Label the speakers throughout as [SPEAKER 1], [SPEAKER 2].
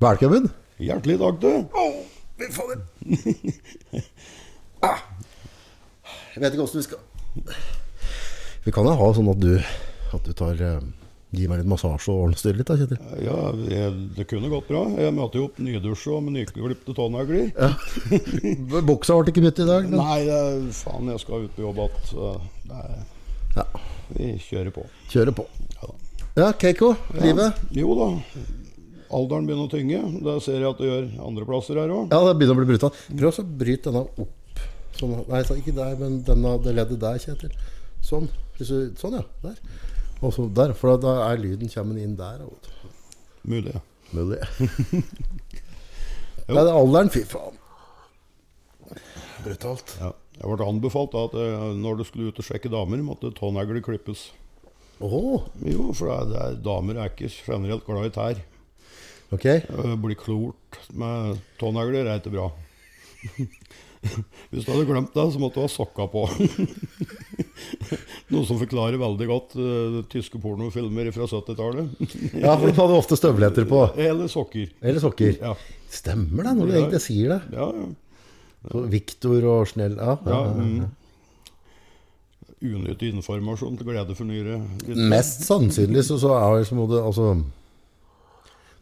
[SPEAKER 1] Velkommen.
[SPEAKER 2] Hjertelig takk, du.
[SPEAKER 1] Fy fader. Ah. Jeg vet ikke åssen vi skal Vi kan jo ha sånn at du, at du tar eh, Gi meg litt massasje og ordne styret litt, da, Kjetil.
[SPEAKER 2] Ja, jeg, det kunne gått bra. Jeg møter jo opp nydusja med nyklipte tånegler.
[SPEAKER 1] Buksa ble ikke byttet i dag, men
[SPEAKER 2] Nei, det er- faen, jeg skal ut på jobb igjen.
[SPEAKER 1] ja,
[SPEAKER 2] Vi kjører på.
[SPEAKER 1] kjører på. Ja, Keiko. Livet.
[SPEAKER 2] Jo da. Alderen begynner å tynge. Det ser jeg at det gjør andre plasser her òg.
[SPEAKER 1] Ja, det begynner å bli brutalt. Mm. Prøv også å bryte denne opp. Sånn, nei, så ikke der, men denne, det leddet der, Kjetil. Sånn. Hvis du, sånn, ja. Der. Og så der, for da er lyden kommer den inn der. da, vet du.
[SPEAKER 2] Mulig.
[SPEAKER 1] Mulig. Nei, det er alderen. Fy faen. Brutalt.
[SPEAKER 2] Ja. Jeg ble anbefalt da, at eh, når du skulle ut og sjekke damer, måtte tånegler klippes.
[SPEAKER 1] Åh,
[SPEAKER 2] Jo, for det er, det er, damer er ikke generelt glad i tær.
[SPEAKER 1] ok.
[SPEAKER 2] Eh, Bli klort med tånegler er ikke bra. Hvis du hadde glemt det, så måtte du ha sokka på. Noe som forklarer veldig godt eh, tyske pornofilmer fra 70-tallet.
[SPEAKER 1] Ja, for de hadde ofte støvletter på.
[SPEAKER 2] Eller sokker.
[SPEAKER 1] Eller sokker.
[SPEAKER 2] Ja.
[SPEAKER 1] Stemmer det, når du
[SPEAKER 2] Ja.
[SPEAKER 1] egentlig sier det.
[SPEAKER 2] Ja, ja.
[SPEAKER 1] Så Victor og Snell Ja. ja,
[SPEAKER 2] ja
[SPEAKER 1] ja.
[SPEAKER 2] mm. Unyttig informasjon til glede for nyere. lyttere.
[SPEAKER 1] Mest sannsynlig så, så er det som om det Altså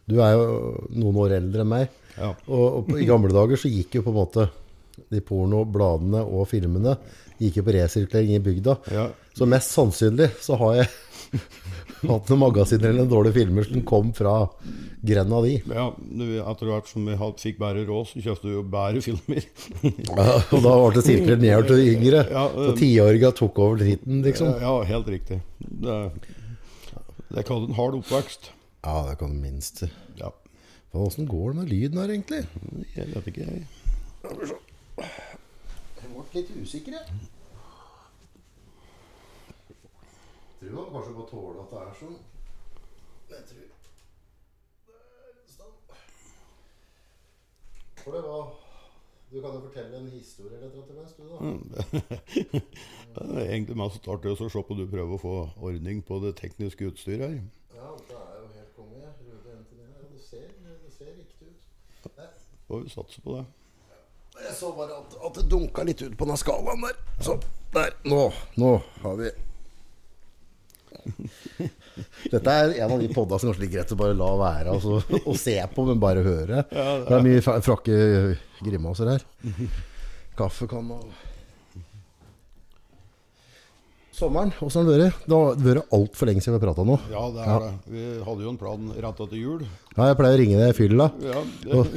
[SPEAKER 1] Du er jo noen år eldre enn meg.
[SPEAKER 2] Ja.
[SPEAKER 1] Og, og på, i gamle dager så gikk jo på en måte de pornobladene og filmene gikk jo på resirkulering i bygda.
[SPEAKER 2] Ja.
[SPEAKER 1] Så mest sannsynlig så har jeg hatt noen magasiner eller noen dårlige filmer som kom fra grenda di.
[SPEAKER 2] Ja, det- Etter hvert som vi had- fikk bedre råd, så kjøpte vi jo bedre filmer.
[SPEAKER 1] Og da ble det sirkulert nedover til de yngre.
[SPEAKER 2] Ja,
[SPEAKER 1] Så
[SPEAKER 2] eh,
[SPEAKER 1] tiåringa tok over dritten, liksom.
[SPEAKER 2] ja, helt riktig. Det, det kaller en hard oppvekst.
[SPEAKER 1] Ja, det kan du minst
[SPEAKER 2] Ja,
[SPEAKER 1] Åssen går det med lyden her, egentlig?
[SPEAKER 2] jeg vet ikke, jeg.
[SPEAKER 1] Jeg ble litt usikker, jeg. Tror man kanskje må tåle at det er sånn. Jeg tror det er sånn. For det var Du kan jo fortelle en historie eller noe til mens, du, da.
[SPEAKER 2] Det er egentlig mest artig å se på du prøver å få ordning på det tekniske utstyret her.
[SPEAKER 1] Ja, det er jo helt konge. Røde NTN-er. Ja, det ser, det ser riktig ut. Nei,
[SPEAKER 2] Og vi satser på det.
[SPEAKER 1] Jeg så bare at, at det dunka litt ut på den skalaen der. Sånn. Der. Nå. Nå har vi Dette er en av de podda som kanskje ligger greit å bare la være altså, å se på, men bare høre. Det er mye fra- frakke grimaser her. Kaffekanne og Sommeren, åssen har det vært? Det har vært altfor lenge siden vi har prata nå.
[SPEAKER 2] Ja, det er det. Vi hadde jo en plan rett etter jul.
[SPEAKER 1] Ja, jeg pleier å ringe deg i fylla
[SPEAKER 2] Ja, det,
[SPEAKER 1] og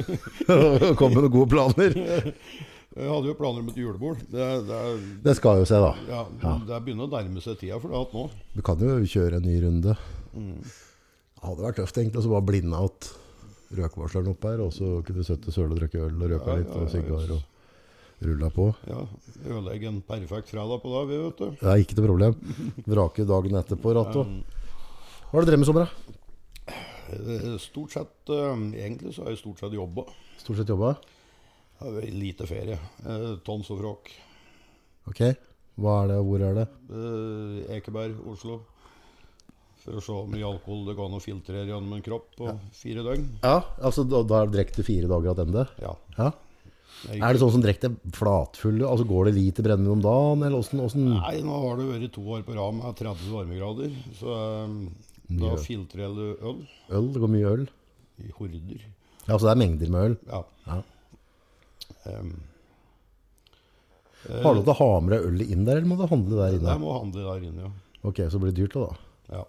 [SPEAKER 1] og komme med noen gode planer.
[SPEAKER 2] vi hadde jo planer om et julebord. Det, det, er-
[SPEAKER 1] Det skal jo seg, da.
[SPEAKER 2] ja, det begynner å nærme seg tida for det at nå.
[SPEAKER 1] Du kan jo kjøre en ny runde.
[SPEAKER 2] Mm.
[SPEAKER 1] Det hadde vært tøft egentlig, og så bare blinde out røkvarsleren opp her, og så kunne du søtte søle og drikke øl og røka
[SPEAKER 2] Ja,
[SPEAKER 1] litt,
[SPEAKER 2] ja,
[SPEAKER 1] og
[SPEAKER 2] ja,
[SPEAKER 1] sigar
[SPEAKER 2] yes.
[SPEAKER 1] og rulla på.
[SPEAKER 2] Ja, Ødelegge en perfekt fredag på det, vi, vet du.
[SPEAKER 1] Det er ikke noe problem. Vrake dagen etterpå, Ratto. Hva har du drevet med i sommer? da?
[SPEAKER 2] Eh, Stort sett, eh, Egentlig så har jeg stort sett jobba.
[SPEAKER 1] Stort sett jobba?
[SPEAKER 2] Lite ferie. Eh, Tons og frakk.
[SPEAKER 1] Ok. Hva er det, og hvor er det?
[SPEAKER 2] Eh, Ekeberg, Oslo. For å se hvor mye alkohol det går an å filtrere gjennom en kropp på fire døgn.
[SPEAKER 1] Ja, altså da, da drikker du fire dager attende?
[SPEAKER 2] Ja.
[SPEAKER 1] Ja. Er det sånn som drikker deg flatfull? Altså går det lite brennevin om dagen, eller åssen- åssen
[SPEAKER 2] Nei, nå har det vært to år på rad med 30 varmegrader. Så eh, da filtrerer du øl
[SPEAKER 1] øl? Det går mye øl?
[SPEAKER 2] i horder.
[SPEAKER 1] Ja, altså det er mengder med øl.
[SPEAKER 2] Ja. Ehm,
[SPEAKER 1] Ja.
[SPEAKER 2] Em,
[SPEAKER 1] Har du lov til å ha med deg ølet inn der, eller må du handle der inne?
[SPEAKER 2] jeg må handle der inne, ja.
[SPEAKER 1] Ok, så blir det dyrt da, da.
[SPEAKER 2] ja.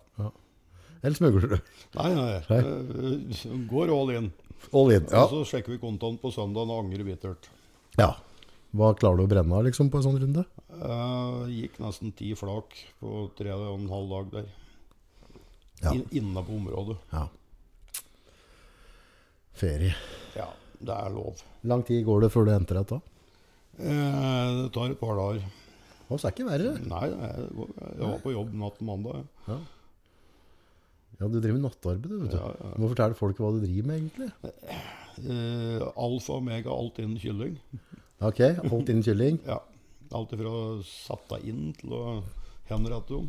[SPEAKER 1] Eller smugler du?
[SPEAKER 2] Nei, nei. eh, Går all in.
[SPEAKER 1] All in. Ja.
[SPEAKER 2] Og så sjekker vi kontoen på søndagen og angrer bittert.
[SPEAKER 1] ja. Hva klarer du å brenne av liksom, på en sånn runde?
[SPEAKER 2] Eh, gikk nesten ti flak på tre og en halv dag der.
[SPEAKER 1] Ja.
[SPEAKER 2] In, inne på området.
[SPEAKER 1] Ja. Ferie.
[SPEAKER 2] Ja, det er lov.
[SPEAKER 1] Lang tid går det før du henter deg da?
[SPEAKER 2] Eh, det tar et par dager.
[SPEAKER 1] Å, så er det ikke verre.
[SPEAKER 2] Nei, nei, jeg går- jeg var på jobb natt til mandag. jeg.
[SPEAKER 1] Ja, du driver med nattarbeid, du, vet du.
[SPEAKER 2] Ja, ja.
[SPEAKER 1] Du må fortelle folk hva du driver med, egentlig.
[SPEAKER 2] Eh, alfa og omega, alt innen kylling.
[SPEAKER 1] Ok, holdt inn kylling.
[SPEAKER 2] Ja. Alt ifra å sette inn til å henrette dem.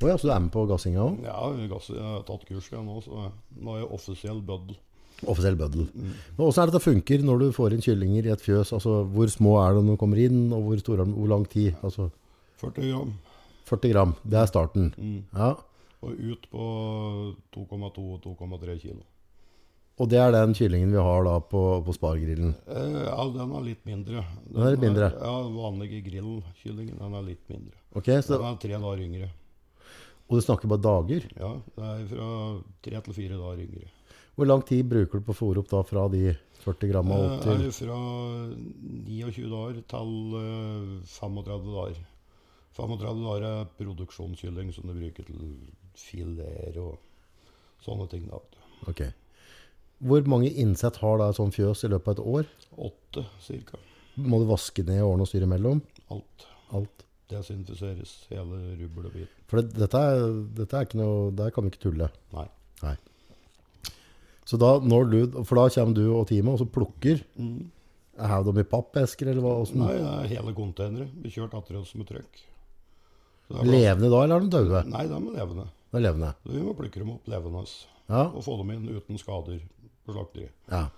[SPEAKER 1] Å ja, så du er med på gassinga òg?
[SPEAKER 2] Ja, jeg har gass- jeg har tatt kurs igjen nå, så nå er jeg offisiell bøddel.
[SPEAKER 1] Offisiell bøddel.
[SPEAKER 2] Mm.
[SPEAKER 1] Men Åssen er det det funker når du får inn kyllinger i et fjøs? Altså, Hvor små er de når de kommer inn, og hvor, store, er de- hvor lang tid? Altså
[SPEAKER 2] 40 gram.
[SPEAKER 1] 40 gram, det er starten.
[SPEAKER 2] Mm.
[SPEAKER 1] Ja.
[SPEAKER 2] Og ut på 2,2 og 2,3 kilo.
[SPEAKER 1] Og det er den kyllingen vi har da på, på Spargrillen.
[SPEAKER 2] Eh, ja, den er litt mindre. Den,
[SPEAKER 1] er litt mindre.
[SPEAKER 2] Er, ja, vanlige grillkyllingen, den er litt mindre.
[SPEAKER 1] Ok, så,
[SPEAKER 2] Den er tre dager yngre.
[SPEAKER 1] Og du snakker bare dager.
[SPEAKER 2] Ja, det er fra tre til fire dager yngre.
[SPEAKER 1] Hvor lang tid bruker du på å fôre opp da fra de 40 gramma
[SPEAKER 2] Det
[SPEAKER 1] opp til
[SPEAKER 2] Eh, er fra 29 dager til eh, 35 dager. 35 dager er produksjonskylling som du bruker til fileter og sånne ting. da. vet du.
[SPEAKER 1] Ok. Hvor mange innsett har da et sånt fjøs i løpet av et år?
[SPEAKER 2] Åtte cirka.
[SPEAKER 1] Må du vaske ned årene og styre imellom?
[SPEAKER 2] Alt
[SPEAKER 1] Alt.
[SPEAKER 2] desinfiseres, hele rubbelbiten.
[SPEAKER 1] For det, dette, er, dette er ikke noe Der kan vi ikke tulle.
[SPEAKER 2] Nei.
[SPEAKER 1] Nei. Så da, når du, for da kommer du og teamet og så plukker.
[SPEAKER 2] Mm.
[SPEAKER 1] Hev dem i pappesker, eller hva? sånn. Hvordan,
[SPEAKER 2] Nei, det er hele containere. Vi kjørte etter oss med trøkk. Så det er plass-
[SPEAKER 1] levende da, eller er de døde?
[SPEAKER 2] Nei, de er levende.
[SPEAKER 1] De er levende.
[SPEAKER 2] Så vi må plukke dem opp levende
[SPEAKER 1] Ja.
[SPEAKER 2] og få dem inn uten skader på slakteriet.
[SPEAKER 1] ja.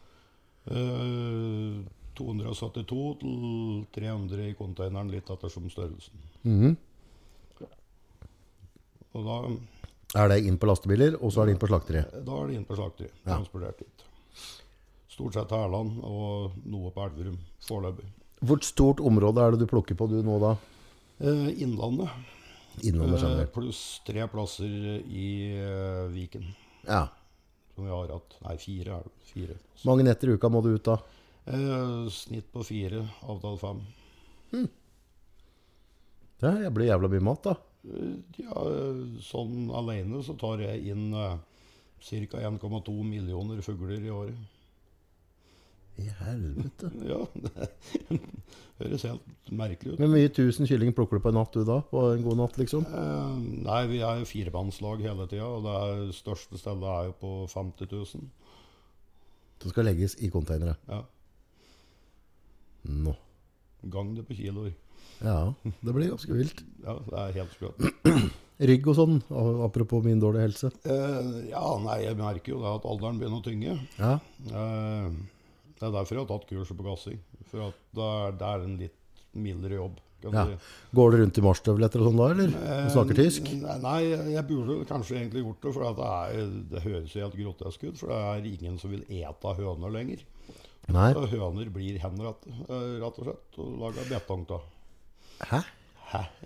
[SPEAKER 2] Eh, 272 til 300 i containeren, litt ettersom størrelsen.
[SPEAKER 1] Mhm.
[SPEAKER 2] Og da,
[SPEAKER 1] Er det inn på lastebiler, og så er det inn på slakteriet?
[SPEAKER 2] da er det inn på slakteriet. Transportert dit. Stort sett til Erland og noe på Elverum foreløpig.
[SPEAKER 1] Hvor stort område er det du plukker på du nå, da?
[SPEAKER 2] Eh, innlandet
[SPEAKER 1] Innover
[SPEAKER 2] eh,
[SPEAKER 1] generelt.
[SPEAKER 2] pluss tre plasser i eh, Viken.
[SPEAKER 1] Ja.
[SPEAKER 2] Som vi har hatt. Nei, fire er det. Fire.
[SPEAKER 1] Mange netter i uka må du ut, da?
[SPEAKER 2] Eh, snitt på fire, avtale fem.
[SPEAKER 1] Ja, jeg blir jævla mye mat, da.
[SPEAKER 2] Eh, Ja, eh, sånn alene så tar jeg inn eh, ca. 1,2 millioner fugler i året.
[SPEAKER 1] I helvete.
[SPEAKER 2] Ja, det høres helt merkelig ut.
[SPEAKER 1] Men mye tusen kyllinger plukker du på en natt, du da? På en god natt, liksom?
[SPEAKER 2] Eh, nei, vi er jo firemannslag hele tida, og det er, største stedet er jo på 50 000.
[SPEAKER 1] Det skal legges i konteinere.
[SPEAKER 2] Ja,
[SPEAKER 1] Nå.
[SPEAKER 2] gang det på kiloer.
[SPEAKER 1] Ja, det blir ganske vilt.
[SPEAKER 2] Ja, det er helt sprøtt.
[SPEAKER 1] Rygg og sånn, a- apropos min dårlige helse.
[SPEAKER 2] Eh, ja, nei, jeg merker jo det at alderen begynner å tynge.
[SPEAKER 1] Ja,
[SPEAKER 2] Eh, det er derfor jeg har tatt kurset på gassing. For at det er, det er en litt mildere jobb. Kan du
[SPEAKER 1] ja.
[SPEAKER 2] si.
[SPEAKER 1] Går du rundt i marsstøvletter og sånn da, eller?
[SPEAKER 2] Eh,
[SPEAKER 1] Du snakker tysk?
[SPEAKER 2] Nei, nei, jeg burde kanskje egentlig gjort det, for at det, er, det høres jo helt grotesk ut. For det er ingen som vil ete høner lenger.
[SPEAKER 1] Nei.
[SPEAKER 2] Så høner blir henrettet, eh, rett og slett, og lager betong av.
[SPEAKER 1] Hæ?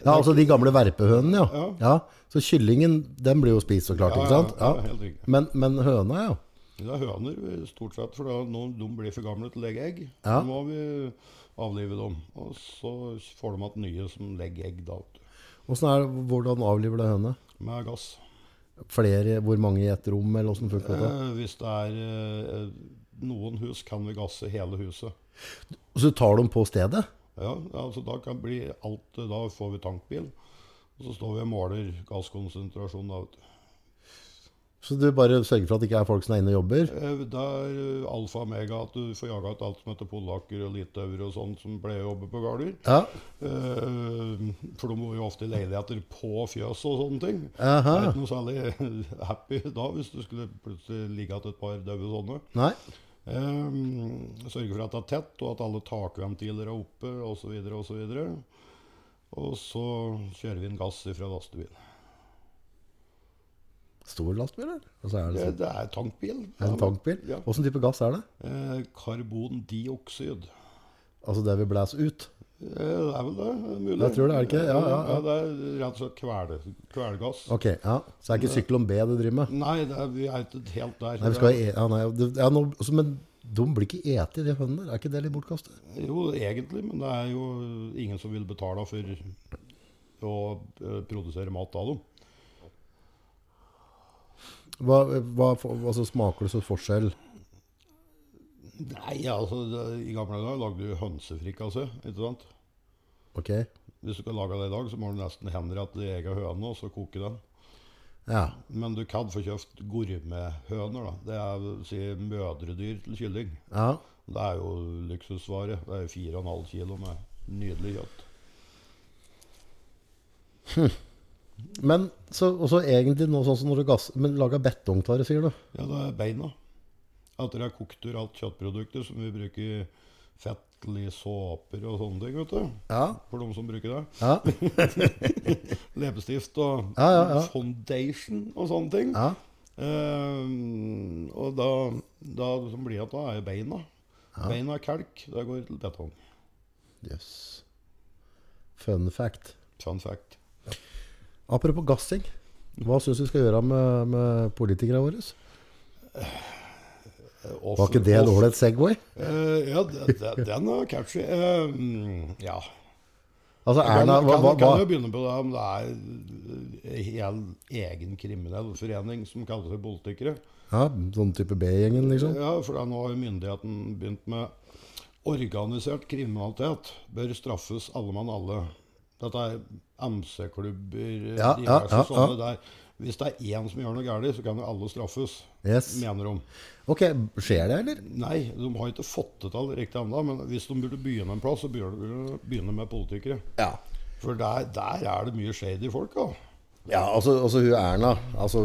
[SPEAKER 1] Ja, altså de gamle verpehønene, ja.
[SPEAKER 2] Ja.
[SPEAKER 1] ja. Så kyllingen, den blir jo spist så klart,
[SPEAKER 2] Ja,
[SPEAKER 1] ikke
[SPEAKER 2] ja,
[SPEAKER 1] sant?
[SPEAKER 2] ja, helt riktig.
[SPEAKER 1] Men, men høna, ja.
[SPEAKER 2] Det er høner eh, stort sett, for da, når de blir for gamle til å legge egg,
[SPEAKER 1] Ja.
[SPEAKER 2] så må vi avlive dem. Og så får de igjen nye som legger egg da, vet du.
[SPEAKER 1] Hvordan, er, det- hvordan avliver du høne?
[SPEAKER 2] med gass.
[SPEAKER 1] Flere, hvor mange i et rom, eller hvordan funker det?
[SPEAKER 2] Eh, hvis det er eh, noen hus, kan vi gasse hele huset.
[SPEAKER 1] Og så tar de på stedet?
[SPEAKER 2] Ja, altså da kan bli alt eh, Da får vi tankbil. Og så står vi og måler gasskonsentrasjon. Da, vet du.
[SPEAKER 1] Så du bare sørger for at det ikke er folk som er inne og jobber?
[SPEAKER 2] Eh, Det er eh, alfa og omega at du får jaga ut alt som heter polakker og litauere og sånt som pleier å jobbe på gårder.
[SPEAKER 1] Ja.
[SPEAKER 2] Eh, for de bor jo ofte i leiligheter på fjøs og sånne ting. Det er
[SPEAKER 1] Aha.
[SPEAKER 2] ikke noe særlig happy da hvis du skulle plutselig ligge igjen et par daue sånne.
[SPEAKER 1] Nei.
[SPEAKER 2] Ehm, Sørge for at det er tett, og at alle takventiler er oppe, osv. Og, så videre. og så kjører vi inn gass fra lastebil.
[SPEAKER 1] Stor lastbil, eller? Og så er det
[SPEAKER 2] Det,
[SPEAKER 1] sånn.
[SPEAKER 2] det er tankbil.
[SPEAKER 1] Er det en tankbil?
[SPEAKER 2] Ja.
[SPEAKER 1] Åssen type gass er det?
[SPEAKER 2] Eh, karbondioksid.
[SPEAKER 1] Altså det vi blæser ut?
[SPEAKER 2] Eh, Det er vel det, mulig.
[SPEAKER 1] Jeg tror det, er det ikke? Ja, ja, ja.
[SPEAKER 2] Det er rett og slett kvele, kvelgass.
[SPEAKER 1] Ok, ja. Så det er ikke syklon B du driver med?
[SPEAKER 2] Nei, det er, vi er ikke helt der.
[SPEAKER 1] Nei, vi skal ha e ja, nei, det- ja, nå, altså, Men de blir ikke ete, de hønene der. Er ikke det litt bortkastet?
[SPEAKER 2] Jo, egentlig, men det er jo ingen som vil betale for å eh, produsere mat av dem.
[SPEAKER 1] Hva, hva, altså, smaker det så forskjell?
[SPEAKER 2] Nei, altså, det, I gamle dager lagde du hønsefrikassé. ikke sant?
[SPEAKER 1] Ok?
[SPEAKER 2] Hvis du skal lage det i dag, så må du nesten henrette din egen høne og så koke den.
[SPEAKER 1] Ja.
[SPEAKER 2] Men du kan få kjøpt gourmethøner. da. Det er si, mødredyr til kylling.
[SPEAKER 1] ja.
[SPEAKER 2] Det er jo luksusvare. Det er 4,5 kilo med nydelig kjøtt.
[SPEAKER 1] Men så, og så egentlig nå sånn som når du gass, men lager betongtare, sier du?
[SPEAKER 2] Ja, det er beina. Etter det er kokt ur alt kjøttproduktet som vi bruker fettlig såper og sånne ting, vet du.
[SPEAKER 1] Ja.
[SPEAKER 2] For de som bruker det.
[SPEAKER 1] Ja.
[SPEAKER 2] Leppestift og
[SPEAKER 1] Ja, ja, ja.
[SPEAKER 2] foundation og sånne ting.
[SPEAKER 1] ja.
[SPEAKER 2] Eh, og da, da som blir igjen da, er jo beina. Beina er kalk. Det går til betong.
[SPEAKER 1] Jøss. Fun fact.
[SPEAKER 2] Fun fact.
[SPEAKER 1] Apropos gassing. Hva syns du vi skal gjøre med, med politikerne våre?
[SPEAKER 2] Eh,
[SPEAKER 1] Var ikke det
[SPEAKER 2] offer-
[SPEAKER 1] en ålreit Segway?
[SPEAKER 2] Eh, ja, de- de- den er catchy. Eh, mm, ja.
[SPEAKER 1] Altså,
[SPEAKER 2] Kan,
[SPEAKER 1] Erna hva,
[SPEAKER 2] kan,
[SPEAKER 1] hva,
[SPEAKER 2] kan jo
[SPEAKER 1] hva?
[SPEAKER 2] begynne på det om det er en hel egen kriminell forening som kaller seg politikere.
[SPEAKER 1] Ja, Sånn type B-gjengen, liksom?
[SPEAKER 2] Ja, for da nå har jo myndigheten begynt med organisert kriminalitet bør straffes alle mann alle. Dette er MC-klubber,
[SPEAKER 1] Ja,
[SPEAKER 2] diverse
[SPEAKER 1] ja, ja,
[SPEAKER 2] sånne der. Hvis det er én som gjør noe galt, så kan jo alle straffes,
[SPEAKER 1] Yes.
[SPEAKER 2] mener de.
[SPEAKER 1] Ok, skjer det, eller?
[SPEAKER 2] Nei, de har ikke fått det til riktig ennå, men hvis de burde begynne en plass, så burde de begynne med politikere.
[SPEAKER 1] Ja.
[SPEAKER 2] For der, der er det mye shady folk, da.
[SPEAKER 1] Ja, altså, altså hun Erna Altså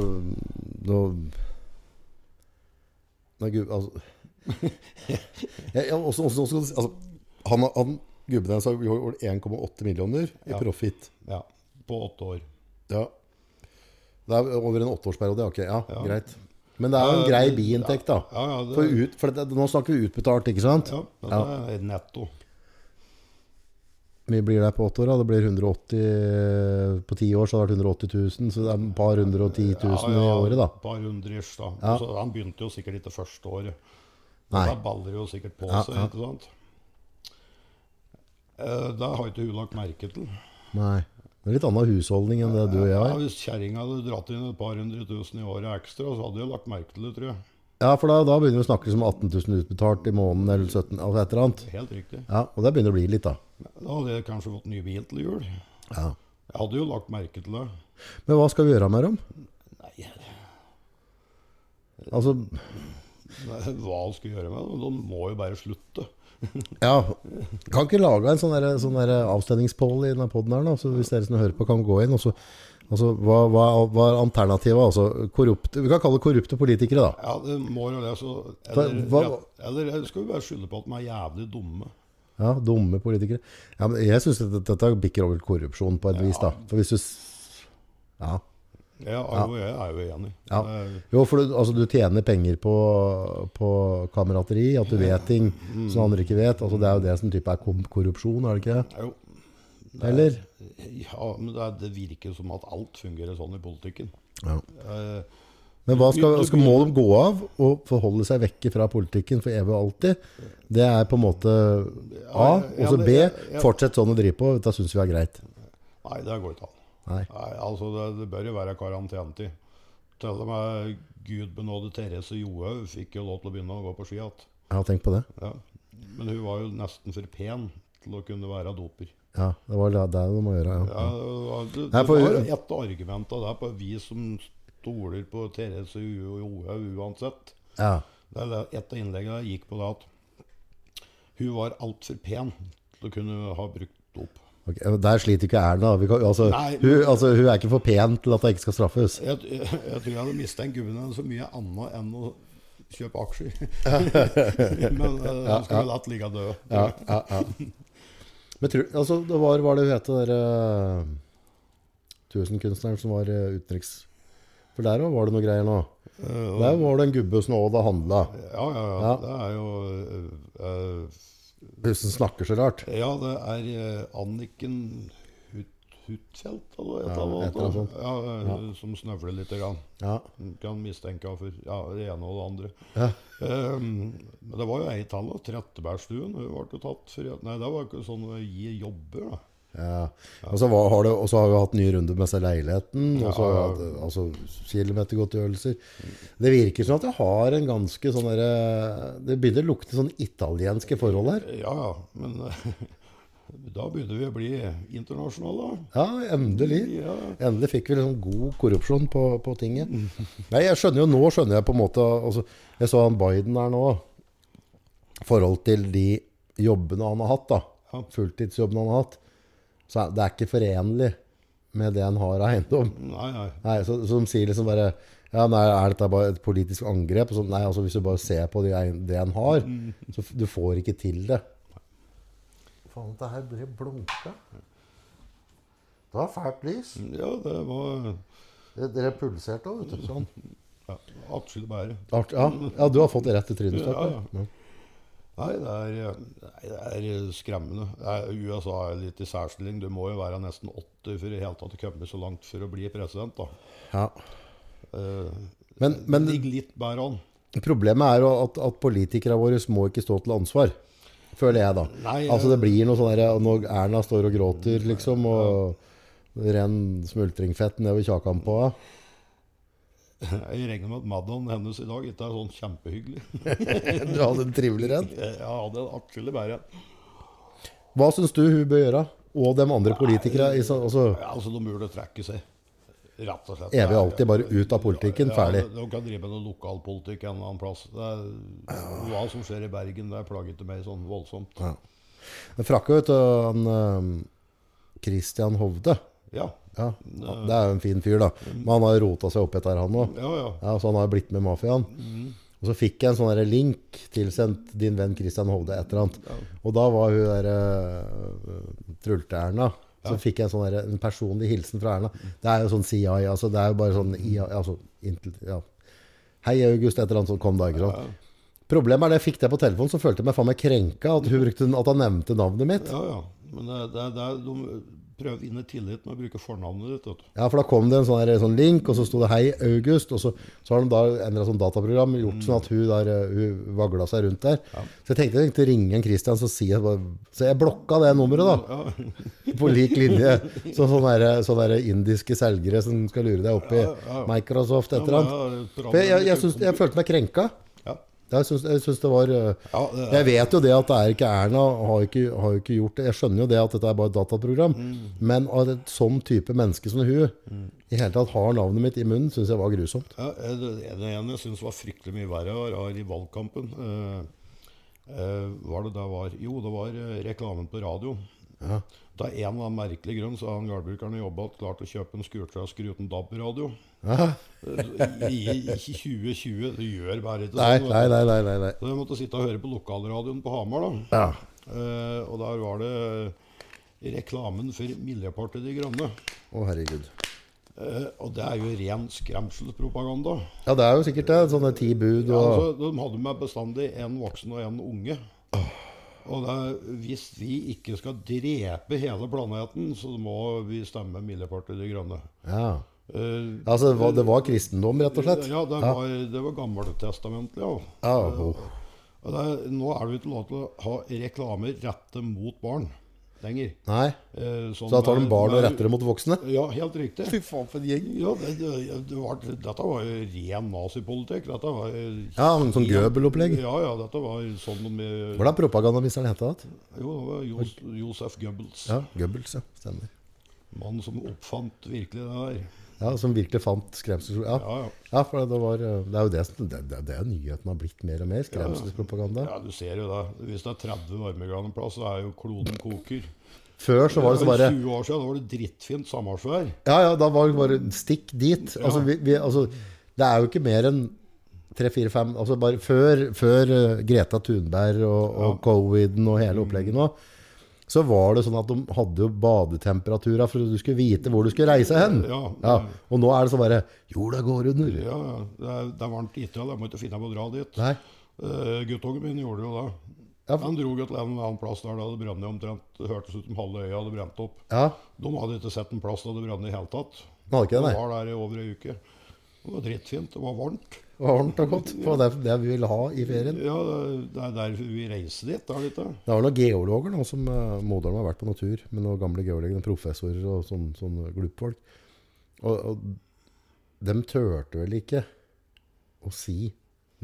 [SPEAKER 1] Nå Nei, gud Altså jeg, jeg, også, også, også, altså, Han, har- han gubben hennes har gjort 1,8 millioner i
[SPEAKER 2] Ja.
[SPEAKER 1] profitt.
[SPEAKER 2] Ja, På åtte år.
[SPEAKER 1] Ja. Det er over en åtteårsperiode, ja, ok. Ja,
[SPEAKER 2] Ja.
[SPEAKER 1] greit. Men det er jo en grei biinntekt, da.
[SPEAKER 2] Ja, ja, det,
[SPEAKER 1] For, ut, for det, nå snakker vi utbetalt, ikke sant?
[SPEAKER 2] ja, dette er netto.
[SPEAKER 1] Vi blir der på åtte år, da. Det blir 180 På ti år så har det vært 180 000, så det er et par hundre og ti tusen i året, da.
[SPEAKER 2] et Par hundre ish, da.
[SPEAKER 1] Ja.
[SPEAKER 2] Så han begynte jo sikkert ikke første året.
[SPEAKER 1] Nei.
[SPEAKER 2] Da baller jo sikkert på
[SPEAKER 1] Ja,
[SPEAKER 2] seg,
[SPEAKER 1] ja.
[SPEAKER 2] ikke sant? Eh, Det har ikke hun lagt merke til.
[SPEAKER 1] Nei. Det er litt annen husholdning enn det du og jeg
[SPEAKER 2] Ja,
[SPEAKER 1] har.
[SPEAKER 2] hvis kjerringa hadde dratt inn et par hundre tusen i året ekstra, så hadde hun lagt merke til det, tror jeg.
[SPEAKER 1] Ja, for da, da begynner vi å snakke som 18 000 utbetalt i måneden eller 17 altså et eller annet.
[SPEAKER 2] Helt riktig.
[SPEAKER 1] Ja, og det begynner å bli litt, da.
[SPEAKER 2] Da hadde jeg kanskje fått ny bil til jul.
[SPEAKER 1] Ja.
[SPEAKER 2] Jeg hadde jo lagt merke til det.
[SPEAKER 1] Men hva skal vi gjøre med dem?
[SPEAKER 2] Nei,
[SPEAKER 1] Altså,
[SPEAKER 2] hva skal vi gjøre med det? De må jo bare slutte.
[SPEAKER 1] ja Kan ikke lage en sånn, der, sånn der avstemningspoll i denne poden her, nå, så hvis dere som hører på, kan gå inn og så Altså, hva, hva, hva er alternativet? Altså, korrupte Vi kan kalle det korrupte politikere, da.
[SPEAKER 2] Ja, det må jo det. Så,
[SPEAKER 1] Hva-
[SPEAKER 2] eller,
[SPEAKER 1] hva-
[SPEAKER 2] eller skal vi bare skylde på at de er jævlig dumme?
[SPEAKER 1] Ja, Dumme politikere. Ja, men jeg syns dette, dette bikker over til korrupsjon på et vis, da. For hvis du s- Ja.
[SPEAKER 2] Ja, Arvo, jeg er jo enig.
[SPEAKER 1] Ja.
[SPEAKER 2] Det er-
[SPEAKER 1] Jo, for du, altså, du tjener penger på, på kamerateri, at du vet ting som andre ikke vet. Altså, det er jo det som type er kom- korrupsjon, er det ikke det?
[SPEAKER 2] er jo-
[SPEAKER 1] Eller?
[SPEAKER 2] Ja, men det, er- det virker som at alt fungerer sånn i politikken.
[SPEAKER 1] Ja.
[SPEAKER 2] Eh,
[SPEAKER 1] Men hva skal, skal må de gå av og forholde seg vekke fra politikken for evig og alltid? Det er på en måte A. Og så B. Fortsett sånn å drive på. Dette syns vi er greit.
[SPEAKER 2] nei, det går ikke an.
[SPEAKER 1] Nei.
[SPEAKER 2] Nei, altså, det, det bør jo være karantenetid. Til og med gud benåde Therese Johaug fikk jo lov til å begynne å gå på ski igjen.
[SPEAKER 1] Ja, tenk på det.
[SPEAKER 2] Ja. Men hun var jo nesten for pen til å kunne være doper.
[SPEAKER 1] Ja, det var det det de må gjøre. Ja.
[SPEAKER 2] Ja, det, det,
[SPEAKER 1] Nei,
[SPEAKER 2] det
[SPEAKER 1] for-
[SPEAKER 2] var jo ett argument av det på vi som stoler på Therese Jo- Johaug uansett.
[SPEAKER 1] ja.
[SPEAKER 2] Det er det- Et av innleggene der gikk på det at hun var altfor pen til å kunne ha brukt dop.
[SPEAKER 1] Ok, men Der sliter ikke Erna. Vi kan, altså,
[SPEAKER 2] Nei,
[SPEAKER 1] hun, altså, hun er ikke for pen til at hun ikke skal straffes.
[SPEAKER 2] Jeg, jeg, jeg tror jeg hadde mistenkt gubben hennes så mye annet enn å kjøpe aksjer. Men eh, han skulle ja. latt ligge død.
[SPEAKER 1] ja, ja, ja. Men tror, altså, det var, var det hun het, den der eh, tusenkunstneren som var eh, utenriks... For der òg var det noe greier nå.
[SPEAKER 2] Eh, og-
[SPEAKER 1] Der var det en gubbe som òg da handla.
[SPEAKER 2] ja, ja, ja.
[SPEAKER 1] Ja.
[SPEAKER 2] Det er jo eh, eh,
[SPEAKER 1] Husen snakker så rart.
[SPEAKER 2] Ja, det er eh, Anniken Hut, Hutfeldt, eller et
[SPEAKER 1] Ja,
[SPEAKER 2] eller
[SPEAKER 1] et eller annet
[SPEAKER 2] annet.
[SPEAKER 1] sånt.
[SPEAKER 2] Ja, eh, som snøvler litt. Grann.
[SPEAKER 1] Ja.
[SPEAKER 2] Kan mistenke henne for ja, det ene og det andre.
[SPEAKER 1] Ja.
[SPEAKER 2] Eh, men det var jo ei tall, da. Trettebergstuen hun ble jo tatt for Nei, det var ikke sånn å gi jobber, da.
[SPEAKER 1] ja. Og så var- har, det- og så har vi hatt ny runde med seg leiligheten. Og så har
[SPEAKER 2] Ja.
[SPEAKER 1] vi hatt, eh, altså, kilometergodtgjørelser. Det virker som at det har en ganske sånn derre Det begynner å lukte sånn italienske forhold her.
[SPEAKER 2] Ja ja, men da begynner vi å bli internasjonale, da.
[SPEAKER 1] Ja, endelig.
[SPEAKER 2] Ja.
[SPEAKER 1] Endelig fikk vi liksom god korrupsjon på, på tinget. Nei, jeg skjønner jo nå, skjønner jeg på en måte altså, Jeg så han Biden her nå. forhold til de jobbene han har hatt, da.
[SPEAKER 2] Ja.
[SPEAKER 1] Fulltidsjobbene han har hatt. Så er, det er ikke forenlig med det han har av eiendom.
[SPEAKER 2] Nei, nei.
[SPEAKER 1] Nei, så, så de sier liksom bare ja, Ja, nei, Er dette bare et politisk angrep? Og så, nei, altså Hvis du bare ser på det en, det en har, så f- du får ikke til det. Faen, dette her drev blunka. Det var fælt lys.
[SPEAKER 2] Ja, det var
[SPEAKER 1] Det drev pulserte òg, vet du. Sånn.
[SPEAKER 2] ja, atskillig bedre.
[SPEAKER 1] Art, ja. ja, du har fått det rett i trynet.
[SPEAKER 2] Ja, ja.
[SPEAKER 1] Stakkar. Ja.
[SPEAKER 2] Nei, det er, nei, det er skremmende. Det er- USA er litt i særstilling. Du må jo være nesten 80 for i hele tatt å komme så langt for å bli president. da.
[SPEAKER 1] Ja.
[SPEAKER 2] Eh,
[SPEAKER 1] Men, men
[SPEAKER 2] det ligger litt bedre an.
[SPEAKER 1] problemet er jo at, at politikerne våre må ikke stå til ansvar. Føler jeg, da.
[SPEAKER 2] Nei,
[SPEAKER 1] altså Det blir noe sånn der når Erna står og gråter, liksom, og ren smultringfett nedover kjakan på henne.
[SPEAKER 2] Jeg regner med at maddaen hennes i dag ikke er sånn kjempehyggelig.
[SPEAKER 1] Du hadde en trivelig en.
[SPEAKER 2] Jeg hadde en atskillig bedre en.
[SPEAKER 1] Hva syns du hun bør gjøre? Og de andre politikere? i så- Altså,
[SPEAKER 2] Ja, altså, de burde trekke seg. Rett og slett.
[SPEAKER 1] evig og alltid bare ut av politikken,
[SPEAKER 2] Ja,
[SPEAKER 1] ferdig.
[SPEAKER 2] De kan drive med noe lokalpolitikk en eller annen plass. Det er, hva som skjer i Bergen, det plager ikke meg sånn voldsomt.
[SPEAKER 1] Men frakka ut han øhm, Christian Hovde.
[SPEAKER 2] Ja,
[SPEAKER 1] Ja, det er jo en fin fyr, da. Men han har rota seg opp etter, han òg.
[SPEAKER 2] ja, ja.
[SPEAKER 1] Ja, så han har jo blitt med mafiaen. Og så fikk jeg en sånn der link tilsendt din venn Christian Hovde et eller annet. Og da var hun der øh, Trulte-Erna. Så fikk jeg en sånn der, en personlig hilsen fra Erna. Det er jo sånn CI, altså. Det er jo bare sånn IA, altså, intel, ja. Hei, August, et eller annet sånt kom da. ikke sant? Problemet er det jeg fikk det på telefonen, så følte jeg meg faen meg krenka at, hun brukte, at han nevnte navnet mitt.
[SPEAKER 2] ja, ja. Men det, det, det, er- de prøver å vinne tillit med å bruke fornavnet ditt. Vet du.
[SPEAKER 1] Ja, for da kom det en sånn, her, sånn link, og så sto det 'Hei, August', og så, så har de da endra sånn dataprogram gjort sånn at hun der eh, hun vagla seg rundt der. Så jeg tenkte jeg tenkte å ringe en Christian, så, si jeg bare, så jeg blokka det nummeret, da.
[SPEAKER 2] Ja,
[SPEAKER 1] På lik linje. Så sånn sånne, der, sånne der indiske selgere som skal lure deg opp i Microsoft et eller annet. For jeg, jeg, jeg, syns- jeg følte meg krenka.
[SPEAKER 2] ja.
[SPEAKER 1] Jeg syns, jeg syns det var eh,
[SPEAKER 2] Ja, det,
[SPEAKER 1] jeg vet jo det at det er ikke Erna har jo ikke, har jo ikke gjort det. Jeg skjønner jo det at dette er bare et dataprogram. Men at et sånn type menneske som hun i hele tatt har navnet mitt i munnen, syns jeg var grusomt.
[SPEAKER 2] Ja, eh, det det ene jeg syns var fryktelig mye verre, var, var i valgkampen. Eh, eh, var det det var? Jo, det var eh, reklamen på radio. Da en eller annen merkelig grunn så har han gårdbrukeren i jobba klart å kjøpe en skurtrask uten DAB-radio. Eh, I, ikke 2020. Det gjør bare ikke
[SPEAKER 1] Nei,
[SPEAKER 2] sånn, vet
[SPEAKER 1] nei,
[SPEAKER 2] du.
[SPEAKER 1] nei. nei, nei, nei.
[SPEAKER 2] Så jeg måtte sitte og høre på lokalradioen på Hamar, da.
[SPEAKER 1] Ja.
[SPEAKER 2] Eh, og der var det eh, reklamen for Miljøpartiet De Grønne.
[SPEAKER 1] Å, herregud.
[SPEAKER 2] Eh, og det er jo ren skremselspropaganda.
[SPEAKER 1] Ja, det er jo sikkert det. Sånne ti bud
[SPEAKER 2] Ja,
[SPEAKER 1] og
[SPEAKER 2] altså, de hadde med bestandig en voksen og en unge. Og det, er- hvis vi ikke skal drepe hele planeten, så må vi stemme Miljøpartiet De Grønne.
[SPEAKER 1] Ja.
[SPEAKER 2] Eh,
[SPEAKER 1] Altså, det var, det var kristendom, rett og slett?
[SPEAKER 2] ja, det var, det var gammeltestamentlig. Ja.
[SPEAKER 1] Ja, oh. åh.
[SPEAKER 2] Og det, er- nå er det jo ikke lov til å ha reklamer rettet mot barn lenger.
[SPEAKER 1] Nei.
[SPEAKER 2] Eh,
[SPEAKER 1] Så
[SPEAKER 2] sånn
[SPEAKER 1] da tar de
[SPEAKER 2] med-
[SPEAKER 1] barn og
[SPEAKER 2] med-
[SPEAKER 1] retter det mot voksne?
[SPEAKER 2] Ja, helt riktig.
[SPEAKER 1] Fy faen, for en gjeng.
[SPEAKER 2] Ja, det, det, det var, dette var jo ren nazipolitikk. Dette var jo
[SPEAKER 1] Ja, en sånn Goebel-opplegg.
[SPEAKER 2] Ja, ja, dette var sånn med
[SPEAKER 1] Hvordan propagandaministeren hette det?
[SPEAKER 2] Jo, det var Jos Josef Goebbels.
[SPEAKER 1] Ja, Goebbels, ja. Stemmer.
[SPEAKER 2] Mannen som oppfant virkelig det der.
[SPEAKER 1] Ja, Som virkelig fant skremsel... Ja.
[SPEAKER 2] Ja, ja.
[SPEAKER 1] Ja, for det, var, eh, det er jo det, som- det, det, det er jo nyheten har blitt mer og mer. Skremselspropaganda.
[SPEAKER 2] ja, du ser jo det. Hvis det er 30 varmegrader en plass, så er jo kloden koker.
[SPEAKER 1] Før så var det så
[SPEAKER 2] For
[SPEAKER 1] bare
[SPEAKER 2] 20 år siden da var det drittfint samværsvær.
[SPEAKER 1] Ja, ja, da var det bare stikk dit. Altså, vi, vi, altså, det er jo ikke mer enn tre, fire, fem altså bare Før, før eh, Greta Thunberg og, og coviden og hele opplegget nå, så var det sånn at de hadde jo badetemperaturer for at du skulle vite hvor du skulle reise hen.
[SPEAKER 2] Ja.
[SPEAKER 1] Ja, og nå er det sånn bare Jorda går under.
[SPEAKER 2] Ja, ja. det, er, det er varmt i Italia, jeg må ikke finne på å dra dit.
[SPEAKER 1] Nei.
[SPEAKER 2] Uh, guttungen min gjorde det jo det.
[SPEAKER 1] Ja, for-
[SPEAKER 2] Han dro jo til en annen plass der det hadde brent omtrent. Det hørtes ut som halve øya hadde brent opp.
[SPEAKER 1] Ja,
[SPEAKER 2] De hadde ikke sett en plass der det brant i det hele tatt.
[SPEAKER 1] han hadde ikke
[SPEAKER 2] De
[SPEAKER 1] det, nei.
[SPEAKER 2] var der i over ei uke. Det var drittfint. Det var varmt.
[SPEAKER 1] Det var varmt og godt. For det er det vi vil ha i ferien.
[SPEAKER 2] Ja, det er derfor vi reiser dit, er det ikke?
[SPEAKER 1] Det er vel noen geologer nå som uh, moderen har vært på natur, med noen gamle geologer, noen professorer og sånne sånn glupfolk. Og, og de tørte vel ikke å si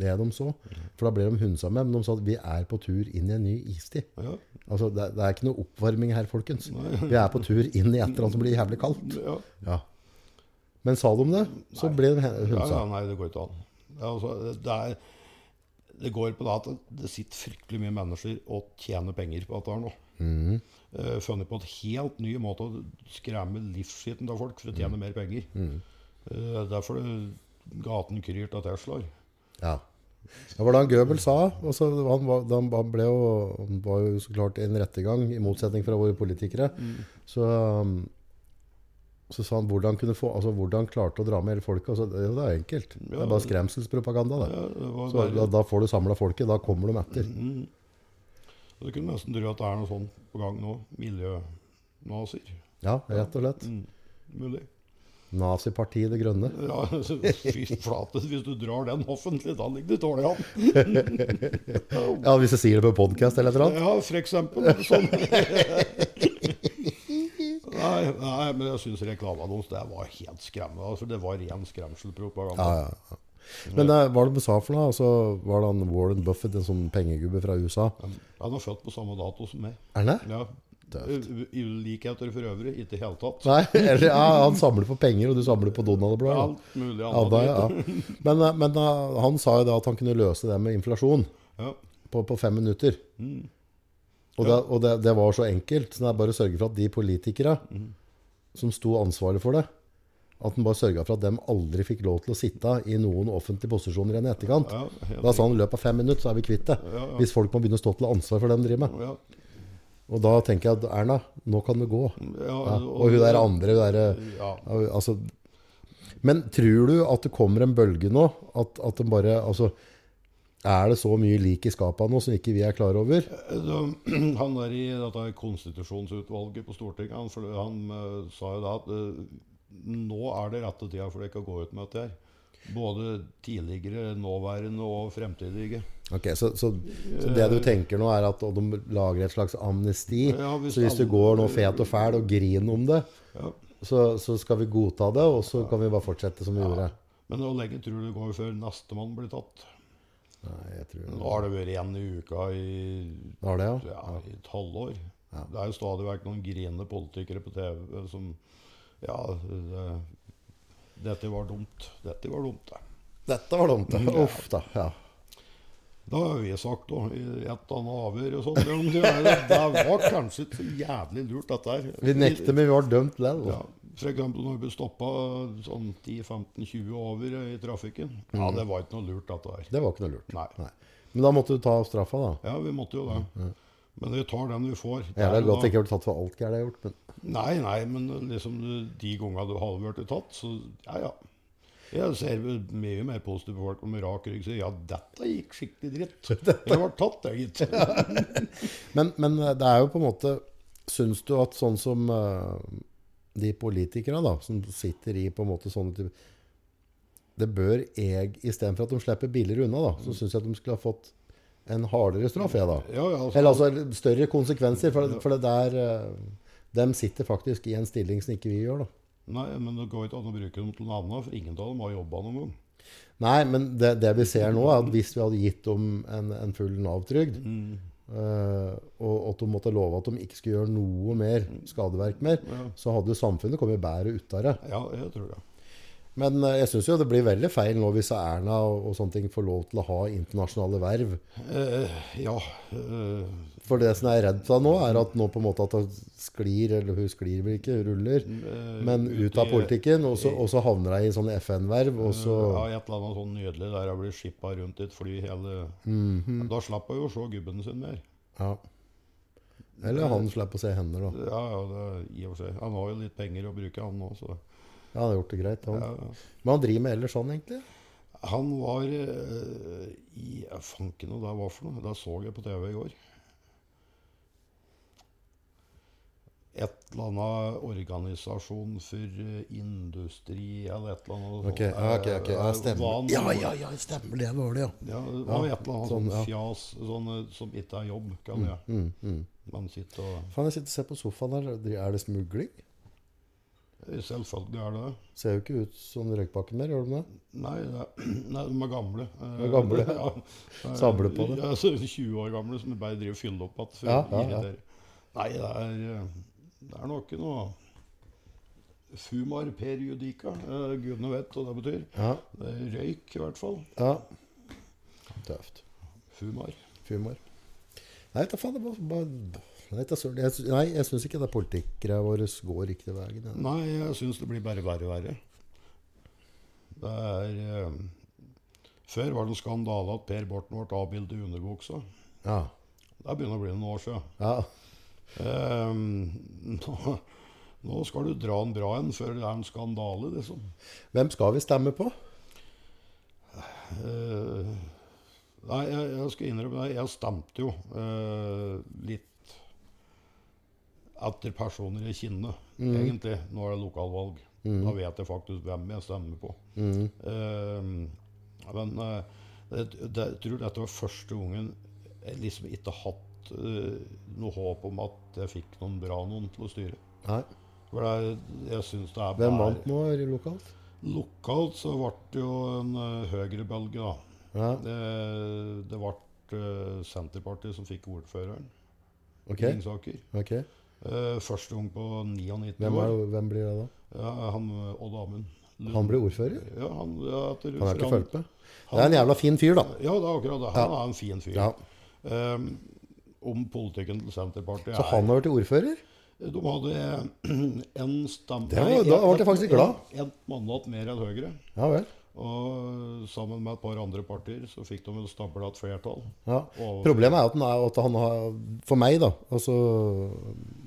[SPEAKER 1] det de så, for da ble de hundsa med. Men de sa at vi er på tur inn i en ny istid.
[SPEAKER 2] Ja,
[SPEAKER 1] Altså, det, det er ikke noe oppvarming her, folkens. Vi er på tur inn i et eller annet som blir jævlig kaldt.
[SPEAKER 2] ja.
[SPEAKER 1] Ja. Men sa de det, så ble de he-
[SPEAKER 2] ja, ja
[SPEAKER 1] hundsa.
[SPEAKER 2] nei, det går ikke an. Det, er altså, det, er, det går på det at det sitter fryktelig mye mennesker og tjener penger på dette her nå.
[SPEAKER 1] Mhm.
[SPEAKER 2] Eh, funnet på en helt ny
[SPEAKER 1] Mhm.
[SPEAKER 2] måte å skremme livsskiten av folk for å tjene mer penger. Eh, derfor det gaten kryrt av Teslaer.
[SPEAKER 1] Ja. Det var da Goebel sa og så han, var, da han ba- ble jo, han var jo så klart en rettegang, i motsetning fra våre politikere.
[SPEAKER 2] Mm.
[SPEAKER 1] Så, um, så sa han hvordan, kunne få, altså, hvordan klarte å dra med hele folket. Altså, det, det er enkelt. Det
[SPEAKER 2] Ja.
[SPEAKER 1] er bare skremselspropaganda. Det.
[SPEAKER 2] Ja, det, var
[SPEAKER 1] Så, da,
[SPEAKER 2] bare, Mm.
[SPEAKER 1] da får du samla folket. Da kommer de etter.
[SPEAKER 2] og du kunne nesten tro at det er noe sånt på gang nå. Miljønazier.
[SPEAKER 1] Ja, rett og slett.
[SPEAKER 2] Mm. Mulig.
[SPEAKER 1] Nazipartiet Det Grønne.
[SPEAKER 2] Ja, altså, fy flate, hvis du drar den offentlig, da ligger du dårlig an.
[SPEAKER 1] Ja, Hvis jeg sier det på podkast eller et eller annet.
[SPEAKER 2] Ja, for eksempel. Sånn. Nei, nei, men jeg syns reklameannonsen det var helt skremmende. Altså, det var ren skremselpropaganda.
[SPEAKER 1] Ja, ja, ja. Men eh, hva var det de sa for noe? Altså, var det han Warren Buffett, en sånn pengegubbe fra USA?
[SPEAKER 2] Han er født på samme dato som meg.
[SPEAKER 1] Er han det?
[SPEAKER 2] Ja. U- u- Ulikheter for øvrig, ikke i det hele tatt.
[SPEAKER 1] Nei, eller ja, han samler på penger, og du samler på Donald-blad.
[SPEAKER 2] Alt mulig
[SPEAKER 1] Ja, da,
[SPEAKER 2] annet.
[SPEAKER 1] ja. Men, eh, men eh, han sa jo da at han kunne løse det med inflasjon
[SPEAKER 2] Ja.
[SPEAKER 1] på, på fem minutter.
[SPEAKER 2] Mm.
[SPEAKER 1] Og, det, og det, det var så enkelt. Så det er bare å sørge for at de politikere
[SPEAKER 2] Mm.
[SPEAKER 1] som sto ansvarlig for det, at han bare sørga for at dem aldri fikk lov til å sitte i noen offentlige posisjoner igjen i etterkant.
[SPEAKER 2] Ja, helt
[SPEAKER 1] Da sa han i løpet av fem minutter, så er vi kvitt det.
[SPEAKER 2] Ja, ja.
[SPEAKER 1] Hvis folk må begynne å stå til ansvar for det de driver med.
[SPEAKER 2] Ja,
[SPEAKER 1] Og da tenker jeg at Erna, nå kan det gå.
[SPEAKER 2] ja,
[SPEAKER 1] Ja, og hun der andre, hun der eh,
[SPEAKER 2] Ja.
[SPEAKER 1] ja, altså, Men tror du at det kommer en bølge nå? At, at den bare Altså, er det så mye lik i skapa nå som ikke vi er klar over?
[SPEAKER 2] Så, Eh, han der i dette konstitusjonsutvalget på Stortinget, han, for- han eh, sa jo da at eh, nå er det rette tida for dere å gå ut med dette her. Både tidligere, nåværende og fremtidige.
[SPEAKER 1] Ok, Så, så, så det du tenker nå, er at de lager et slags amnesti?
[SPEAKER 2] Ja, hvis
[SPEAKER 1] så hvis du
[SPEAKER 2] alle-
[SPEAKER 1] går nå fet og fæl og griner om det,
[SPEAKER 2] Ja.
[SPEAKER 1] så, så skal vi godta det, og så kan vi bare fortsette som vi gjorde?
[SPEAKER 2] Men hvor lenge tror du det går før nestemann blir tatt?
[SPEAKER 1] Nei, jeg tror
[SPEAKER 2] Nå har det vært én i uka i
[SPEAKER 1] Var det, ja?
[SPEAKER 2] ja, i et halvår. Det er jo stadig vekk noen grinende politikere på TV som Ja, det, dette var dumt. Dette var dumt, det.
[SPEAKER 1] Dette var dumt. ja. Uff da. Ja.
[SPEAKER 2] Det har vi sagt òg, i et annet avhør og sånn. Men Det, er- det var kanskje ikke så jævlig lurt, dette her.
[SPEAKER 1] Vi nekter, men vi var dømt likevel.
[SPEAKER 2] Ja, for eksempel når vi stoppa sånn 10-15-20 over i trafikken. Ja, det var ikke noe lurt, dette her.
[SPEAKER 1] Det var ikke noe lurt.
[SPEAKER 2] Nei.
[SPEAKER 1] Nei. Men da måtte du ta straffa, da.
[SPEAKER 2] Ja, vi måtte jo det. Men vi tar den vi får.
[SPEAKER 1] Jævla
[SPEAKER 2] Der og
[SPEAKER 1] godt
[SPEAKER 2] da.
[SPEAKER 1] jeg ikke ble tatt for alt gærent jeg har gjort. Men
[SPEAKER 2] Nei, nei, men liksom du- de gangene du hadde vært tatt, så ja, ja. Jeg ser vel mye mer positivt på folk med rak rygg sier ja, dette gikk skikkelig dritt. Jeg ble tatt, jeg, gitt.
[SPEAKER 1] Men, men eh, det er jo på en måte Syns du at sånn som eh, de politikerne da, som sitter i på en måte sånne type Det bør jeg, istedenfor at de slipper billigere unna, da, så syns jeg at de skulle ha fått en hardere straff, jeg, da.
[SPEAKER 2] Ja, ja, altså,
[SPEAKER 1] Eller altså større konsekvenser, for, for det der eh, Dem sitter faktisk i en stilling som ikke vi gjør, da.
[SPEAKER 2] nei, men det går ikke an å bruke dem til noe annet, for ingen av dem har jobba noen gang.
[SPEAKER 1] Nei, men det, det vi ser nå, er at hvis vi hadde gitt dem en, en full Nav-trygd,
[SPEAKER 2] Mm.
[SPEAKER 1] eh, og og at de måtte love at de ikke skulle gjøre noe mer skadeverk mer, så hadde jo samfunnet kommet bedre ut av det.
[SPEAKER 2] Ja, jeg tror det.
[SPEAKER 1] Men eh, jeg syns jo det blir veldig feil nå hvis Erna og, og sånne ting får lov til å ha internasjonale verv.
[SPEAKER 2] Eh, ja. Eh,
[SPEAKER 1] For det som jeg er redd for nå, er at nå på en måte at hun sklir, eller hun sklir vel ikke, hun ruller,
[SPEAKER 2] eh,
[SPEAKER 1] men ut av
[SPEAKER 2] i-
[SPEAKER 1] politikken, og så, og så havner hun i sånne FN-verv, og så
[SPEAKER 2] Ja, et eller annet sånn nydelig der jeg blir skippa rundt i et fly hele
[SPEAKER 1] Mhm.
[SPEAKER 2] Da slapp jeg jo å se gubben sin mer.
[SPEAKER 1] Ja. Eller han slipper å se hender, da.
[SPEAKER 2] Ja, ja, det i og for seg. Han har jo litt penger å bruke, han òg, så
[SPEAKER 1] Ja, han har gjort det greit, han.
[SPEAKER 2] ja, ja.
[SPEAKER 1] Men han driver med ellers sånn, egentlig?
[SPEAKER 2] Han var eh, i ja, Fanken og det var for noe. Det så jeg på TV i går. Et eller annet organisasjon for eh, industri eller et eller annet.
[SPEAKER 1] Ok, ja, ok, ok, ja, stemmer.
[SPEAKER 2] Ja,
[SPEAKER 1] Ja, ja, ja, stemmer det. var det, ja.
[SPEAKER 2] ja, det var et eller
[SPEAKER 1] sånn,
[SPEAKER 2] annet sånn,
[SPEAKER 1] ja. Mm.
[SPEAKER 2] fjas sånn, eh, som ikke er jobb, kan jeg. Man sitter og
[SPEAKER 1] Faen, jeg sitter og ser på sofaen her. Er det smugling?
[SPEAKER 2] Selvfølgelig er det det.
[SPEAKER 1] Ser jo ikke ut som Røykbakken mer, gjør de det?
[SPEAKER 2] Nei, det, nei, de er gamle.
[SPEAKER 1] De er gamle.
[SPEAKER 2] Ja.
[SPEAKER 1] Samle på det.
[SPEAKER 2] Ja, så 20 år gamle som bare driver og fyller opp igjen.
[SPEAKER 1] Ja, ja,
[SPEAKER 2] for å
[SPEAKER 1] ja.
[SPEAKER 2] irritere. Nei, det er, eh, det er nok ikke noe Fumar periodica, eh, gudene vet hva det betyr.
[SPEAKER 1] Ja.
[SPEAKER 2] Det er røyk, i hvert fall.
[SPEAKER 1] ja. Tøft.
[SPEAKER 2] Fumar.
[SPEAKER 1] Fumor. Nei, ta faen, det var bare... Nei, ta søren. Jeg sy- Nei, jeg syns ikke det er politikere våre går riktig veien. jeg.
[SPEAKER 2] Nei, jeg syns det blir bare verre og verre. Det er eh, Før var det en skandale at Per Borten ble avbildet i underbuksa.
[SPEAKER 1] Ja.
[SPEAKER 2] Det begynner å bli noen år siden.
[SPEAKER 1] ja.
[SPEAKER 2] Eh, nå, nå skal du dra en bra en før det er en skandale, liksom.
[SPEAKER 1] Hvem skal vi stemme på?
[SPEAKER 2] Eh, nei, jeg, jeg skal innrømme det. Jeg stemte jo eh, litt etter personer jeg kjenner, egentlig. Nå er det lokalvalg.
[SPEAKER 1] Mm,
[SPEAKER 2] Da vet jeg faktisk hvem jeg stemmer på. Eh, men eh, jeg, det- jeg tror dette var første gangen jeg liksom ikke hatt eh, noe håp om at jeg fikk noen bra noen til å styre.
[SPEAKER 1] Nei.
[SPEAKER 2] For det, er- jeg synes det er
[SPEAKER 1] Hvem
[SPEAKER 2] bare-
[SPEAKER 1] vant nå lokalt?
[SPEAKER 2] Lokalt så ble det jo en eh, høyrebølge, da.
[SPEAKER 1] Ja,
[SPEAKER 2] Det, det ble eh, Senterpartiet som fikk ordføreren
[SPEAKER 1] ok.
[SPEAKER 2] i Ringsaker.
[SPEAKER 1] ok.
[SPEAKER 2] Eh, Første gang på 99
[SPEAKER 1] Hvem, er,
[SPEAKER 2] år.
[SPEAKER 1] hvem blir det da?
[SPEAKER 2] Ja, han eh, Odd Amund. Lund.
[SPEAKER 1] Han blir ordfører?
[SPEAKER 2] Ja, han, ja, etter
[SPEAKER 1] Han er ikke
[SPEAKER 2] Rand-
[SPEAKER 1] følt med. Det er en jævla fin fyr, da.
[SPEAKER 2] Ja, det er akkurat det. Han er en fin fyr.
[SPEAKER 1] Ja.
[SPEAKER 2] Ehm, om politikken til Senterpartiet
[SPEAKER 1] Så han har vært ordfører?
[SPEAKER 2] er De hadde eh, en stemme...
[SPEAKER 1] Det var-
[SPEAKER 2] nei,
[SPEAKER 1] da ble jeg
[SPEAKER 2] en-
[SPEAKER 1] faktisk glad.
[SPEAKER 2] En, en mandat mer enn Høyre.
[SPEAKER 1] Ja vel.
[SPEAKER 2] Og sammen med et par andre partier så fikk de et stablet flertall.
[SPEAKER 1] Ja.
[SPEAKER 2] Og-
[SPEAKER 1] Problemet er at han, er, at han har For meg, da altså,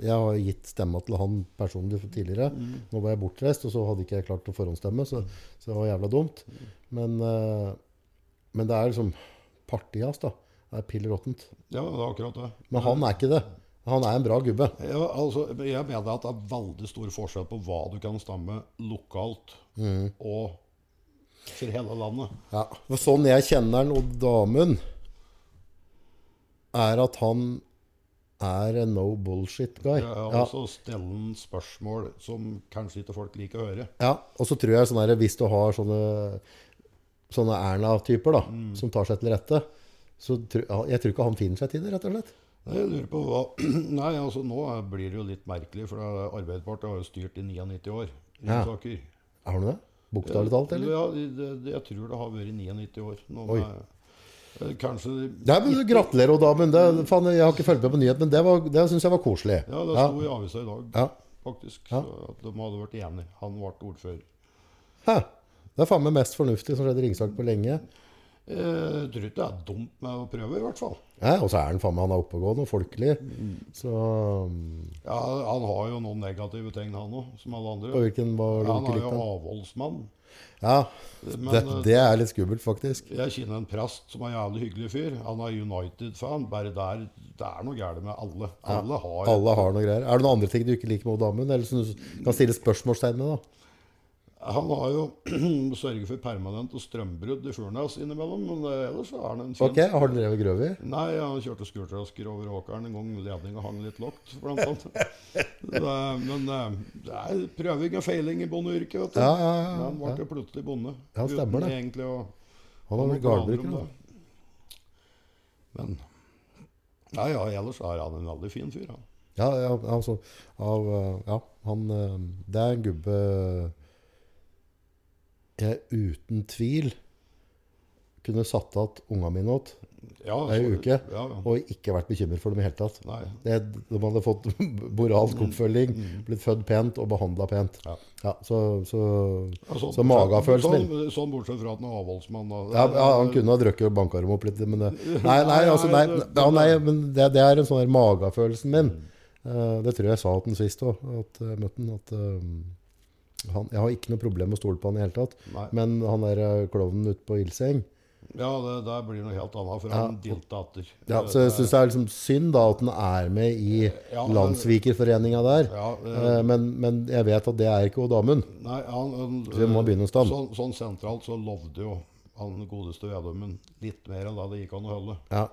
[SPEAKER 1] Jeg har gitt stemma til han personlig for tidligere. Nå var jeg bortreist, og så hadde ikke jeg klart å forhåndsstemme, så, så det var jævla dumt. Men, eh, men det er liksom partiet hans, da. Det er pill råttent.
[SPEAKER 2] Ja, det er akkurat det.
[SPEAKER 1] Men han er ikke det. Han er en bra gubbe.
[SPEAKER 2] Ja, altså, jeg mener at det er veldig stor forskjell på hva du kan stemme lokalt
[SPEAKER 1] Mm.
[SPEAKER 2] og for hele landet.
[SPEAKER 1] Ja. For sånn jeg kjenner han Odd Amund, er at han er en no bullshit guy.
[SPEAKER 2] Jeg har
[SPEAKER 1] Ja.
[SPEAKER 2] også stellen altså spørsmål som kanskje ikke folk liker å høre.
[SPEAKER 1] Ja, og så tror jeg sånn her, hvis du har sånne, sånne Erna-typer da, som tar seg til rette, så tror, ja, jeg tror ikke han finner seg til det, rett og slett.
[SPEAKER 2] Nei, Jeg lurer på hva Nei, altså nå blir det jo litt merkelig, for det er Arbeiderpartiet har jo styrt i 99 år. i
[SPEAKER 1] Ja.
[SPEAKER 2] saker.
[SPEAKER 1] Har du det? Bokstavelig talt, eller?
[SPEAKER 2] Ja, det- det- jeg tror det har vært 99 år. Nå
[SPEAKER 1] Oi.
[SPEAKER 2] med, eh, kanskje
[SPEAKER 1] Nei, men du gratulerer, Odd Amund. Det- faen, Jeg har ikke fulgt med på nyhet, men det, var- det syns jeg var koselig.
[SPEAKER 2] Ja, det
[SPEAKER 1] Ja.
[SPEAKER 2] sto i avisa i dag,
[SPEAKER 1] Ja.
[SPEAKER 2] faktisk.
[SPEAKER 1] Ja.
[SPEAKER 2] så At de hadde vært enige. Han ble ordfører.
[SPEAKER 1] Hæ? Det er faen meg mest fornuftig som skjedde i Ringsak på lenge.
[SPEAKER 2] Jeg Eh, tror ikke det er dumt med å prøve, i hvert fall.
[SPEAKER 1] Ja, og så er han faen meg han er oppegående og folkelig. Så um,
[SPEAKER 2] Ja, Han har jo noen negative tegn, han òg, som alle
[SPEAKER 1] På
[SPEAKER 2] andre.
[SPEAKER 1] hvilken var
[SPEAKER 2] Ja,
[SPEAKER 1] det du
[SPEAKER 2] han
[SPEAKER 1] ikke
[SPEAKER 2] er jo
[SPEAKER 1] likte? han?
[SPEAKER 2] avholdsmann.
[SPEAKER 1] Ja,
[SPEAKER 2] Men
[SPEAKER 1] det,
[SPEAKER 2] eh,
[SPEAKER 1] det er litt skummelt, faktisk.
[SPEAKER 2] jeg kjenner en prest som er en jævlig hyggelig fyr. Han er United-fan. Bare der Det er noe gærent med alle. Alle har
[SPEAKER 1] Alle har noe greier. Er det noen andre ting du ikke liker med Odd Amund, eller som du kan stille spørsmålstegn med? da?
[SPEAKER 2] Han har jo sørget for permanent og strømbrudd i Furnes innimellom, men eh, ellers så er han en fin
[SPEAKER 1] Ok, har du drevet grøvi?
[SPEAKER 2] Nei, han kjørte skurtrasker over åkeren en gang ledninga hang litt lågt, blant annet. Det, men eh, det er prøving og feiling i bondeyrket, vet du.
[SPEAKER 1] Ja, ja, ja,
[SPEAKER 2] Men han ble
[SPEAKER 1] ja.
[SPEAKER 2] jo plutselig bonde.
[SPEAKER 1] Ja, stemmer
[SPEAKER 2] uten
[SPEAKER 1] det.
[SPEAKER 2] egentlig å
[SPEAKER 1] Han har
[SPEAKER 2] å
[SPEAKER 1] blitt
[SPEAKER 2] noe annet
[SPEAKER 1] gardbruker.
[SPEAKER 2] om
[SPEAKER 1] da.
[SPEAKER 2] det. Men Nei, ja, ellers er han en veldig fin fyr, han.
[SPEAKER 1] Ja, ja, altså, av, eh, ja, han, eh, det er en gubbe jeg uten tvil kunne satt igjen unga mine åt,
[SPEAKER 2] Ja,
[SPEAKER 1] Det er jo
[SPEAKER 2] så-
[SPEAKER 1] uke.
[SPEAKER 2] Ja, ja.
[SPEAKER 1] og ikke vært bekymret for dem i hele tatt.
[SPEAKER 2] Nei,
[SPEAKER 1] Det, de hadde fått moralsk oppfølging, blitt født pent og behandla pent.
[SPEAKER 2] Mm. Ja.
[SPEAKER 1] så, så,
[SPEAKER 2] altså,
[SPEAKER 1] så magefølelsen min
[SPEAKER 2] Sånn, sånn bortsett fra at han er avholdsmann. Da.
[SPEAKER 1] ja, ja, han kunne ha drukket og banka dem opp litt, men det, Nei, nei, altså, nei,
[SPEAKER 2] Nei, det- Mm.
[SPEAKER 1] ja, nei men det, det er en sånn der magefølelsen min. Eh, det tror jeg sa til den sist òg, at jeg møtte han. At eh, han, jeg har ikke noe problem med å stole på han i det hele tatt.
[SPEAKER 2] Nei.
[SPEAKER 1] Men han der eh, klovnen ute på Ildseng
[SPEAKER 2] Ja, det der blir noe helt annet, for han dilta etter.
[SPEAKER 1] ja, Så jeg syns det er liksom synd da at han er med i
[SPEAKER 2] Ja, men-
[SPEAKER 1] Landsvikerforeninga der.
[SPEAKER 2] Ja, det-
[SPEAKER 1] Eh, men, men jeg vet at det er ikke Odd Amund.
[SPEAKER 2] Nei, han, han,
[SPEAKER 1] vi må begynne hos dem.
[SPEAKER 2] Sånn, sånn sentralt så lovde jo han godeste Vedummen litt mer enn det det gikk an å holde.
[SPEAKER 1] Ja.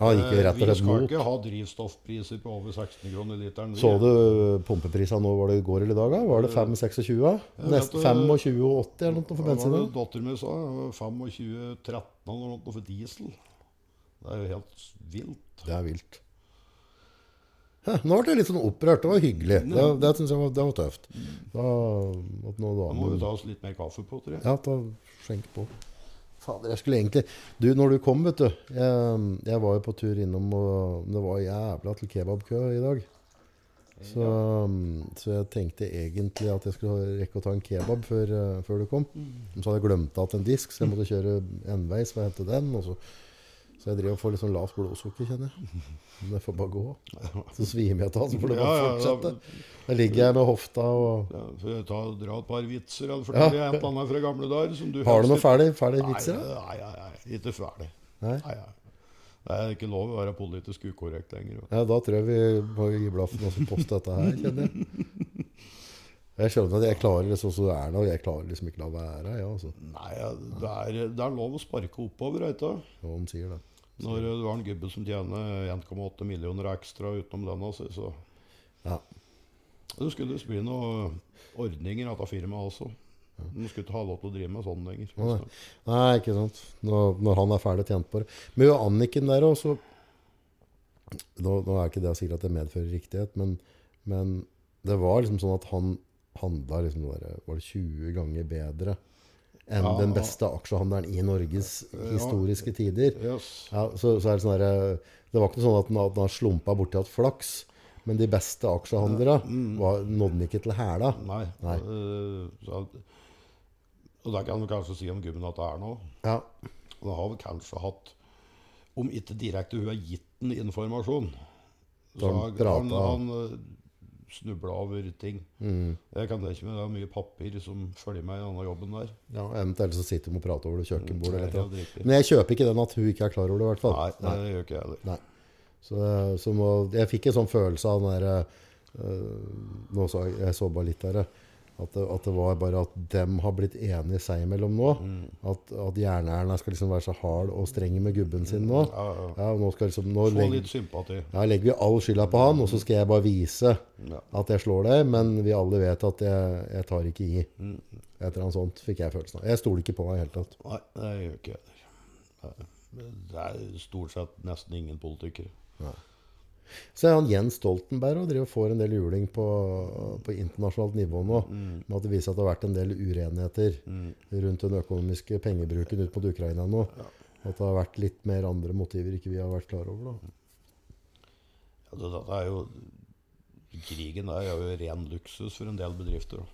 [SPEAKER 1] Han gikk jo
[SPEAKER 2] Eh,
[SPEAKER 1] rett og
[SPEAKER 2] vi
[SPEAKER 1] slett
[SPEAKER 2] skal
[SPEAKER 1] mot.
[SPEAKER 2] ikke ha drivstoffpriser på over 16 kroner literen. vi.
[SPEAKER 1] Så du pumpeprisene nå var det i går eller i dag? da? Var det 5,26?
[SPEAKER 2] vet
[SPEAKER 1] Nesten
[SPEAKER 2] det.
[SPEAKER 1] 25,80 eller noe for
[SPEAKER 2] Hva var eh, det
[SPEAKER 1] bensinen?
[SPEAKER 2] datteren min sa? 25-13 eller noe for diesel. Det er jo helt vilt.
[SPEAKER 1] Det er vilt. Hæ, nå ble jeg litt sånn opprørt. Det var hyggelig. Det, det synes jeg var, det var tøft. Da, at nå
[SPEAKER 2] Da Mm. må
[SPEAKER 1] damen
[SPEAKER 2] vi ta oss litt mer kaffe på, tror jeg.
[SPEAKER 1] Ja, da skjenk på. Fader, jeg skulle egentlig Du, når du kom, vet du Jeg, jeg var jo på tur innom, og det var jævla til kebabkø i dag. Så, så jeg tenkte egentlig at jeg skulle rekke å ta en kebab før, eh, før du kom.
[SPEAKER 2] Mm.
[SPEAKER 1] Men Så hadde jeg glemt igjen en disk, så jeg måtte kjøre enveis for å hente den. Og så, så jeg driver og får litt sånn lavt blodsukker, kjenner jeg. Men det får bare gå. Så svimer jeg av, så får det bare
[SPEAKER 2] Ja, ja, ja.
[SPEAKER 1] fortsette. Da ligger jeg med hofta og
[SPEAKER 2] Ja, får jeg ta, dra et par vitser eller fortelle et eller annet fra gamle dager? Som du
[SPEAKER 1] Har du noen
[SPEAKER 2] helst-
[SPEAKER 1] ferdig, ferdig vitser? da?
[SPEAKER 2] Nei, nei, nei, nei, ikke ferdig.
[SPEAKER 1] Nei?
[SPEAKER 2] Nei, nei. Det er ikke lov å være politisk ukorrekt lenger. vet du.
[SPEAKER 1] Ja, da tror jeg vi må gi blaffen og så poste dette her, kjenner jeg. Jeg skjønner at jeg klarer det sånn som det er nå. Jeg klarer liksom ikke la være, ja, altså.
[SPEAKER 2] Nei, det er, det er lov å sparke oppover, veit du.
[SPEAKER 1] Hva han sier, da.
[SPEAKER 2] Når du har en gubbe som tjener 1,8 millioner ekstra utenom lønna si, så
[SPEAKER 1] Ja.
[SPEAKER 2] Det skulle visst bli noen ordninger av firmaet også. Du skulle ikke ha lov til å drive med sånn lenger.
[SPEAKER 1] Nei. Nei, ikke sant. Når, når han er ferdig tjent på det. Men jo, Anniken der også nå, nå er ikke det sikkert at det medfører riktighet, men, men det var liksom sånn at han handla liksom det der, var det 20 ganger bedre enn
[SPEAKER 2] Ja,
[SPEAKER 1] den
[SPEAKER 2] ja.
[SPEAKER 1] beste aksjehandelen i Norges
[SPEAKER 2] Ja.
[SPEAKER 1] historiske tider.
[SPEAKER 2] Yes.
[SPEAKER 1] Ja, så, så er det sånn der, Det var ikke sånn at den, at den har slumpa borti hatt flaks, men de beste aksjehandlere
[SPEAKER 2] mm.
[SPEAKER 1] var- nådde den ikke til hæla.
[SPEAKER 2] Nei.
[SPEAKER 1] Nei.
[SPEAKER 2] Eh, så, og da kan du kanskje si om gubben at det er noe.
[SPEAKER 1] Ja.
[SPEAKER 2] Og da har vi kanskje hatt, om ikke direkte hun har gitt den informasjon,
[SPEAKER 1] Da
[SPEAKER 2] så
[SPEAKER 1] har
[SPEAKER 2] har
[SPEAKER 1] han pratet,
[SPEAKER 2] han, han Mm. eh, snublet over ting. Jeg kan det ikke, men det er mye papir som følger med i denne jobben der.
[SPEAKER 1] ja, Eventuelt så sitter de og prater over det kjøkkenbordet.
[SPEAKER 2] Det er
[SPEAKER 1] Eller et eller annet.
[SPEAKER 2] helt riktig.
[SPEAKER 1] Men jeg kjøper ikke den at hun ikke er klar over det, i hvert fall.
[SPEAKER 2] Nei, det gjør ikke jeg heller.
[SPEAKER 1] Nei. Så, eh, så må, jeg fikk en sånn følelse av den der øh, Nå så jeg, jeg så bare litt der. eh, At det, at det var bare at dem har blitt enige seg imellom nå.
[SPEAKER 2] Mm.
[SPEAKER 1] At, at jernærene skal liksom være så hard og streng med gubben sin nå.
[SPEAKER 2] Mm, Ja, ja.
[SPEAKER 1] Ja, og nå skal liksom, nå
[SPEAKER 2] Få
[SPEAKER 1] legger,
[SPEAKER 2] litt sympati.
[SPEAKER 1] ja, legger vi all skylda på han, og så skal jeg bare vise
[SPEAKER 2] Ja.
[SPEAKER 1] at jeg slår deg, men vi alle vet at jeg, jeg tar ikke i. Et eller annet sånt fikk jeg følelsen av. Jeg stoler ikke på deg i det hele tatt.
[SPEAKER 2] Nei, det gjør ikke jeg heller. Nei. Det er stort sett nesten ingen politikere.
[SPEAKER 1] Så er han Jens Stoltenberg og driver og får en del juling på, på internasjonalt nivå nå. Med at det viser at det har vært en del urenigheter rundt den økonomiske pengebruken ut mot Ukraina nå. At det har vært litt mer andre motiver ikke vi har vært klar over. Da.
[SPEAKER 2] Ja, det, det er jo, krigen der er jo ren luksus for en del bedrifter. da.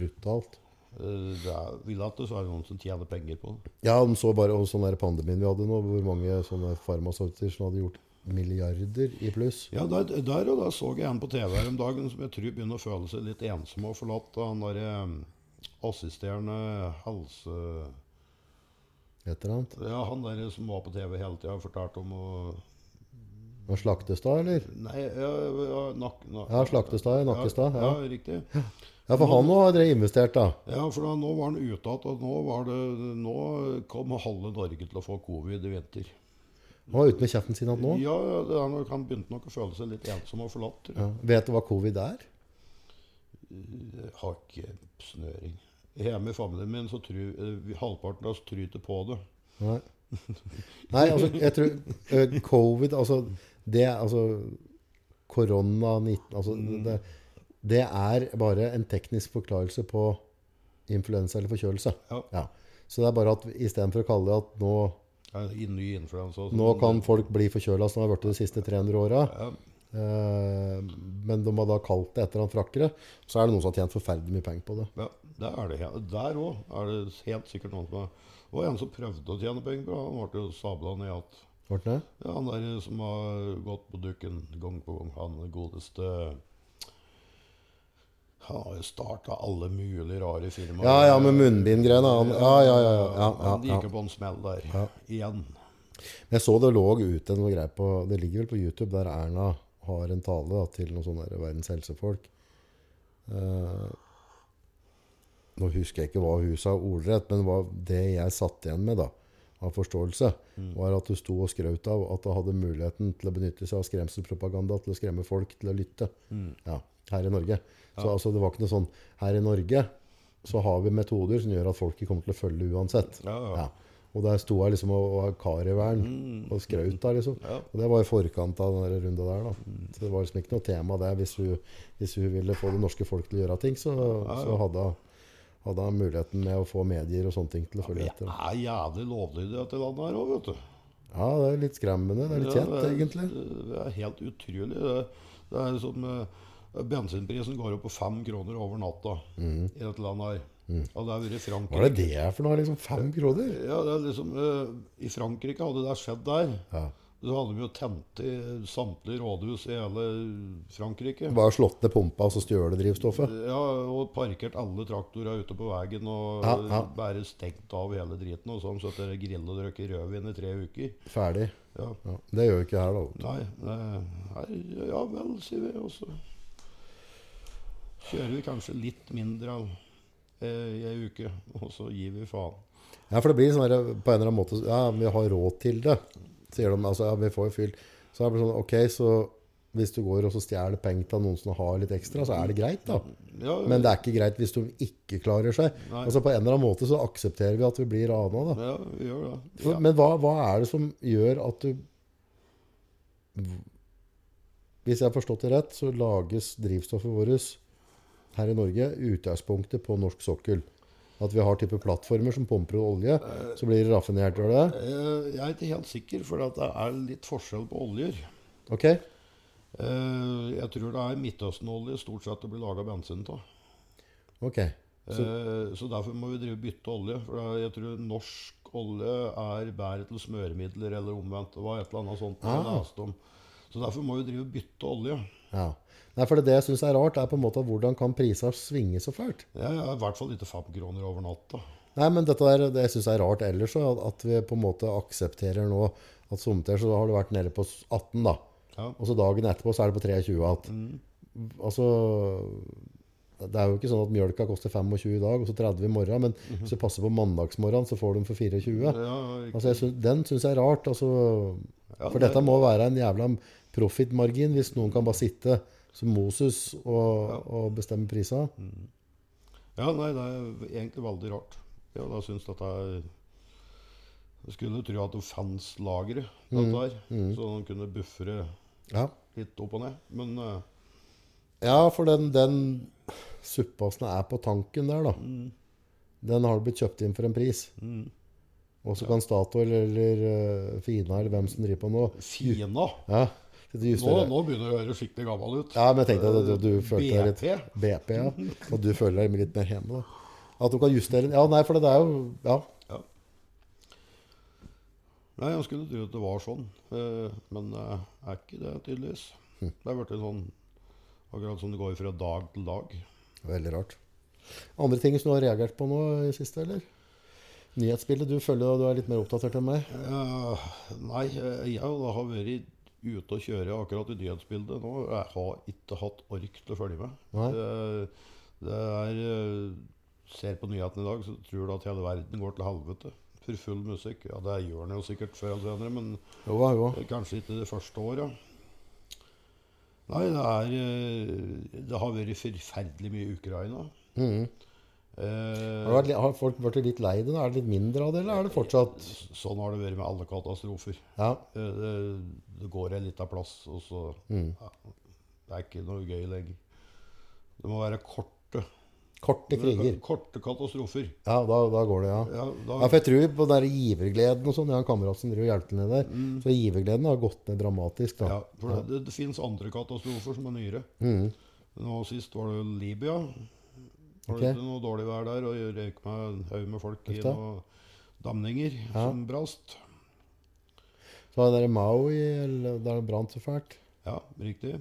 [SPEAKER 1] Brutalt.
[SPEAKER 2] Eh, Det er, vil at det så er det noen som tjener penger på det.
[SPEAKER 1] Ja, de så bare og sånn der pandemien vi hadde nå, hvor mange sånne farmasøyter som hadde gjort milliarder i pluss.
[SPEAKER 2] Ja, der, der og da så jeg en på TV her om dagen som jeg tror begynner å føle seg litt ensom og forlatt. av Han derre mm, assisterende helse...
[SPEAKER 1] Et eller annet.
[SPEAKER 2] Ja, han der som var på TV hele tida og fortalte om å
[SPEAKER 1] Og Slaktestad, eller?
[SPEAKER 2] Nei, ja, ja, nak, nak,
[SPEAKER 1] Ja, Slaktestad i Nakkestad.
[SPEAKER 2] Ja,
[SPEAKER 1] Ja.
[SPEAKER 2] ja riktig.
[SPEAKER 1] ja, for han nå har dere investert, da.
[SPEAKER 2] Ja, for da, nå var han ute at at nå, var det, nå kom halve Norge til å få covid i vinter.
[SPEAKER 1] Han var ute med kjeften sin at nå.
[SPEAKER 2] Ja, ja, det er nok, han begynte nok å føle seg litt ensom og forlatt. tror jeg.
[SPEAKER 1] Ja. Vet du hva covid er?
[SPEAKER 2] Jeg Har ikke snøring. Hjemme i familien min så tror eh, vi- halvparten av oss tryter på det.
[SPEAKER 1] Nei. Nei, altså, jeg tror ø, covid Altså, det Altså, korona-19 Altså, det, det er bare en teknisk forklarelse på influensa eller forkjølelse.
[SPEAKER 2] Ja.
[SPEAKER 1] Ja. Så det er bare at istedenfor å kalle det at nå,
[SPEAKER 2] Ja, i Ny influensa. og sånn.
[SPEAKER 1] nå kan folk bli forkjøla som de har blitt de siste 300 åra,
[SPEAKER 2] Ja,
[SPEAKER 1] eh, men de har da kalt det et eller annet frakkere, så er det noen som har tjent forferdelig mye penger på det.
[SPEAKER 2] ja, det er det. he- Der òg er det helt sikkert noen som er Det var en som prøvde å tjene penger på det. Han ble jo sabla ned igjen.
[SPEAKER 1] Ble det?
[SPEAKER 2] Ja, han der som har gått på dukken gang på gang, han godeste Han har jo starta alle mulige rare firmaer.
[SPEAKER 1] Ja, ja, med munnbindgreiene. han- Ja, ja, ja. ja, ja, ja,
[SPEAKER 2] Han
[SPEAKER 1] ja.
[SPEAKER 2] gikk jo på en smell der. Igjen.
[SPEAKER 1] Jeg så det lå ute noe greier på Det ligger vel på YouTube der Erna har en tale da, til noen sånne der verdens helsefolk. Eh, nå husker jeg ikke hva hun sa ordrett, men hva det jeg satt igjen med da, av forståelse, var at hun sto og skrøt av at hun hadde muligheten til å benytte seg av skremselpropaganda til å skremme folk til å lytte. Ja, her i Norge. Så altså, det var ikke noe sånn Her i Norge så har vi metoder som gjør at folk ikke kommer til å følge uansett.
[SPEAKER 2] Ja, ja.
[SPEAKER 1] Ja. Og der sto jeg liksom og, og var kar i væren og skraut da, liksom.
[SPEAKER 2] Ja.
[SPEAKER 1] Og det var i forkant av den der runda der, da. Så det var liksom ikke noe tema der. Hvis hun, hvis hun ville få det norske folk til å gjøre ting, så, så hadde hun hadde hun muligheten med å få medier og sånne ting til å følge
[SPEAKER 2] Vi
[SPEAKER 1] etter. da.
[SPEAKER 2] er jævlig lovlydige i dette landet her òg, vet du.
[SPEAKER 1] Ja, det er litt skremmende. Det er litt kjent,
[SPEAKER 2] Ja, det-
[SPEAKER 1] egentlig.
[SPEAKER 2] Det er helt utrolig. Det, Det er som eh, Bensinprisen går opp på fem kroner over natta
[SPEAKER 1] Mhm.
[SPEAKER 2] i dette landet her. Og det har
[SPEAKER 1] Hva
[SPEAKER 2] vært i
[SPEAKER 1] er
[SPEAKER 2] Frankrike.
[SPEAKER 1] det det er for noe? Liksom fem kroner?
[SPEAKER 2] Ja, det er liksom, eh, I Frankrike hadde det skjedd der.
[SPEAKER 1] Ja.
[SPEAKER 2] Så hadde de jo tent i samtlige rådhus i hele Frankrike.
[SPEAKER 1] Bare slått ned pumpa og så stjålet drivstoffet?
[SPEAKER 2] Ja, og parkert alle traktorer ute på veien og
[SPEAKER 1] Ja, ja.
[SPEAKER 2] bare stengt av hele driten. Og sånn, så har de sittet og grillet og drukket rødvin i tre uker.
[SPEAKER 1] Ferdig.
[SPEAKER 2] Ja.
[SPEAKER 1] Ja. Det gjør vi ikke her, da.
[SPEAKER 2] Nei, det er, ja vel, sier vi. Og så kjører vi kanskje litt mindre av eh, i ei uke, og så gir vi faen.
[SPEAKER 1] Ja, for det blir sånn der, på en eller annen måte Ja, vi har råd til det, sier de. Altså, ja, vi får jo fylt. Så er det sånn Ok, så hvis du går og så stjeler penger av noen som har litt ekstra, så er det greit, da.
[SPEAKER 2] Ja,
[SPEAKER 1] Men det er ikke greit hvis de ikke klarer seg.
[SPEAKER 2] Nei.
[SPEAKER 1] Altså På en eller annen måte så aksepterer vi at vi blir rana, da.
[SPEAKER 2] ja, vi gjør det.
[SPEAKER 1] For, Men hva, hva er det som gjør at du Hvis jeg har forstått det rett, så lages drivstoffet vårt her i Norge i utgangspunktet på norsk sokkel. At vi har type plattformer som pumper ut olje, så blir det raffinert, gjør det det?
[SPEAKER 2] Eh, Jeg er ikke helt sikker, for at det er litt forskjell på oljer.
[SPEAKER 1] Ok?
[SPEAKER 2] Eh, Jeg tror det er Midtøsten-olje stort sett det blir laga bensin av.
[SPEAKER 1] Ok.
[SPEAKER 2] Så, så derfor må vi drive og bytte olje. For det er- jeg tror norsk olje er bedre til smøremidler eller omvendt. Det var et eller annet sånt jeg
[SPEAKER 1] Ah.
[SPEAKER 2] leste om. Så derfor må vi drive og bytte olje.
[SPEAKER 1] Ja. Nei, for det, det jeg syns er rart, er på en måte hvordan kan priser svinge så fælt?
[SPEAKER 2] Jeg er i hvert fall ikke fem kroner over natta.
[SPEAKER 1] Nei, men dette der, det jeg synes er rart ellers, så, at, at vi på en måte aksepterer nå at somtid så har det vært nede på 18, da.
[SPEAKER 2] Ja. Mm.
[SPEAKER 1] Og så dagen etterpå så er det på 23 igjen. Altså, det er jo ikke sånn at mjølka koster 25 i dag, og så 30 i morgen, men
[SPEAKER 2] Mhm.
[SPEAKER 1] hvis du passer på mandagsmorgen, så får du den for 24.
[SPEAKER 2] Ja,
[SPEAKER 1] Altså, jeg synes, den synes jeg er rart, altså.
[SPEAKER 2] Ja,
[SPEAKER 1] For
[SPEAKER 2] det-
[SPEAKER 1] dette må være en jævla profitmargin, hvis noen kan bare sitte som Moses og, og bestemme priser.
[SPEAKER 2] Mm. ja, nei, det er egentlig veldig rart. Ja, da syns dette er Jeg skulle tro at det fantes lagre,
[SPEAKER 1] Mm.
[SPEAKER 2] dette her. Så de kunne buffre
[SPEAKER 1] Ja.
[SPEAKER 2] litt opp og ned. Men eh,
[SPEAKER 1] Ja, for den, den suppa som er på tanken der, da,
[SPEAKER 2] Mm.
[SPEAKER 1] den har blitt kjøpt inn for en pris. Og så kan Statoil eller eh, Fina eller hvem som driver på nå
[SPEAKER 2] Fina
[SPEAKER 1] ja, sitte og
[SPEAKER 2] nå,
[SPEAKER 1] justere.
[SPEAKER 2] nå begynner du å høre skikkelig gammel ut. Eh,
[SPEAKER 1] Ja, men jeg tenkte at du, du følte deg litt
[SPEAKER 2] BP?
[SPEAKER 1] BP, ja. Og du føler deg litt mer hjemme, da. At du kan justere Ja, nei, for det er jo Ja.
[SPEAKER 2] Ja. Nei, jeg skulle tro at det var sånn, eh, men det er ikke det, tydeligvis.
[SPEAKER 1] Hm.
[SPEAKER 2] Det er blitt sånn akkurat som det går fra dag til dag.
[SPEAKER 1] Veldig rart. Andre ting som du har reagert på nå i siste, eller? Nyhetsbildet. Du føler jo du er litt mer oppdatert enn meg.
[SPEAKER 2] Eh, nei, eh, jeg da har vært ute og kjøre akkurat i nyhetsbildet nå. Jeg har ikke hatt ork til å følge med.
[SPEAKER 1] Nei.
[SPEAKER 2] Det- det er eh, Ser på nyhetene i dag, så tror du at hele verden går til helvete. For full musikk. Ja, det gjør den jo sikkert før eller senere, men
[SPEAKER 1] Jo da, jo.
[SPEAKER 2] Kanskje ikke det første året. Nei, det er eh, Det har vært forferdelig mye Ukraina.
[SPEAKER 1] Mhm.
[SPEAKER 2] Eh,
[SPEAKER 1] Har, det vært, li- har folk blitt litt lei det? nå? Er det litt mindre av det, eller er det fortsatt
[SPEAKER 2] sånn har det vært med alle katastrofer.
[SPEAKER 1] Ja.
[SPEAKER 2] Eh, det, det går en liten plass, og så
[SPEAKER 1] Mm.
[SPEAKER 2] ja, Det er ikke noe gøy lenger. Det må være korte
[SPEAKER 1] Korte kriger.
[SPEAKER 2] Korte katastrofer.
[SPEAKER 1] Ja, da, da går det, ja.
[SPEAKER 2] Ja, da,
[SPEAKER 1] Ja, for jeg tror på den der givergleden og sånn. Jeg har en kamerat som driver og hjelper til ned der. Så givergleden har gått ned dramatisk. da.
[SPEAKER 2] ja, for det, det, det fins andre katastrofer som er nyere.
[SPEAKER 1] Mhm.
[SPEAKER 2] Nå sist var det Libya. Var
[SPEAKER 1] Ok.
[SPEAKER 2] det ikke noe dårlig vær der, og jeg røyk meg en haug med folk i
[SPEAKER 1] Uff da.
[SPEAKER 2] noen damninger
[SPEAKER 1] Ja.
[SPEAKER 2] som brast.
[SPEAKER 1] Så var det der i Maui, eller der det brant så fælt.
[SPEAKER 2] Ja, riktig.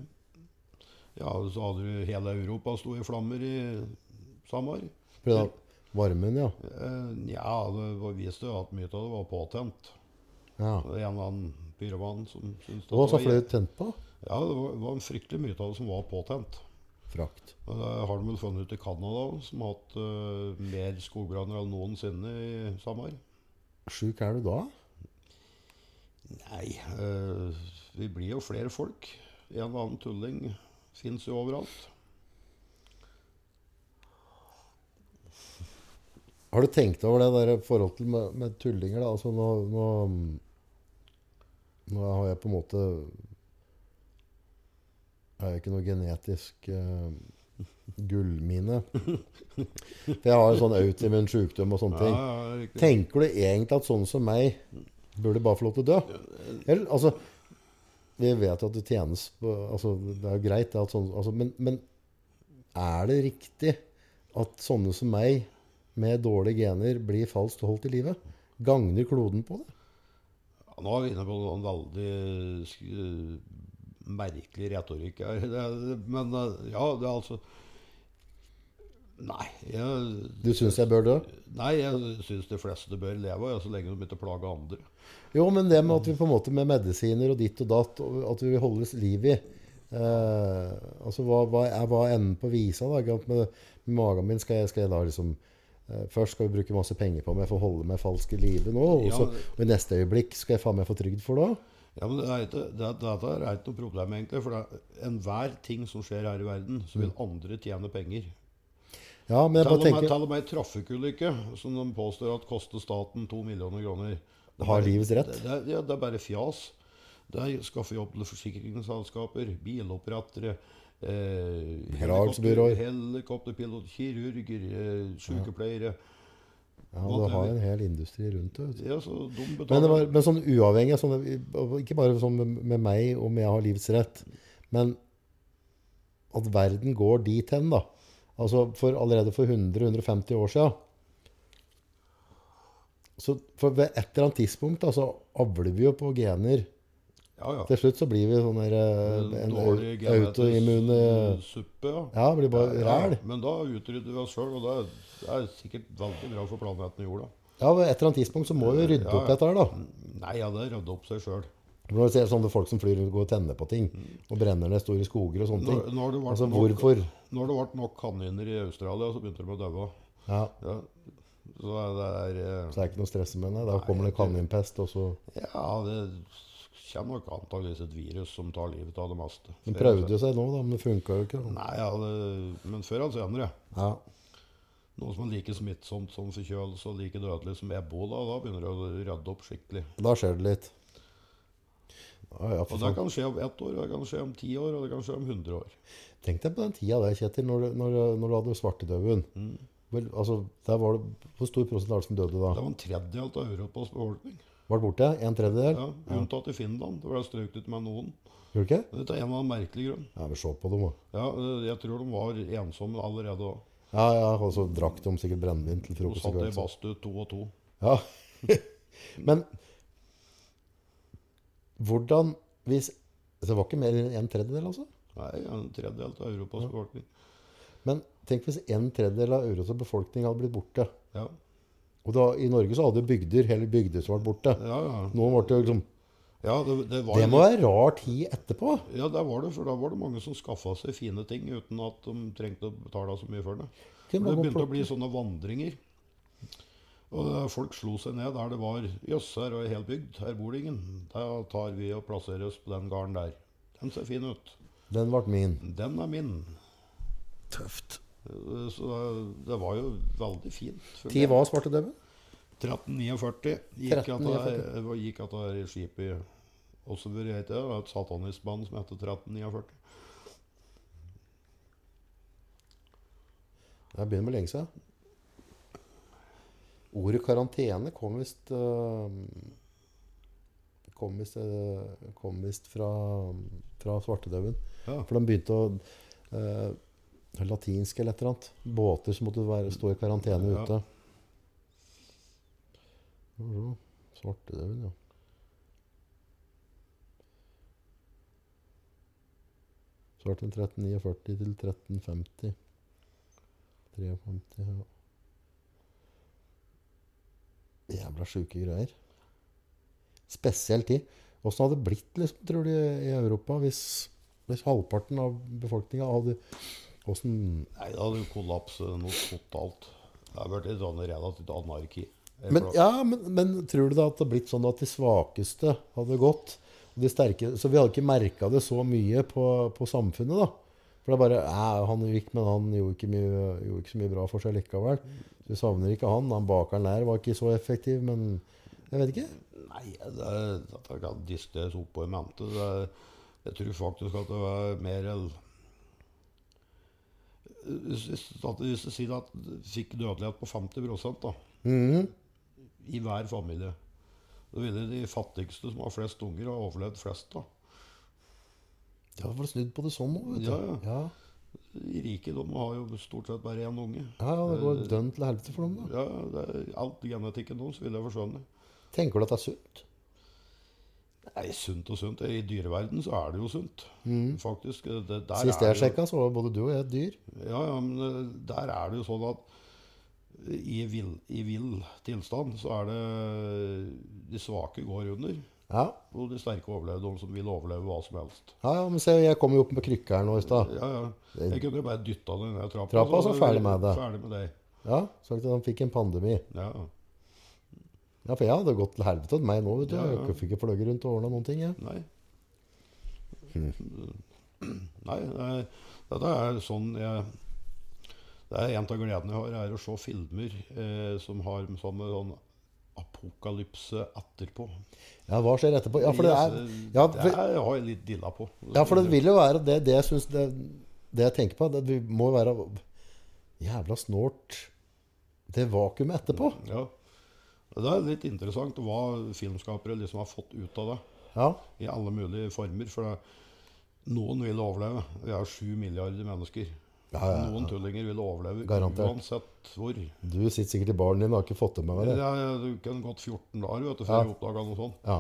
[SPEAKER 2] Ja, og så hadde du hele Europa sto i flammer i sommer.
[SPEAKER 1] På grunn av Varmen, ja.
[SPEAKER 2] Eh, ja, det var- viste jo at mye av det var påtent.
[SPEAKER 1] ja.
[SPEAKER 2] Det var en eller annen pyroman som syntes
[SPEAKER 1] Det
[SPEAKER 2] at
[SPEAKER 1] var så
[SPEAKER 2] det var-
[SPEAKER 1] flaut tent på.
[SPEAKER 2] Ja, det var, var en fryktelig mye av det som var påtent.
[SPEAKER 1] Frakt.
[SPEAKER 2] Og Det har de vel funnet ut i Canada, som har hatt eh, mer skogbranner enn noensinne i sommer.
[SPEAKER 1] Sjuk er du da?
[SPEAKER 2] Nei, eh, vi blir jo flere folk. En og annen tulling fins jo overalt.
[SPEAKER 1] Har du tenkt over det der i forhold til med, med tullinger? da? Altså, nå, nå, nå har jeg på en måte Jeg er jo ikke noe genetisk eh, gullmine. For jeg har en sånn autoimmun sjukdom og sånne
[SPEAKER 2] Ja,
[SPEAKER 1] ting.
[SPEAKER 2] ja, riktig.
[SPEAKER 1] Tenker du egentlig at sånne som meg burde bare få lov til å dø? Eller, altså, Vi vet jo at det tjenes på altså, Det er jo greit, det at sånne, altså, men, men er det riktig at sånne som meg, med dårlige gener, blir falskt holdt i live? Gagner kloden på det?
[SPEAKER 2] Ja, nå er vi inne på en veldig sk- merkelig retorikk her. Det, er- men eh, ja, det er altså Nei. Jeg,
[SPEAKER 1] Du syns jeg bør dø?
[SPEAKER 2] nei, jeg syns de fleste bør leve, ja, så lenge de ikke plager andre.
[SPEAKER 1] Jo, men det med at vi på en måte med medisiner og ditt og datt, og at vi holdes liv i eh, Altså, hva, hva, er, hva er enden på visa? da? ikke sant? Med, med magen min skal jeg, skal jeg da liksom eh, Først skal vi bruke masse penger på om jeg får holde meg falsk i live nå, og, så,
[SPEAKER 2] Ja.
[SPEAKER 1] og i neste øyeblikk skal jeg faen meg få trygd for det òg?
[SPEAKER 2] Ja, men det er ikke, det, dette er ikke noe problem, egentlig. For det er enhver ting som skjer her i verden, så vil andre tjene penger.
[SPEAKER 1] Ja, men jeg
[SPEAKER 2] Til
[SPEAKER 1] bare
[SPEAKER 2] og med,
[SPEAKER 1] tenker
[SPEAKER 2] til og med en trafikkulykke, som de påstår at koster staten to millioner kroner. Det er
[SPEAKER 1] Har
[SPEAKER 2] bare-
[SPEAKER 1] livets rett.
[SPEAKER 2] Det, det, er- ja, det er bare fjas. Der skaffer jobb til forsikringsselskaper, bilopprettere, eh,
[SPEAKER 1] Gradsbyråer.
[SPEAKER 2] helikopter- helikopterpilot, kirurger, eh, sykepleiere.
[SPEAKER 1] ja, Du har en hel industri rundt det. vet du.
[SPEAKER 2] Ja, så de
[SPEAKER 1] Men, det
[SPEAKER 2] betaler.
[SPEAKER 1] var, men sånn uavhengig sånn, Ikke bare sånn med, med meg om jeg har livets rett, men at verden går dit hen, da. Altså for allerede for 100-150 år siden. Så for ved et eller annet tidspunkt da, så avler vi jo på gener.
[SPEAKER 2] Ja, ja.
[SPEAKER 1] Til slutt så blir vi sånn der, eh, en au-
[SPEAKER 2] Dårlig genetisk
[SPEAKER 1] autoimmune
[SPEAKER 2] suppe, ja.
[SPEAKER 1] Ja, blir bare
[SPEAKER 2] Ja,
[SPEAKER 1] ræl.
[SPEAKER 2] men da utrydder vi oss sjøl, og det er, det er sikkert veldig bra for planeten i jorda.
[SPEAKER 1] Ja, ved et eller annet tidspunkt så må vi rydde
[SPEAKER 2] Ja,
[SPEAKER 1] opp
[SPEAKER 2] ja.
[SPEAKER 1] dette her, da.
[SPEAKER 2] Nei, ja, det rydder opp seg sjøl.
[SPEAKER 1] For Når du ser sånne folk som flyr rundt og går og tenner på ting, og brenner ned store skoger og sånne ting
[SPEAKER 2] Mm. Når, når, det ble
[SPEAKER 1] Altså,
[SPEAKER 2] nok-
[SPEAKER 1] hvorfor?
[SPEAKER 2] når det ble nok kaniner i Australia, så begynte de å daue.
[SPEAKER 1] Ja,
[SPEAKER 2] Ja. Så er det er eh,
[SPEAKER 1] så det er ikke noe stress med det. Da kommer det kaninpest, og så
[SPEAKER 2] Ja, det kommer nok antakeligvis et virus som tar livet av det meste.
[SPEAKER 1] De prøvde jo seg nå, da, men det funka jo ikke. Da.
[SPEAKER 2] Nei, ja, det, men før eller senere.
[SPEAKER 1] Ja.
[SPEAKER 2] Noe som er like smittsomt som forkjølelse og like dødelig som ebola. Da begynner det å rydde opp skikkelig.
[SPEAKER 1] Da skjer det litt. Ja, ja, for
[SPEAKER 2] Og
[SPEAKER 1] faen.
[SPEAKER 2] det kan skje om ett år, og det kan skje om ti år, og det kan skje om 100 år.
[SPEAKER 1] Tenk deg på den tida der, Kjetil, når du, når, du- når du hadde svartedauden.
[SPEAKER 2] Mm.
[SPEAKER 1] Vel, altså, der var det, Hvor stor prosent var det som døde
[SPEAKER 2] Det
[SPEAKER 1] da?
[SPEAKER 2] var en tredjedel av Europas befolkning.
[SPEAKER 1] Var det borte? En tredjedel?
[SPEAKER 2] Ja, unntatt i Finland. Det ble strøket ut med noen.
[SPEAKER 1] Gjorde det ikke?
[SPEAKER 2] Men Dette er en av en merkelig grunn.
[SPEAKER 1] Ja, men se på dem, da.
[SPEAKER 2] Ja, eh, jeg tror de var ensomme allerede da.
[SPEAKER 1] Ja, ja, og så drakk de sikkert brennevin til
[SPEAKER 2] De
[SPEAKER 1] frokost. i
[SPEAKER 2] satt i
[SPEAKER 1] går, så-
[SPEAKER 2] badstue to og to.
[SPEAKER 1] Ja. Men hvordan hvis så Det var ikke mer enn en tredjedel, altså?
[SPEAKER 2] Nei, en tredjedel av Europas befolkning.
[SPEAKER 1] Men tenk hvis en tredjedel av Euros befolkning hadde blitt borte.
[SPEAKER 2] Ja,
[SPEAKER 1] Og da, I Norge så hadde jo bygder, hele bygder som ble borte.
[SPEAKER 2] ja. ja.
[SPEAKER 1] Nå ble det jo liksom
[SPEAKER 2] ja det, det, var,
[SPEAKER 1] Det må være rar tid etterpå.
[SPEAKER 2] Ja, der var det, for da var det mange som skaffa seg fine ting uten at de trengte å betale så mye for det.
[SPEAKER 1] Kunne
[SPEAKER 2] For
[SPEAKER 1] bare gå og
[SPEAKER 2] det begynte å
[SPEAKER 1] plukke.
[SPEAKER 2] bli sånne vandringer. Og det, folk slo seg ned der det var Jøss, her er ei hel bygd. Her bor det ingen. Da tar vi og plasserer oss på den gården der. Den ser fin ut.
[SPEAKER 1] Den ble min.
[SPEAKER 2] Den er min.
[SPEAKER 1] Tøft.
[SPEAKER 2] Eh, Så det- det var jo veldig fint. for
[SPEAKER 1] Tid
[SPEAKER 2] meg.
[SPEAKER 1] var svartedauden?
[SPEAKER 2] 1349 gikk at det
[SPEAKER 1] 1349.
[SPEAKER 2] var- gikk at det her skipet i Osseburg, het det. Det var et satanisk band som het 1349.
[SPEAKER 1] Det begynner med lenge siden. Ordet karantene kom visst øh, Kom visst, øh, kom visst fra, fra svartedauden.
[SPEAKER 2] Ja.
[SPEAKER 1] For de begynte å øh, Latinsk eller et eller annet. Båter som måtte være, stå i karantene
[SPEAKER 2] Ja.
[SPEAKER 1] ute. Skal vi se. Svartedauden, ja. Så ble det 1349 til 1350. 53, ja. Jævla sjuke greier. Spesiell tid. Åssen hadde det blitt, liksom, tror du, i Europa hvis, hvis halvparten av befolkninga hadde Åssen
[SPEAKER 2] Nei, det hadde jo kollapset noe totalt. Det har vært et sånn relativt anarki.
[SPEAKER 1] men, ja, men, men tror du da at det hadde blitt sånn at de svakeste hadde gått? Og de sterke, så vi hadde ikke merka det så mye på, på samfunnet, da. For det er bare «Æ, Han gikk, men han gjorde ikke, mye, gjorde ikke så mye bra for seg likevel. Så vi savner ikke han. Han bakeren der var ikke så effektiv, men jeg vet ikke.
[SPEAKER 2] Nei, det, er- dette kan diskuteres opp og i mente. Det, er- jeg tror faktisk at det var mer el- Hvis hvis- at- hvis du sier at du fikk dødelighet på 50 da, Mhm. i hver familie, så ville de fattigste som har flest unger, ha overlevd flest. da.
[SPEAKER 1] Ja, var det snudd på det sånn nå, vet du.
[SPEAKER 2] Ja, ja.
[SPEAKER 1] ja.
[SPEAKER 2] De rike de har jo stort sett bare én unge.
[SPEAKER 1] Ja, ja, det
[SPEAKER 2] Eh.
[SPEAKER 1] går dønn til helvete for dem, da.
[SPEAKER 2] Ja, det er alt genetikken deres vil jeg forsvinne.
[SPEAKER 1] Tenker du at det er sunt?
[SPEAKER 2] Nei, sunt og sunt. I dyreverden så er det jo sunt, faktisk. Det, der
[SPEAKER 1] Sist
[SPEAKER 2] er
[SPEAKER 1] Mm. jeg
[SPEAKER 2] det jo-
[SPEAKER 1] sjekka, så var både du og jeg et dyr.
[SPEAKER 2] Ja, ja, men eh, der er det jo sånn at i vill, i vill tilstand så er det de svake går under,
[SPEAKER 1] Ja,
[SPEAKER 2] og de sterke overlever, de som vil overleve hva som helst.
[SPEAKER 1] ja, ja men se, jeg kom jo opp med krykker her nå i stad.
[SPEAKER 2] Ja, ja. Jeg kunne jo bare dytta det ned trappa.
[SPEAKER 1] Trappa, så
[SPEAKER 2] var
[SPEAKER 1] ferdig med det.
[SPEAKER 2] Ferdig med det.
[SPEAKER 1] Ja, så at han fikk en pandemi.
[SPEAKER 2] Ja.
[SPEAKER 1] Ja, for jeg hadde gått til helvete med meg nå, vet du.
[SPEAKER 2] Ja, ja.
[SPEAKER 1] Jeg fikk ikke fløyet rundt og ordna noen ting, jeg.
[SPEAKER 2] Nei. Nei, det er, dette er sånn jeg Det er en av gledene jeg har, er å se filmer eh, som har sånn, med sånn apokalypse etterpå.
[SPEAKER 1] Ja, hva skjer etterpå? Ja, for det er ja,
[SPEAKER 2] det
[SPEAKER 1] for,
[SPEAKER 2] er, har jeg litt dilla på.
[SPEAKER 1] ja, for det vil jo være det, det jeg syns det, det jeg tenker på, det vi må jo være jævla snålt det vakuumet etterpå.
[SPEAKER 2] Ja. Det er litt interessant hva filmskapere liksom har fått ut av det.
[SPEAKER 1] Ja.
[SPEAKER 2] I alle mulige former. For det, noen vil overleve. Vi er sju milliarder mennesker.
[SPEAKER 1] Ja, ja, ja.
[SPEAKER 2] Noen tullinger vil overleve
[SPEAKER 1] Garantert.
[SPEAKER 2] uansett hvor.
[SPEAKER 1] Du sitter sikkert i baren din og har ikke fått det med deg.
[SPEAKER 2] Det
[SPEAKER 1] det.
[SPEAKER 2] er, du kan gått 14 dager vet du, før
[SPEAKER 1] Ja.
[SPEAKER 2] jeg oppdaga noe sånt.
[SPEAKER 1] Ja.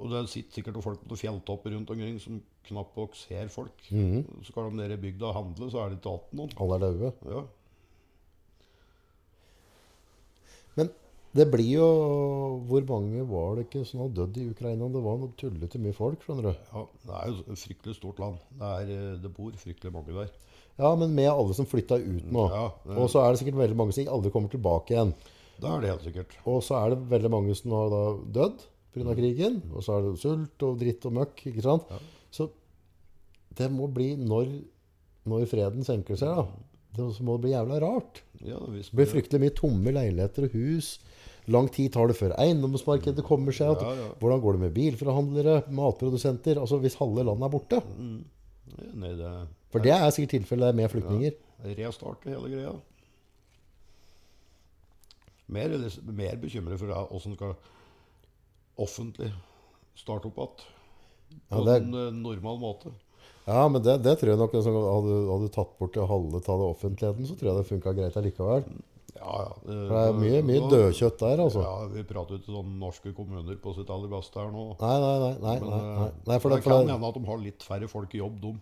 [SPEAKER 2] Og det sitter sikkert noen folk på fjelltopper rundt omkring som knapt nok ser folk.
[SPEAKER 1] Mhm.
[SPEAKER 2] Så skal de ned i bygda og handle, så er det ikke igjen noen.
[SPEAKER 1] Alle er daue.
[SPEAKER 2] Ja.
[SPEAKER 1] Men det blir jo Hvor mange var det ikke som hadde dødd i Ukraina? Det var noe tullete mye folk, skjønner du.
[SPEAKER 2] Ja, Det er jo et fryktelig stort land. Det, er, eh, det bor fryktelig mange der.
[SPEAKER 1] Ja, men med alle som flytta ut nå.
[SPEAKER 2] Ja, det-
[SPEAKER 1] Og så er det sikkert veldig mange som ikke aldri kommer tilbake igjen.
[SPEAKER 2] Det er det helt sikkert.
[SPEAKER 1] Og så er det veldig mange som har da dødd pga.
[SPEAKER 2] Mm.
[SPEAKER 1] krigen. Og så er det sult og dritt og møkk. ikke sant? Så det må bli når, når freden senker seg, da. Det, så må det bli jævla rart.
[SPEAKER 2] Mm. Ja, hvis
[SPEAKER 1] Det blir fryktelig mye tomme leiligheter og hus. Lang tid tar det før eiendomsmarkedet kommer seg. At,
[SPEAKER 2] Mm. Ja, ja.
[SPEAKER 1] Hvordan går det med bilforhandlere, matprodusenter? Altså hvis halve landet er borte.
[SPEAKER 2] Mm. Nei, det
[SPEAKER 1] For det er sikkert tilfellet med flyktninger.
[SPEAKER 2] restarte hele greia. Mer, eller- mer bekymret for åssen skal offentlig starte opp igjen. På
[SPEAKER 1] Ja, det-
[SPEAKER 2] en eh, normal måte.
[SPEAKER 1] Ja, men det, det tror jeg nok liksom, hadde, hadde du tatt bort det halve av det offentligheten, så tror jeg det funka greit allikevel.
[SPEAKER 2] Ja, ja.
[SPEAKER 1] For det er mye, mye dødkjøtt der, altså.
[SPEAKER 2] Ja, vi prater jo ikke om norske kommuner på sitt aller beste her nå.
[SPEAKER 1] Nei, nei, nei. nei, nei, nei. nei for, det,
[SPEAKER 2] eh, det
[SPEAKER 1] for,
[SPEAKER 2] kan
[SPEAKER 1] det,
[SPEAKER 2] hende at de har litt færre folk i jobb, de.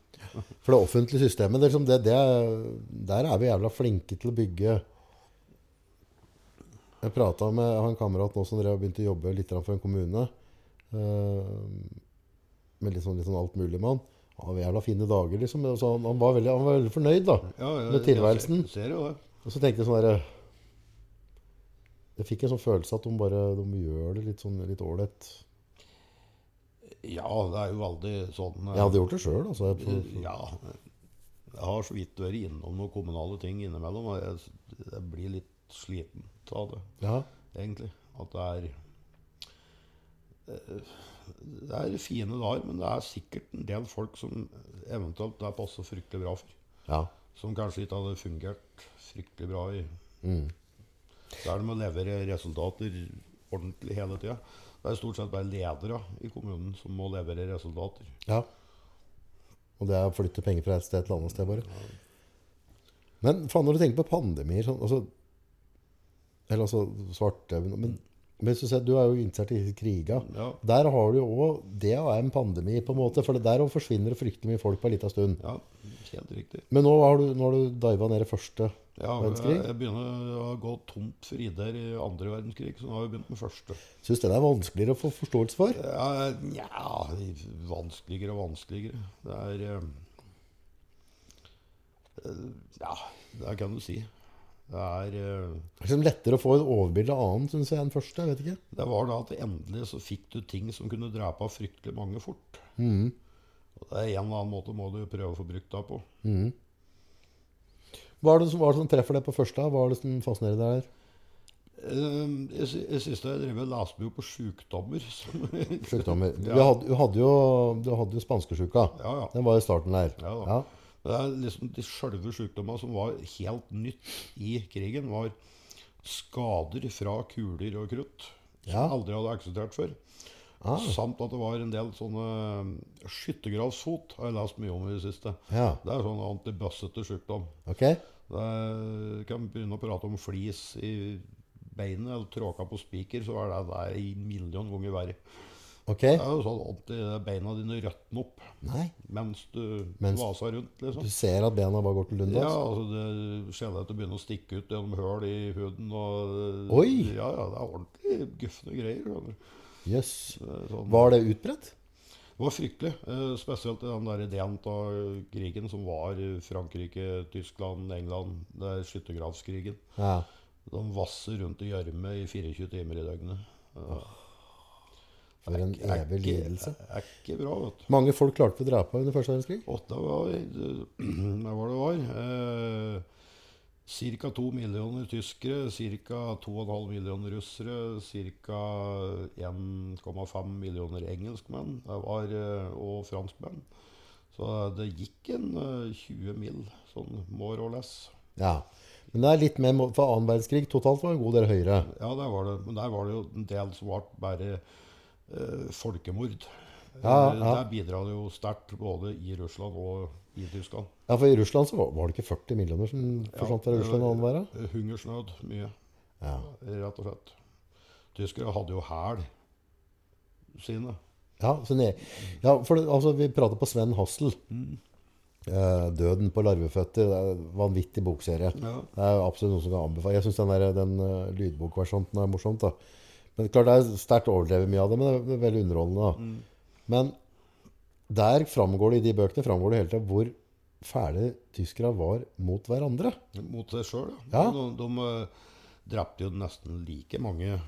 [SPEAKER 1] for det offentlige systemet, det, er liksom det, det, er- der er vi jævla flinke til å bygge Jeg prata med jeg har en kamerat nå som drev og begynte å jobbe litt grann for en kommune. eh, med litt sånn, litt sånn alt mulig med han. Han hadde jævla fine dager, liksom. og Så han, han, var veldig, han var veldig fornøyd, da.
[SPEAKER 2] Ja, ja,
[SPEAKER 1] Med tilværelsen.
[SPEAKER 2] Jeg ser, ser jo det.
[SPEAKER 1] Og så tenkte jeg sånn der Jeg fikk en sånn følelse at de bare de gjør det litt sånn litt ålreit.
[SPEAKER 2] Ja, det er jo veldig sånn eh,
[SPEAKER 1] Jeg hadde gjort det sjøl, altså. Jeg, for,
[SPEAKER 2] Ja. Jeg har så vidt vært innom noen kommunale ting innimellom. Og jeg, jeg blir litt sliten av det,
[SPEAKER 1] ja.
[SPEAKER 2] egentlig. At det er eh, Det er fine dager, men det er sikkert en del folk som eventuelt det passer fryktelig bra for.
[SPEAKER 1] ja.
[SPEAKER 2] Som kanskje ikke hadde fungert fryktelig bra i Der de må levere resultater ordentlig hele tida. Det er stort sett bare ledere i kommunen som må levere resultater.
[SPEAKER 1] Ja. Og det er å flytte penger fra et sted til et annet sted, bare. Men faen, når du tenker på pandemier sånn, altså, Eller altså svarte Men, men hvis du, ser, du er jo interessert i kriga.
[SPEAKER 2] Ja.
[SPEAKER 1] Der har du jo òg Det er en pandemi, på en måte. For det der også forsvinner det fryktelig mye folk på en liten stund.
[SPEAKER 2] Ja, helt riktig.
[SPEAKER 1] Men nå har du, nå har du diva ned i første.
[SPEAKER 2] Ja,
[SPEAKER 1] Verdenskrig?
[SPEAKER 2] Jeg, jeg begynner å gå tomt for ideer i andre verdenskrig, så nå har vi begynt med første.
[SPEAKER 1] Syns den er vanskeligere å få forståelse for.
[SPEAKER 2] Ja, nja, vanskeligere og vanskeligere. Det er eh, eh, Ja, det kan du si. Det er eh,
[SPEAKER 1] Det er liksom lettere å få et overbilde av annen, syns jeg, enn første. Jeg vet ikke.
[SPEAKER 2] Det var da at endelig så fikk du ting som kunne drepe fryktelig mange fort. Og det er en eller annen måte må du jo prøve å få brukt deg på.
[SPEAKER 1] Hva er det som, hva er det som treffer deg på første? Hva er det som fascinerer deg der?
[SPEAKER 2] Eh, Jeg, sy- jeg siste jeg drev og leste mye på sjukdommer. som-
[SPEAKER 1] Sykdommer.
[SPEAKER 2] Ja.
[SPEAKER 1] Du, hadde, du, hadde jo, du hadde jo spanskesjuka.
[SPEAKER 2] Ja, ja.
[SPEAKER 1] Den var i starten der.
[SPEAKER 2] Ja da.
[SPEAKER 1] Ja.
[SPEAKER 2] Det er liksom De sjølve sjukdommene som var helt nytt i krigen, var skader fra kuler og krutt. Som
[SPEAKER 1] Ja.
[SPEAKER 2] aldri hadde eksistert før.
[SPEAKER 1] Ah.
[SPEAKER 2] Samt at det var en del sånne eh, skyttergravsfot, har jeg lest mye om i det siste.
[SPEAKER 1] Ja.
[SPEAKER 2] Det er sånn antibassete sjukdom.
[SPEAKER 1] Ok?
[SPEAKER 2] Det er- kan begynne å prate om flis i beinet eller tråka på spiker, så er det der en million ganger verre.
[SPEAKER 1] Ok?
[SPEAKER 2] Det er jo sånn at beina dine røtner opp
[SPEAKER 1] Nei.
[SPEAKER 2] mens du
[SPEAKER 1] Mens-
[SPEAKER 2] vaser rundt, liksom.
[SPEAKER 1] Du ser at bena bare går til
[SPEAKER 2] Ja,
[SPEAKER 1] Lundås?
[SPEAKER 2] altså det skjelettet begynner å stikke ut gjennom høl i huden og eh,
[SPEAKER 1] Oi!
[SPEAKER 2] Ja, ja, det er ordentlig gufne greier. skjønner du.
[SPEAKER 1] Jøss.
[SPEAKER 2] Det er Sånn.
[SPEAKER 1] Var det utbredt?
[SPEAKER 2] Det var fryktelig. eh, Spesielt i den der ideen av krigen som var i Frankrike, Tyskland, England. Det er skyttergravskrigen.
[SPEAKER 1] Ja.
[SPEAKER 2] De vasser rundt i gjørme i 24 timer i døgnet.
[SPEAKER 1] For en
[SPEAKER 2] Er
[SPEAKER 1] evig
[SPEAKER 2] ikke-
[SPEAKER 1] lidelse.
[SPEAKER 2] Er ikke bra, vet du.
[SPEAKER 1] Mange folk klarte å drepe under første verdenskrig?
[SPEAKER 2] Og det var det var. Det var. Eh, Ca. to millioner tyskere, ca. 2,5 millioner russere, ca. 1,5 millioner engelskmenn det var, eh, og franskmenn. Så det gikk en eh, 20 mil, sånn more or less.
[SPEAKER 1] Ja. Men det er litt mer mot- for annen verdenskrig. Totalt var det en god del høyere.
[SPEAKER 2] Ja, der var det. Men der var det jo en del som ble bare eh, folkemord.
[SPEAKER 1] Ja,
[SPEAKER 2] Eh,
[SPEAKER 1] ja.
[SPEAKER 2] Der bidra det jo sterkt både i Russland og i Tyskland.
[SPEAKER 1] Ja, for i Russland så var, var det ikke 40 millioner som forsvant fra
[SPEAKER 2] det
[SPEAKER 1] Russland og
[SPEAKER 2] var-
[SPEAKER 1] annen verden?
[SPEAKER 2] Eh, Hungersnød mye,
[SPEAKER 1] Ja.
[SPEAKER 2] rett og slett. Tyskere hadde jo hæl sine.
[SPEAKER 1] Ja, så ne- ja, for det, altså, vi prater på Sven Hassel.
[SPEAKER 2] Mm.
[SPEAKER 1] Eh, 'Døden på larveføtter'. Det er en vanvittig bokserie.
[SPEAKER 2] Ja.
[SPEAKER 1] Det er jo absolutt noe som kan anbefales. Jeg syns den, der- den eh, lydbokversjonen er morsomt. da. Men klart Det er sterkt overdrevet mye av det, men det er- det er veldig underholdende. da.
[SPEAKER 2] Mm.
[SPEAKER 1] Men der framgår det i de bøkene framgår det hele tiden hvor fæle tyskere var mot hverandre.
[SPEAKER 2] Mot seg sjøl,
[SPEAKER 1] Ja.
[SPEAKER 2] De, de, eh, drepte jo nesten like mange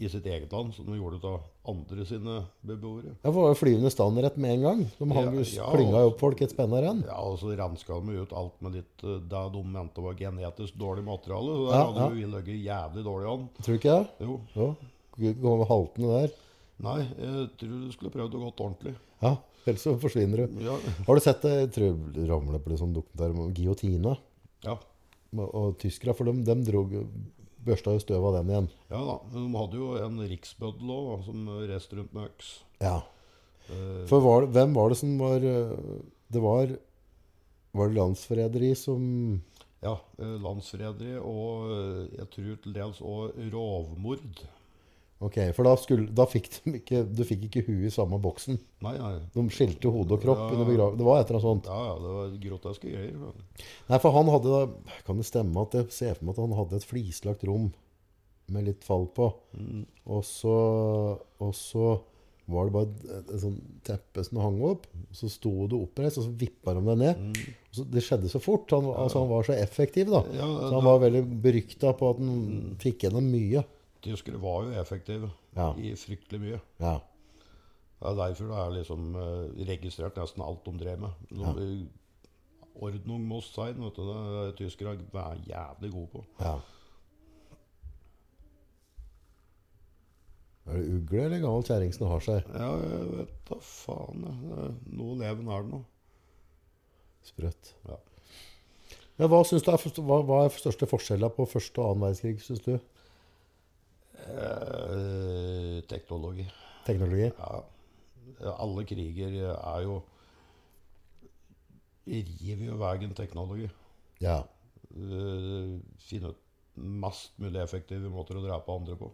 [SPEAKER 2] i sitt eget land som de gjorde av andre sine beboere.
[SPEAKER 1] Ja, for det var jo flyvende standrett med en gang. De hang,
[SPEAKER 2] Ja,
[SPEAKER 1] jo-
[SPEAKER 2] ja,
[SPEAKER 1] klynga jo
[SPEAKER 2] og-
[SPEAKER 1] opp folk i et spenn her igjen.
[SPEAKER 2] Ja, og så renska de jo ut alt med litt eh, det de mente var genetisk dårlig materiale. Så der
[SPEAKER 1] Ja,
[SPEAKER 2] hadde jo vi ligget jævlig dårlig an.
[SPEAKER 1] Tror du ikke det?
[SPEAKER 2] Jo.
[SPEAKER 1] Jo. Gud, gå med haltene der.
[SPEAKER 2] Nei, jeg tror du skulle prøvd å gått ordentlig.
[SPEAKER 1] Ja, ellers så forsvinner du.
[SPEAKER 2] Ja.
[SPEAKER 1] Har du sett det? Jeg tror det ramlet på litt sånn dokumentar om giotina
[SPEAKER 2] ja.
[SPEAKER 1] og, og tyskere, for dem, dem drog, børsta jo støv av den igjen.
[SPEAKER 2] Ja da. men De hadde jo en riksbøddel òg, som reiste rundt med øks.
[SPEAKER 1] Ja.
[SPEAKER 2] Eh,
[SPEAKER 1] For var, det- hvem var det som var øh, Det var Var det landsforræderi som
[SPEAKER 2] ja, eh, landsforræderi og eh, jeg tror til dels òg rovmord.
[SPEAKER 1] Ok, for da, skulle, da fikk de ikke Du fikk ikke huet i samme boksen.
[SPEAKER 2] Nei, nei.
[SPEAKER 1] De skilte hode og kropp
[SPEAKER 2] Ja.
[SPEAKER 1] under begravelsen. Det var et eller annet sånn sånt.
[SPEAKER 2] Ja, ja, det var groteske greier.
[SPEAKER 1] Nei, for han hadde da Kan det stemme at jeg ser for meg at han hadde et flislagt rom med litt fall på. Og, så, og så var det bare et, et, et sånt teppe som hang opp. og Så sto det oppreist, og så vippa de det ned. Og så, det skjedde så fort. Han, altså, han var så effektiv, da.
[SPEAKER 2] Ja,
[SPEAKER 1] så han var veldig berykta på at han fikk gjennom mye.
[SPEAKER 2] Tyskere var jo effektive
[SPEAKER 1] Ja.
[SPEAKER 2] i fryktelig mye.
[SPEAKER 1] Ja.
[SPEAKER 2] Det er derfor det er liksom eh, registrert nesten alt de drev med. De, Ordnung muss sein, vet du. Det er tyskere er jævlig gode på.
[SPEAKER 1] ja. Er det ugle eller gammel kjerring som har seg?
[SPEAKER 2] Ja, jeg vet da faen. jeg. Det er- Noe leven er det nå.
[SPEAKER 1] Sprøtt.
[SPEAKER 2] Ja.
[SPEAKER 1] Ja, hva, synes du er, for- hva, hva er største forskjellen på første og annen verdenskrig, syns du?
[SPEAKER 2] Eh, teknologi.
[SPEAKER 1] Teknologi?
[SPEAKER 2] Ja. Alle kriger er jo River jo veien teknologi.
[SPEAKER 1] Ja.
[SPEAKER 2] Eh, Finne ut mest mulig effektive måter å drepe andre på.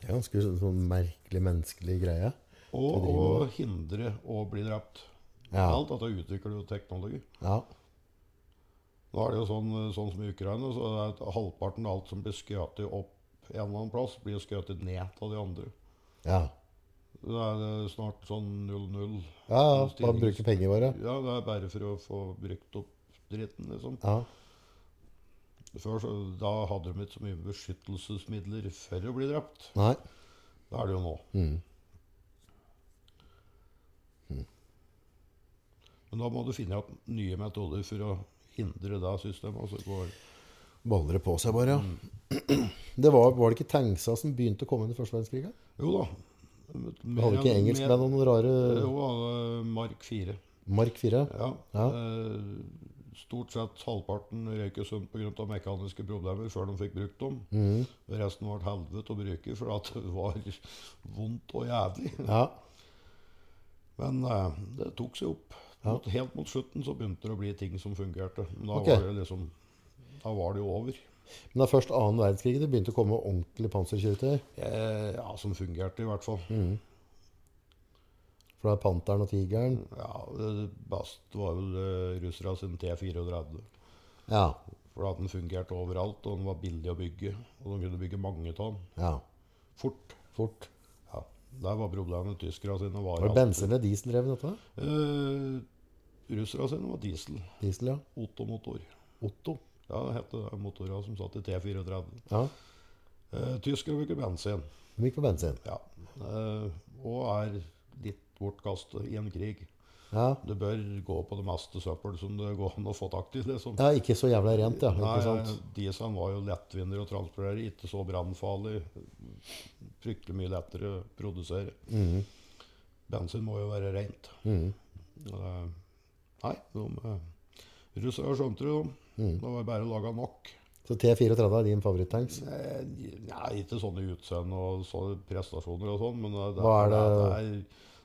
[SPEAKER 1] Det er ganske sånn, sånn merkelig menneskelig greie.
[SPEAKER 2] Og,
[SPEAKER 1] driver
[SPEAKER 2] og hindre å bli drept.
[SPEAKER 1] Ja.
[SPEAKER 2] Alt dette utvikler jo teknologi.
[SPEAKER 1] Ja.
[SPEAKER 2] Nå er det jo sånn, sånn som i Ukraina, så er det at halvparten av alt som blir skutt opp en eller annen plass, blir skutt ned av de andre.
[SPEAKER 1] Ja,
[SPEAKER 2] Da er det snart sånn 0-0.
[SPEAKER 1] ja, ja. bare bruke pengene våre.
[SPEAKER 2] Ja, det er bare for å få brukt opp dritten, liksom.
[SPEAKER 1] Ja.
[SPEAKER 2] Før så, da hadde de ikke så mye beskyttelsesmidler for å bli drept.
[SPEAKER 1] Nei.
[SPEAKER 2] Det er det jo nå.
[SPEAKER 1] Mm.
[SPEAKER 2] Mm. Men da må du finne opp nye metoder for å hindre det systemet. Altså går,
[SPEAKER 1] Baller det på seg bare, ja. Det var, var det ikke tanksa som begynte å komme inn i første verdenskrig? da?
[SPEAKER 2] jo da.
[SPEAKER 1] Vi hadde ikke engelskmenn og noen
[SPEAKER 2] Jo,
[SPEAKER 1] rare
[SPEAKER 2] han hadde Mark 4.
[SPEAKER 1] Mark 4?
[SPEAKER 2] Ja.
[SPEAKER 1] Ja.
[SPEAKER 2] Eh, Stort sett halvparten røyk i sump pga. mekaniske problemer før de fikk brukt dem.
[SPEAKER 1] Mm.
[SPEAKER 2] Resten var et helvete å bruke, for at det var vondt og jævlig.
[SPEAKER 1] Ja.
[SPEAKER 2] Men eh, det tok seg opp. Mot, helt mot slutten så begynte det å bli ting som fungerte. Men Da,
[SPEAKER 1] Ok.
[SPEAKER 2] var, det liksom, da var det jo over.
[SPEAKER 1] Men det er først annen verdenskrig det begynte å komme ordentlige panserkjøretøy.
[SPEAKER 2] Eh, ja, som fungerte, i hvert fall.
[SPEAKER 1] Mm. For da er Panteren og Tigeren
[SPEAKER 2] Ja, det best var vel eh, russerne sin T34.
[SPEAKER 1] Ja.
[SPEAKER 2] For at den fungerte overalt, og den var billig å bygge. Og de kunne bygge mange av den.
[SPEAKER 1] ja.
[SPEAKER 2] Fort.
[SPEAKER 1] Fort.
[SPEAKER 2] Ja, Der var problemet. Tyskerne sine var
[SPEAKER 1] Var det
[SPEAKER 2] alltid-
[SPEAKER 1] bensin eller diesel drevet dette?
[SPEAKER 2] Eh, Russerne sine var diesel.
[SPEAKER 1] Diesel, ja.
[SPEAKER 2] Ottomotor.
[SPEAKER 1] Otto.
[SPEAKER 2] Ja, det het det. Motorene som satt i T34.
[SPEAKER 1] Ja.
[SPEAKER 2] Eh, Tyskere bruker bensin.
[SPEAKER 1] De gikk på bensin.
[SPEAKER 2] Ja. Eh, og er litt bortkastet i en krig.
[SPEAKER 1] Ja.
[SPEAKER 2] Du bør gå på det meste søppel som det går an å få tak i. liksom.
[SPEAKER 1] ja. Ikke så jævla rent, ja. Ikke
[SPEAKER 2] Nei,
[SPEAKER 1] sant?
[SPEAKER 2] Dieselen var jo lettvinner å transportere, ikke så brannfarlig. Fryktelig mye lettere å produsere.
[SPEAKER 1] Mhm.
[SPEAKER 2] Bensin må jo være rent. Eh, Nei, de, eh, russere skjønte det, de.
[SPEAKER 1] Mhm.
[SPEAKER 2] Det var bare å lage nok.
[SPEAKER 1] Så T34 er din favorittanks.
[SPEAKER 2] Eh, Nei, ikke sånne utseende og sånne prestasjoner og sånn, men eh, det,
[SPEAKER 1] Hva er
[SPEAKER 2] det er,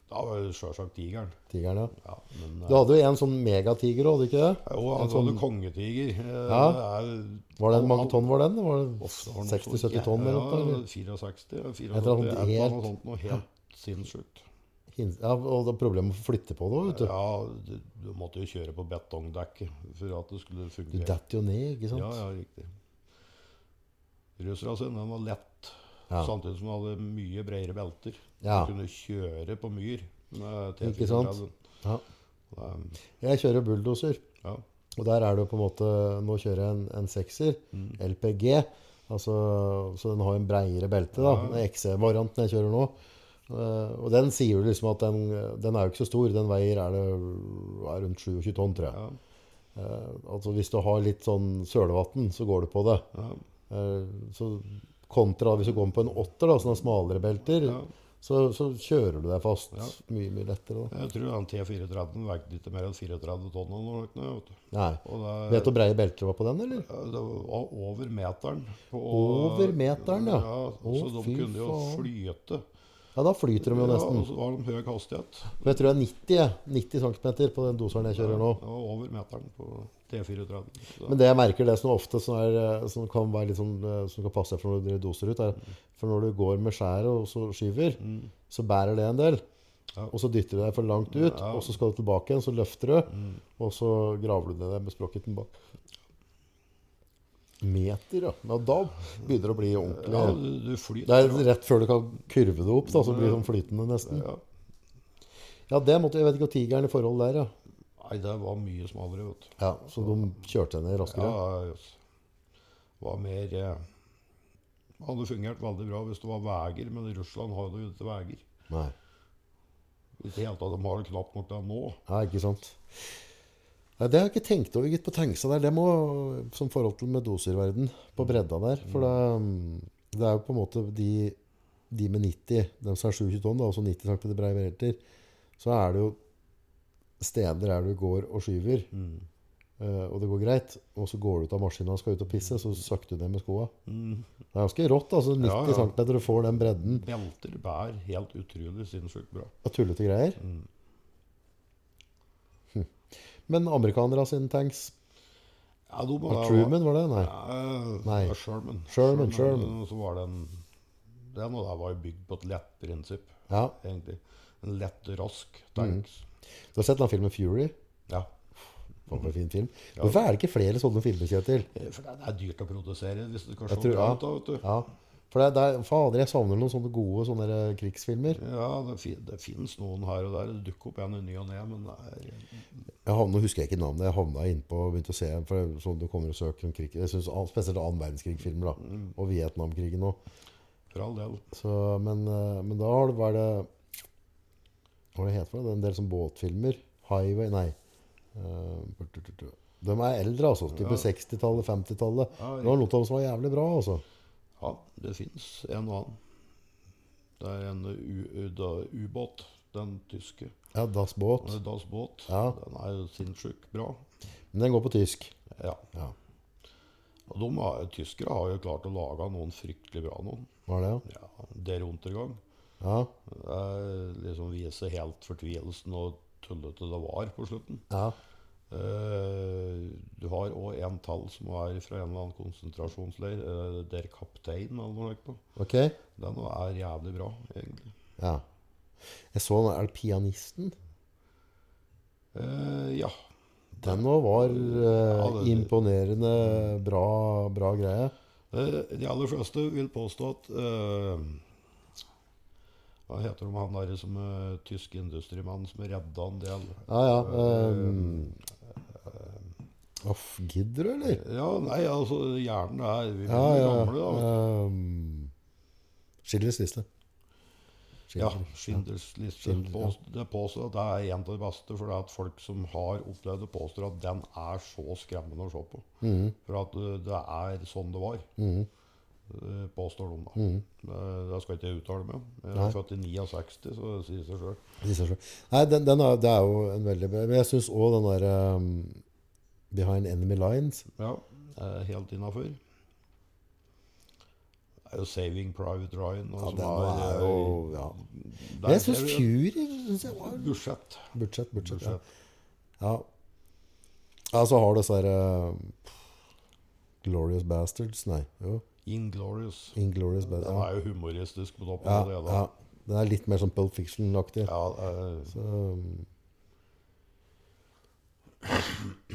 [SPEAKER 2] da var det sjølsagt tigeren.
[SPEAKER 1] Tigeren, ja.
[SPEAKER 2] Ja, men, eh,
[SPEAKER 1] Du hadde jo en sånn megatiger òg, hadde du ikke det?
[SPEAKER 2] jo, han hadde kongetiger. Eh,
[SPEAKER 1] Ja.
[SPEAKER 2] det er-
[SPEAKER 1] Var det Hvor mange tonn var den? Var det
[SPEAKER 2] Ofte har den
[SPEAKER 1] 60-70
[SPEAKER 2] så-
[SPEAKER 1] tonn eller
[SPEAKER 2] ja,
[SPEAKER 1] noe? Eller?
[SPEAKER 2] 64, ja, 74,
[SPEAKER 1] Et eller annet
[SPEAKER 2] et eller
[SPEAKER 1] helt-
[SPEAKER 2] annet sånt noe helt sinnssykt.
[SPEAKER 1] Hins- Ja, og det er problemer med å flytte på det òg, vet du.
[SPEAKER 2] Ja, du, du måtte jo kjøre på betongdekket for at det skulle
[SPEAKER 1] Du
[SPEAKER 2] fungere.
[SPEAKER 1] detter jo ned, ikke sant?
[SPEAKER 2] Ja, ja, riktig. Russerne sine den var lett,
[SPEAKER 1] Ja.
[SPEAKER 2] samtidig som de hadde mye bredere belter.
[SPEAKER 1] Ja.
[SPEAKER 2] Du kunne kjøre på myr med T34.
[SPEAKER 1] Ikke sant? Ja.
[SPEAKER 2] Um,
[SPEAKER 1] Jeg kjører bulldoser,
[SPEAKER 2] Ja,
[SPEAKER 1] og der er det jo på en måte Nå kjører jeg en, en sekser,
[SPEAKER 2] Mm.
[SPEAKER 1] LPG, altså, så den har en breiere belte, da. Den XC-varianten jeg kjører nå. Eh, og den sier jo liksom at den, den er jo ikke så stor. Den veier er det er rundt 27 tonn, tror jeg.
[SPEAKER 2] ja,
[SPEAKER 1] Eh, altså hvis du har litt sånn sølevann, så går det på det.
[SPEAKER 2] ja,
[SPEAKER 1] Eh, så kontra hvis du går på en åtter, da, som har smalere belter,
[SPEAKER 2] ja.
[SPEAKER 1] så, så kjører du deg fast mye, mye lettere. da.
[SPEAKER 2] Jeg tror den T34 veide ikke mer enn 34 tonn. eller noe, vet du.
[SPEAKER 1] Nei.
[SPEAKER 2] Og det,
[SPEAKER 1] Vet du hvor breie belter det var på den, eller?
[SPEAKER 2] Ja, Det var over meteren. På,
[SPEAKER 1] Over meteren, ja. Å,
[SPEAKER 2] så de
[SPEAKER 1] fy
[SPEAKER 2] kunne jo
[SPEAKER 1] faen.
[SPEAKER 2] flyte.
[SPEAKER 1] Ja, da flyter de jo
[SPEAKER 2] Ja,
[SPEAKER 1] nesten.
[SPEAKER 2] og så var de høy hastighet.
[SPEAKER 1] Men jeg tror det er 90, jeg. 90 cm på den doseren jeg kjører nå.
[SPEAKER 2] Det var over meteren på T34. Så,
[SPEAKER 1] Men det jeg merker, det som ofte som, er, eh, som kan være litt sånn, eh, som kan passe for når du driver doser ut, er for når du går med skjæret og så skyver, så bærer det en del.
[SPEAKER 2] Mm. Ja.
[SPEAKER 1] Og så dytter du deg for langt ut, og så skal du tilbake igjen, så løfter du,
[SPEAKER 2] Mm.
[SPEAKER 1] og så graver du ned deg med sprokketen bak. Meter, ja. ja. Da begynner det å bli
[SPEAKER 2] ja,
[SPEAKER 1] ordentlig.
[SPEAKER 2] du, du
[SPEAKER 1] Det
[SPEAKER 2] flyter.
[SPEAKER 1] er rett før du kan kurve det opp, da, så det blir det sånn flytende nesten.
[SPEAKER 2] Ja.
[SPEAKER 1] Ja, det måtte, jeg vet ikke hva tigeren i forhold der, ja.
[SPEAKER 2] Nei, det var mye smalere, vet du.
[SPEAKER 1] ja. Så de kjørte henne
[SPEAKER 2] Ja,
[SPEAKER 1] raskere.
[SPEAKER 2] jøss. Var eh, mer eh, Hadde fungert veldig bra hvis det var veier, men i Russland har det jo ikke veier.
[SPEAKER 1] Nei.
[SPEAKER 2] Ikke helt at de har det knapt nok til nå.
[SPEAKER 1] Ja, ikke sant. Nei, det har jeg ikke tenkt over, gitt, på tanksa der. Det må, som forhold til med doserverden, på bredda der. For det, mm, det er jo på en måte de, de med 90, de som er 27 tonn, da, altså 90 cm breie belter, så er det jo steder der du går og skyver,
[SPEAKER 2] Mm.
[SPEAKER 1] eh, og det går greit. Og så går du ut av maskina og skal ut og pisse, så sakter du ned med skoa. Det er ganske rått, altså. 90
[SPEAKER 2] Mm. Ja, ja.
[SPEAKER 1] cm og får den bredden
[SPEAKER 2] Belter bærer helt utrolig sinnssykt bra.
[SPEAKER 1] av tullete greier. Hm. Men amerikanere sine tanks
[SPEAKER 2] Ja, de,
[SPEAKER 1] Var Truman, var det? Nei.
[SPEAKER 2] Eh,
[SPEAKER 1] Nei.
[SPEAKER 2] det var Sherman.
[SPEAKER 1] Sherman,
[SPEAKER 2] Og Så var den, den og der var jo bygd på et lett prinsipp,
[SPEAKER 1] Ja.
[SPEAKER 2] egentlig. En lett, rask tanks.
[SPEAKER 1] Du har sett den filmen Fury?
[SPEAKER 2] Ja.
[SPEAKER 1] Faen, for en fin film. Hvorfor er det ikke flere sånne filmer, Kjetil?
[SPEAKER 2] Eh, For det er dyrt å produsere hvis det skal
[SPEAKER 1] Jeg
[SPEAKER 2] se
[SPEAKER 1] tror-
[SPEAKER 2] bra
[SPEAKER 1] ja.
[SPEAKER 2] ut. da, vet du.
[SPEAKER 1] Ja. For det, det er, fader, jeg savner noen sånne gode sånne der eh, krigsfilmer.
[SPEAKER 2] Ja, det, fin, det fins noen her og der. Det dukker opp en i ny og ne, men det er,
[SPEAKER 1] Jeg havna, husker jeg ikke navnet. Jeg havna innpå og begynte å se for det er sånn du kommer og søker om krig. Jeg synes, all- spesielt annen verdenskrig-filmer, da. Og Vietnamkrigen òg.
[SPEAKER 2] for all del
[SPEAKER 1] Men, eh, men da har det vært det Hva er det heter for det? Det er En del sånn båtfilmer. Highway Nei. Eh, De er eldre, altså. Type 60-tallet, 50-tallet.
[SPEAKER 2] Ja,
[SPEAKER 1] Det var noen av dem som var jævlig bra, altså.
[SPEAKER 2] Ja, det fins en og annen. Det er en u- da- ubåt, den tyske.
[SPEAKER 1] Ja, Das Båt.
[SPEAKER 2] Das Båt.
[SPEAKER 1] Ja.
[SPEAKER 2] Den er jo sinnssykt bra.
[SPEAKER 1] Den går på tysk.
[SPEAKER 2] Ja.
[SPEAKER 1] Ja.
[SPEAKER 2] Og de har, tyskere har jo klart å lage noen fryktelig bra noen.
[SPEAKER 1] Var det, ja?
[SPEAKER 2] Ja, Der Untergang.
[SPEAKER 1] Ja.
[SPEAKER 2] Det er liksom viser helt fortvilelsen og tullete det var på slutten.
[SPEAKER 1] ja.
[SPEAKER 2] Eh, du har òg en tall som er fra en eller annen konsentrasjonsleir, eh, der kaptein eller noe slikt. på.
[SPEAKER 1] Ok.
[SPEAKER 2] Den er jævlig bra, egentlig.
[SPEAKER 1] Ja. Jeg så den, er det pianisten?
[SPEAKER 2] Eh, ja.
[SPEAKER 1] Den nå var eh,
[SPEAKER 2] Ja, det-
[SPEAKER 1] imponerende bra, bra greie.
[SPEAKER 2] Eh, de aller fleste vil påstå at eh, Hva heter de, han derre som eh, tysk industrimann som redda en del
[SPEAKER 1] Ja, ja. ehm, Off, gidder du, eller?
[SPEAKER 2] Ja, nei, altså, hjernen er Vi blir
[SPEAKER 1] Ja, ja.
[SPEAKER 2] gamle, da. vet du.
[SPEAKER 1] ehm, Schillers liste.
[SPEAKER 2] Ja,
[SPEAKER 1] Schiller.
[SPEAKER 2] Schindlers liste.
[SPEAKER 1] Schindler, ja.
[SPEAKER 2] Påst- Det påstår at det er en av de beste, for det er at folk som har opplevd det, påstår at den er så skremmende å se på.
[SPEAKER 1] Mhm.
[SPEAKER 2] For at eh, det er sånn det var. Eh, Påstår de, da. Eh, Det skal ikke jeg uttale meg om. Jeg
[SPEAKER 1] Mhm. Nei.
[SPEAKER 2] er født i 69, så det sier seg sjøl.
[SPEAKER 1] Siste år. Nei, den, den er, det er jo en veldig bra Men jeg syns òg den der ehm, Behind Enemy Lines
[SPEAKER 2] Ja, eh, helt innafor. Det er jo 'Saving Private Ryan'. og
[SPEAKER 1] ja,
[SPEAKER 2] som
[SPEAKER 1] Den er
[SPEAKER 2] eh,
[SPEAKER 1] jo oh, ja.
[SPEAKER 2] der
[SPEAKER 1] Men jeg syns
[SPEAKER 2] ser vi-
[SPEAKER 1] Fury synes jeg var
[SPEAKER 2] Budsjett.
[SPEAKER 1] Budsjett, budsjett. Ja.
[SPEAKER 2] Budsjett.
[SPEAKER 1] ja. ja så har du disse her eh, Glorious Bastards Nei, jo.
[SPEAKER 2] Inglorious.
[SPEAKER 1] Inglorious
[SPEAKER 2] Den
[SPEAKER 1] Bastards.
[SPEAKER 2] er jo humoristisk på toppen
[SPEAKER 1] Ja,
[SPEAKER 2] av det.
[SPEAKER 1] ja,
[SPEAKER 2] da.
[SPEAKER 1] ja. Den er litt mer sånn Pulp Fiction-aktig.
[SPEAKER 2] Ja, eh,
[SPEAKER 1] Så, um,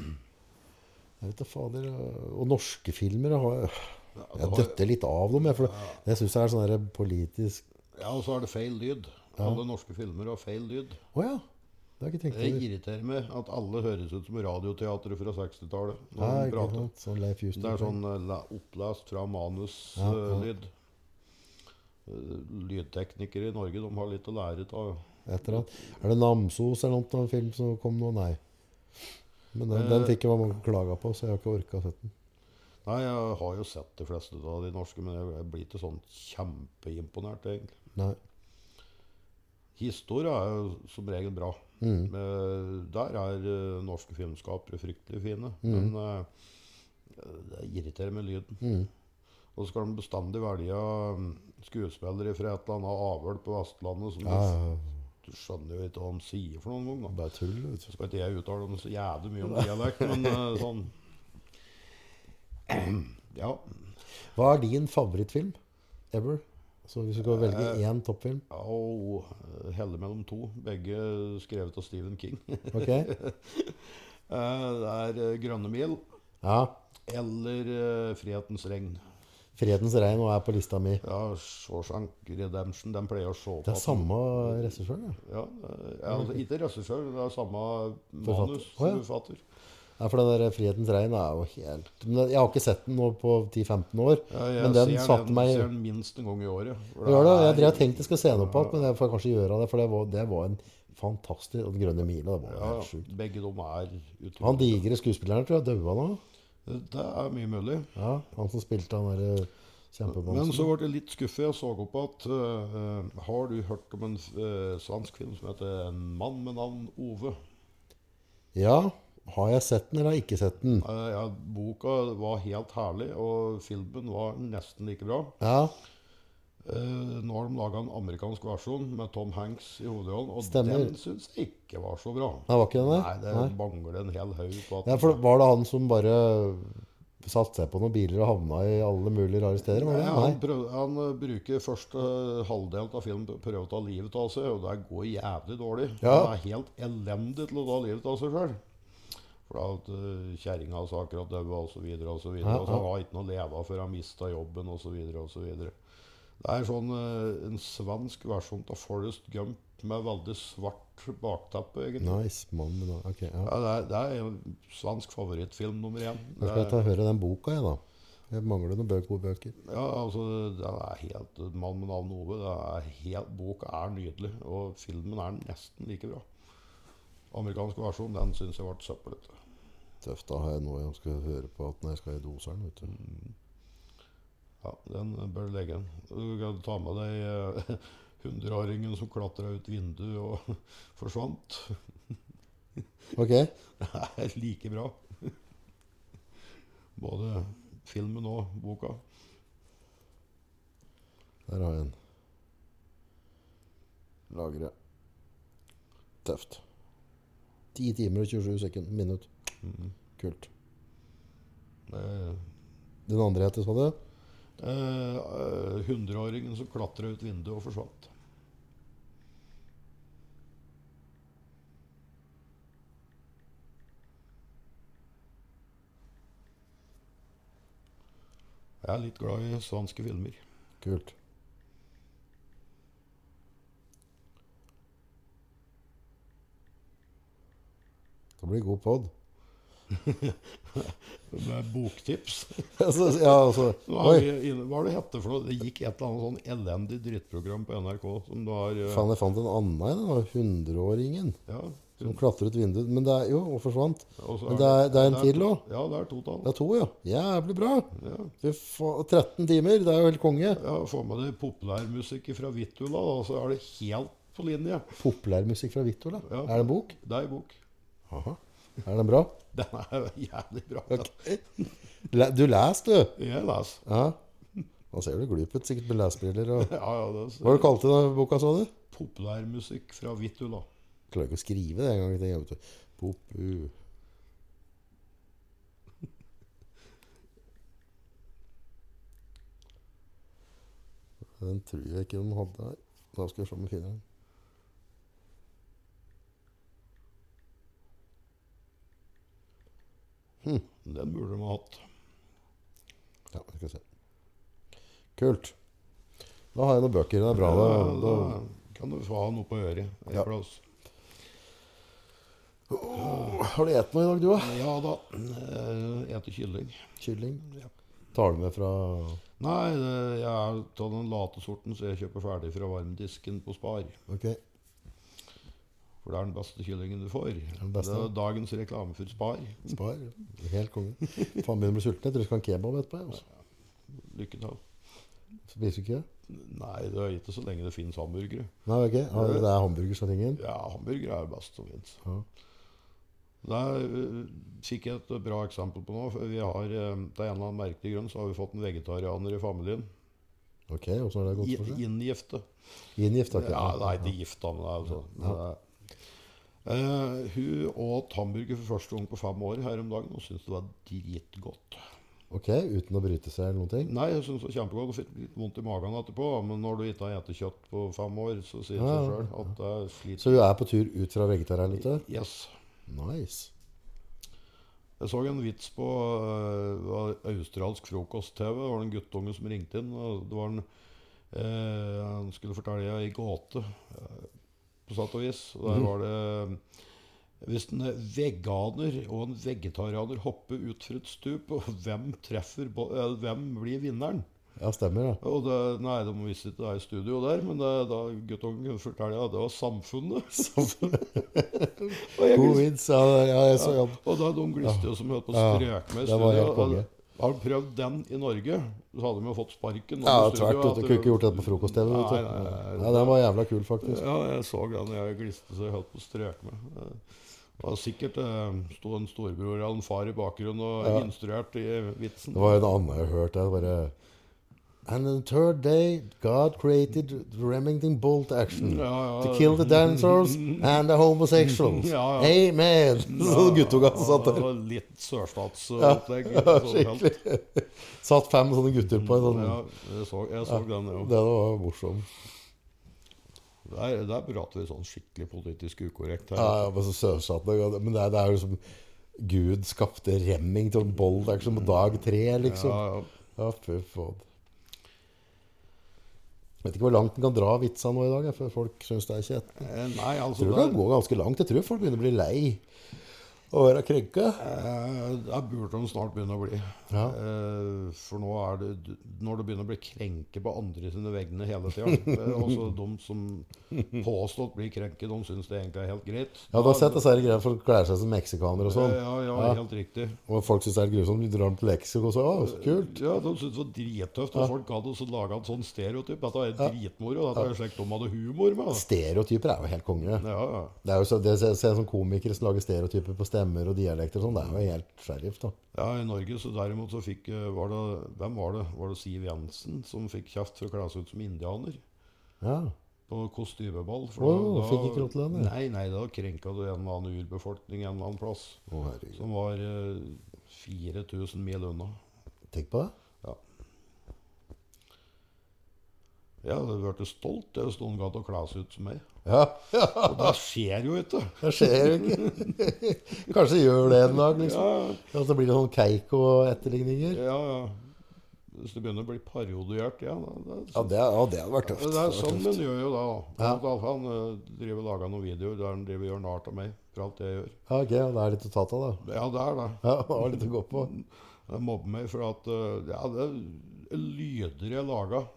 [SPEAKER 1] jeg vet da fader øh, Og norske filmer har
[SPEAKER 2] ja, det
[SPEAKER 1] Jeg
[SPEAKER 2] var-
[SPEAKER 1] døtter litt av dem, jeg. For det, jeg syns det er sånn der politisk
[SPEAKER 2] ja, og så er det feil lyd. Alle norske filmer har feil lyd.
[SPEAKER 1] Å ja! Det har jeg ikke tenkt
[SPEAKER 2] Det
[SPEAKER 1] over.
[SPEAKER 2] irriterer meg at alle høres ut som radioteatret fra 60-tallet. når
[SPEAKER 1] Nei,
[SPEAKER 2] de
[SPEAKER 1] ikke
[SPEAKER 2] prater.
[SPEAKER 1] sant? Sånn Leif Houston.
[SPEAKER 2] Det er sånn eh, la- opplest fra eh,
[SPEAKER 1] Ja, ja.
[SPEAKER 2] manus-lyd. Eh, Lydteknikere i Norge de har litt å lære av.
[SPEAKER 1] Etter at, er det Namsos eller noe en film som kom nå? Nei. Men den,
[SPEAKER 2] Eh.
[SPEAKER 1] den fikk jeg mange klager på, så jeg har ikke orka å sett den.
[SPEAKER 2] Nei, Jeg har jo sett de fleste av de norske, men jeg- jeg blir ikke sånn kjempeimponert. egentlig.
[SPEAKER 1] Nei.
[SPEAKER 2] Historie er jo som regel bra.
[SPEAKER 1] Mm.
[SPEAKER 2] Eh, Der er eh, norske filmskapere fryktelig fine.
[SPEAKER 1] Mm.
[SPEAKER 2] Men eh, det irriterer med lyden. Og så skal de bestandig velge mm, skuespillere fra et eller annet avl på Vestlandet som
[SPEAKER 1] Ja,
[SPEAKER 2] du,
[SPEAKER 1] ja,
[SPEAKER 2] du skjønner jo ikke hva de sier for noen gang. da.
[SPEAKER 1] bare tull. vet du.
[SPEAKER 2] Så skal ikke jeg uttale dem så jævlig mye om dialekt, men eh, sånn Ja.
[SPEAKER 1] Hva er din favorittfilm ever? Så hvis du skal
[SPEAKER 2] Eh.
[SPEAKER 1] velge én toppfilm
[SPEAKER 2] Og eh, helle mellom to. Begge skrevet av Stephen King.
[SPEAKER 1] Ok?
[SPEAKER 2] Eh, Det er eh, 'Grønne mil'
[SPEAKER 1] Ja.
[SPEAKER 2] eller eh, 'Frihetens regn'.
[SPEAKER 1] Fredens regn og er på lista mi.
[SPEAKER 2] Ja, Shawshank Redemption, den pleier å se på
[SPEAKER 1] Det er
[SPEAKER 2] at-
[SPEAKER 1] samme regissør, ja.
[SPEAKER 2] Ja, eh, altså, ikke regissør, det er samme manus
[SPEAKER 1] Å, ja.
[SPEAKER 2] som forfatter.
[SPEAKER 1] ja. For den der Frihetens regn er jo helt Men Jeg har ikke sett den nå på 10-15 år,
[SPEAKER 2] Ja, jeg
[SPEAKER 1] men den
[SPEAKER 2] ser
[SPEAKER 1] satte meg
[SPEAKER 2] Ser den minst en gang i året. for
[SPEAKER 1] Gjør det, Jeg
[SPEAKER 2] er-
[SPEAKER 1] drev og tenkte jeg skulle se den opp igjen, men jeg får kanskje gjøre det. For det var, det var en fantastisk og Den grønne mila. Det var
[SPEAKER 2] ja,
[SPEAKER 1] helt sjukt.
[SPEAKER 2] Begge de er
[SPEAKER 1] Han
[SPEAKER 2] utrolig.
[SPEAKER 1] digre skuespilleren tror jeg daua nå.
[SPEAKER 2] Det er mye mulig.
[SPEAKER 1] Ja, han som spilte han eh, derre
[SPEAKER 2] Men
[SPEAKER 1] kjempemonsteren.
[SPEAKER 2] så ble jeg litt skuffet. Jeg så opp at eh, eh, Har du hørt om en eh, svensk film som heter 'En mann med navn Ove'?
[SPEAKER 1] Ja. Har jeg sett den, eller har jeg ikke sett den?
[SPEAKER 2] Eh, ja, boka var helt herlig, og filmen var nesten like bra.
[SPEAKER 1] Ja,
[SPEAKER 2] Eh, nå har de laga en amerikansk versjon med Tom Hanks i hovedrollen, og
[SPEAKER 1] Stemmer.
[SPEAKER 2] den syns jeg ikke var så bra.
[SPEAKER 1] Nei, var ikke den
[SPEAKER 2] Nei,
[SPEAKER 1] det?
[SPEAKER 2] det
[SPEAKER 1] Nei.
[SPEAKER 2] mangler en hel haug på at
[SPEAKER 1] Nei, for Var det han som bare satte seg på noen biler og havna i alle mulige rare steder? Var det?
[SPEAKER 2] Nei,
[SPEAKER 1] Nei.
[SPEAKER 2] han, prøv, han eh, bruker første eh, halvdelen av filmen på å prøve å ta livet av seg, og det går jævlig dårlig.
[SPEAKER 1] Ja.
[SPEAKER 2] Han er helt elendig til å ta livet av seg sjøl. For at eh, kjerringa hans akkurat døde, og så videre, og så videre.
[SPEAKER 1] Ja,
[SPEAKER 2] Og så han har ikke noe å leve av før han mista jobben, og så videre, og så videre. Det er sånn eh, en svensk versjon av Forrest Gump med veldig svart bakteppe, egentlig.
[SPEAKER 1] Nice, mann med navn. Ok, ja.
[SPEAKER 2] Ja, det, er, det er en svensk favorittfilm nummer én.
[SPEAKER 1] Da skal jeg ta og høre den boka, jeg, da. Jeg mangler noen bøker, gode bøker.
[SPEAKER 2] Ja, altså, den er helt Mann med navn Ove. Det er helt, boka er nydelig, og filmen er nesten like bra. Amerikansk versjon, den syns jeg ble søppelete.
[SPEAKER 1] Tøft, da har jeg noe jeg skal høre på at når jeg skal i doseren, vet du.
[SPEAKER 2] Ja, den bør du legge igjen. Du kan ta med deg eh, hundreåringen som klatra ut vinduet og forsvant.
[SPEAKER 1] Ok,
[SPEAKER 2] Det er like bra. Både filmen og boka.
[SPEAKER 1] Der har vi en. Lagre. Tøft. 10 timer og 27 sekunder. Minutt. Kult.
[SPEAKER 2] Mm, Det er
[SPEAKER 1] Den andre heter, sånn, sa du?
[SPEAKER 2] eh, hundreåringen som klatra ut vinduet og forsvant. Jeg er litt glad i svanske filmer.
[SPEAKER 1] Kult. Det blir god pod.
[SPEAKER 2] Det er boktips.
[SPEAKER 1] Altså, ja, altså.
[SPEAKER 2] Hva er
[SPEAKER 1] Oi,
[SPEAKER 2] det- hva er det hette for noe? Det gikk et eller annet sånn elendig drittprogram på NRK som du har eh,
[SPEAKER 1] faen, jeg fant en annen en. da. 100-åringen
[SPEAKER 2] ja,
[SPEAKER 1] som klatret vinduet. Men det er jo, og forsvant.
[SPEAKER 2] og så
[SPEAKER 1] Men det er, det er en
[SPEAKER 2] det
[SPEAKER 1] til òg.
[SPEAKER 2] Ja, det er totalt.
[SPEAKER 1] Det er to, ja. Jævlig bra.
[SPEAKER 2] Ja.
[SPEAKER 1] Fy faen. 13 timer, det er jo helt konge.
[SPEAKER 2] Ja, Få med deg populærmusikk fra Vittula, da, så er det helt på linje.
[SPEAKER 1] Populærmusikk fra Vittola.
[SPEAKER 2] Ja.
[SPEAKER 1] Er det en bok?
[SPEAKER 2] Det er en bok.
[SPEAKER 1] Er den bra?
[SPEAKER 2] Den er jo jævlig bra.
[SPEAKER 1] Le- Du leser, du.
[SPEAKER 2] Jeg leser.
[SPEAKER 1] Ja. Nå ser du glup ut, sikkert med lesebriller og
[SPEAKER 2] Ja, ja, det
[SPEAKER 1] Hva
[SPEAKER 2] er
[SPEAKER 1] var det du kalte den boka, sa du?
[SPEAKER 2] populærmusikk fra Vittula.
[SPEAKER 1] Klarer ikke å skrive det engang. det jeg vet du. Popu. Den tror jeg ikke de hadde her. Da skal vi se om vi finner den.
[SPEAKER 2] Den burde de ha hatt.
[SPEAKER 1] Ja, vi skal se. Kult. Da har jeg noen bøker. Det er bra. Da,
[SPEAKER 2] Ja,
[SPEAKER 1] da.
[SPEAKER 2] da kan du få ha noe på øret. en
[SPEAKER 1] Ja.
[SPEAKER 2] plass.
[SPEAKER 1] Har du spist noe i dag, du, da?
[SPEAKER 2] Ja da. eh, Eter kylling.
[SPEAKER 1] Kylling?
[SPEAKER 2] Ja.
[SPEAKER 1] Tar du med fra
[SPEAKER 2] Nei, det- jeg er av den late sorten, så jeg kjøper ferdig fra varmdisken på Spar.
[SPEAKER 1] Ok.
[SPEAKER 2] For det er den beste kyllingen du får.
[SPEAKER 1] den
[SPEAKER 2] Det
[SPEAKER 1] beste.
[SPEAKER 2] er dagens reklame for Spar.
[SPEAKER 1] Spar. Helt konge. Faen, begynner å bli sulten. Jeg tror jeg skal ha en kebab etterpå. jeg, Altså.
[SPEAKER 2] Lykke til.
[SPEAKER 1] Spiser du ikke?
[SPEAKER 2] Nei, det er ikke så lenge det finnes hamburgere.
[SPEAKER 1] Nei, ok. Ja, det er hamburger som er tingen.
[SPEAKER 2] Ja, hamburgere er best som finnes.
[SPEAKER 1] Ja.
[SPEAKER 2] Der øh, fikk jeg et bra eksempel på nå. for Vi har, øh, det er en eller annen merkelig grunn, så har vi fått en vegetarianer i familien.
[SPEAKER 1] Ok, åssen har det gått
[SPEAKER 2] I-
[SPEAKER 1] for seg?
[SPEAKER 2] Inngifte.
[SPEAKER 1] Inngift, ok.
[SPEAKER 2] Ja, nei, ikke gifta, men det er jo sånn. Men det er- Eh, hun åt hamburger for første gang på fem år her om dagen og syntes det var dritgodt.
[SPEAKER 1] Ok, uten å bryte seg eller noen ting?
[SPEAKER 2] Nei, hun syntes det var kjempegodt og fikk litt vondt i magen etterpå. Men når du ikke har spist kjøtt på fem år, så sier det
[SPEAKER 1] Ja,
[SPEAKER 2] seg
[SPEAKER 1] ja.
[SPEAKER 2] sjøl at det er slit.
[SPEAKER 1] Så hun er på tur ut fra vegetarhelvetet?
[SPEAKER 2] Yes.
[SPEAKER 1] Nice.
[SPEAKER 2] Jeg så en vits på eh, det var australsk frokost-TV. Det var en guttunge som ringte inn. og det var en, eh, Han skulle fortelle ei gåte, eh, på satt og vis. Og der var det eh, Hvis en veganer og en vegetarianer hopper ut fra et stup, og hvem, treffer, bo- eller hvem blir vinneren?
[SPEAKER 1] Ja, stemmer, ja.
[SPEAKER 2] Og det, nei, de visste ikke det er i studio der, men det, da guttungen kunne fortelle at det var samfunnet. og, jeg,
[SPEAKER 1] God
[SPEAKER 2] glis-
[SPEAKER 1] vits. Ja, ja, jeg så jobb.
[SPEAKER 2] og da de gliste jo som hørt på
[SPEAKER 1] Ja,
[SPEAKER 2] strøk med i
[SPEAKER 1] det var
[SPEAKER 2] studio.
[SPEAKER 1] helt konge.
[SPEAKER 2] og Har de prøvd den i Norge, så hadde de jo fått sparken.
[SPEAKER 1] Ja,
[SPEAKER 2] i studio,
[SPEAKER 1] tvert. vet
[SPEAKER 2] at
[SPEAKER 1] Du Du kunne
[SPEAKER 2] det-
[SPEAKER 1] ikke gjort det på frokost-TV. vet
[SPEAKER 2] Nei,
[SPEAKER 1] du.
[SPEAKER 2] nei, nei,
[SPEAKER 1] Ja, den var jævla kul, faktisk.
[SPEAKER 2] Ja, jeg så den, og jeg gliste så jeg holdt på å strøk med. Det var sikkert eh, sto en storebror eller en far i bakgrunnen og
[SPEAKER 1] Ja.
[SPEAKER 2] instruerte i vitsen.
[SPEAKER 1] Det var en annen jeg hørte. Jeg bare And on the third day, God created Remington Bolt action.
[SPEAKER 2] Ja, ja.
[SPEAKER 1] To kill the dinosaurs and the homosexuals.
[SPEAKER 2] Ja, ja.
[SPEAKER 1] Amen! Sånn guttunga som satt
[SPEAKER 2] Det
[SPEAKER 1] der.
[SPEAKER 2] var Litt sørstatsopplegg. Ja,
[SPEAKER 1] skikkelig. Satt fem sånne gutter på en sånn
[SPEAKER 2] Ja, jeg så, jeg så den, jo.
[SPEAKER 1] Det var morsom.
[SPEAKER 2] Der, der prater vi sånn skikkelig politisk ukorrekt her.
[SPEAKER 1] Ja, ja, men så sørsatt det. Men det er, det er jo liksom Gud skapte Remington Bolt action på dag tre, liksom.
[SPEAKER 2] Ja, ja.
[SPEAKER 1] Ja, fy faen. Vet ikke hvor langt den kan dra vitsa nå i dag, jeg, for folk syns det er kjedelig.
[SPEAKER 2] Eh, Nei, altså
[SPEAKER 1] Jeg tror det
[SPEAKER 2] det
[SPEAKER 1] kan gå ganske langt. Jeg tror folk begynner å bli lei å være krenka.
[SPEAKER 2] eh, Der burde de snart begynne å bli.
[SPEAKER 1] Ja.
[SPEAKER 2] Eh, For nå er det d- Når det begynner å bli krenke på andre sine vegne hele tida Altså de som påstått blir krenket, de syns det egentlig er helt greit.
[SPEAKER 1] Ja, du har sett disse her greiene folk kler seg som meksikanere og
[SPEAKER 2] Ja,
[SPEAKER 1] sånn.
[SPEAKER 2] ja, ja,
[SPEAKER 1] Ja.
[SPEAKER 2] helt riktig.
[SPEAKER 1] Og folk syns det er grusomt. De drar dem til Leksiko og så Å, så kult.
[SPEAKER 2] Ja, De syntes det var drittøft. Og folk gadd å lage en sånn stereotyp. Dette er dritmoro. Dette er slik de hadde humor med. da.
[SPEAKER 1] Stereotyper er jo helt konge.
[SPEAKER 2] Ja, ja.
[SPEAKER 1] Det er jo så, det ser, ser sånn komikere som lager stereotyper på ste, stemmer og dialekter og sånn. Det er jo helt sheriff, da.
[SPEAKER 2] Ja, I Norge så derimot så fikk eh, var det, Hvem var det? Var det Siv Jensen som fikk kjeft for å kle seg ut som indianer?
[SPEAKER 1] Ja.
[SPEAKER 2] På kostymeball.
[SPEAKER 1] Åh, fikk ikke lov til det, nei.
[SPEAKER 2] Nei, nei, da krenka du en eller annen urbefolkning en eller annen plass.
[SPEAKER 1] Å, herregud.
[SPEAKER 2] Som var eh, 4000 mil unna.
[SPEAKER 1] Tenk på det.
[SPEAKER 2] Ja. Jeg hadde vært stolt hvis noen gadd å kle seg ut som meg.
[SPEAKER 1] Ja, ja,
[SPEAKER 2] Og det skjer jo ikke.
[SPEAKER 1] det skjer jo ikke. Kanskje gjør det en dag, liksom.
[SPEAKER 2] Ja,
[SPEAKER 1] Ja, så blir det sånn Keiko-etterligninger.
[SPEAKER 2] ja, ja. Hvis det begynner å bli parodiert, ja. Da, da,
[SPEAKER 1] Ja, det, ja, det hadde vært
[SPEAKER 2] Ja,
[SPEAKER 1] tøft.
[SPEAKER 2] Det er
[SPEAKER 1] Det hadde vært
[SPEAKER 2] sånn
[SPEAKER 1] tøft.
[SPEAKER 2] hun gjør jo da.
[SPEAKER 1] Ja.
[SPEAKER 2] At Han eh, driver og lager noen videoer der han driver og gjør narr av meg for alt jeg gjør.
[SPEAKER 1] Ja, ok, ja, det er litt å ta av, da.
[SPEAKER 2] Ja, det er det.
[SPEAKER 1] Ja, det var litt å gå på.
[SPEAKER 2] Jeg mobber meg for at eh, Ja, det er lyder jeg lager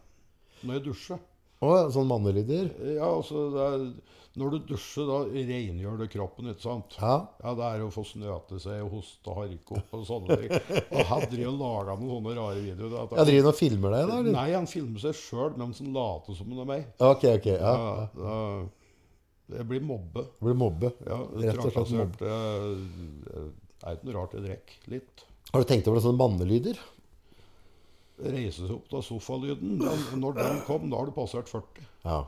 [SPEAKER 2] når jeg dusjer.
[SPEAKER 1] Å, sånn mannelyder.
[SPEAKER 2] Ja, altså det er, Når du dusjer, da rengjør det kroppen, ikke sant?
[SPEAKER 1] Ja.
[SPEAKER 2] Ja, det er jo å få snøte seg og hoste og harke opp og sånne ting. Og han driver og lager noen sånne rare videoer. da, at
[SPEAKER 1] Jeg driver og filmer deg, da?
[SPEAKER 2] han,
[SPEAKER 1] eller?
[SPEAKER 2] nei, han filmer seg sjøl mens han later som han er meg.
[SPEAKER 1] Ja, Ok, ok. Ja.
[SPEAKER 2] Ja, da- jeg blir mobbet.
[SPEAKER 1] Du Blir mobbe.
[SPEAKER 2] Ja,
[SPEAKER 1] Rett og slett
[SPEAKER 2] trakassert. eh, Det er ikke noe rart jeg drikker. Litt.
[SPEAKER 1] Har du tenkt over det sånne mannelyder?
[SPEAKER 2] Reise seg opp av sofalyden. Den, når den kom, da har du passert 40.
[SPEAKER 1] Ja.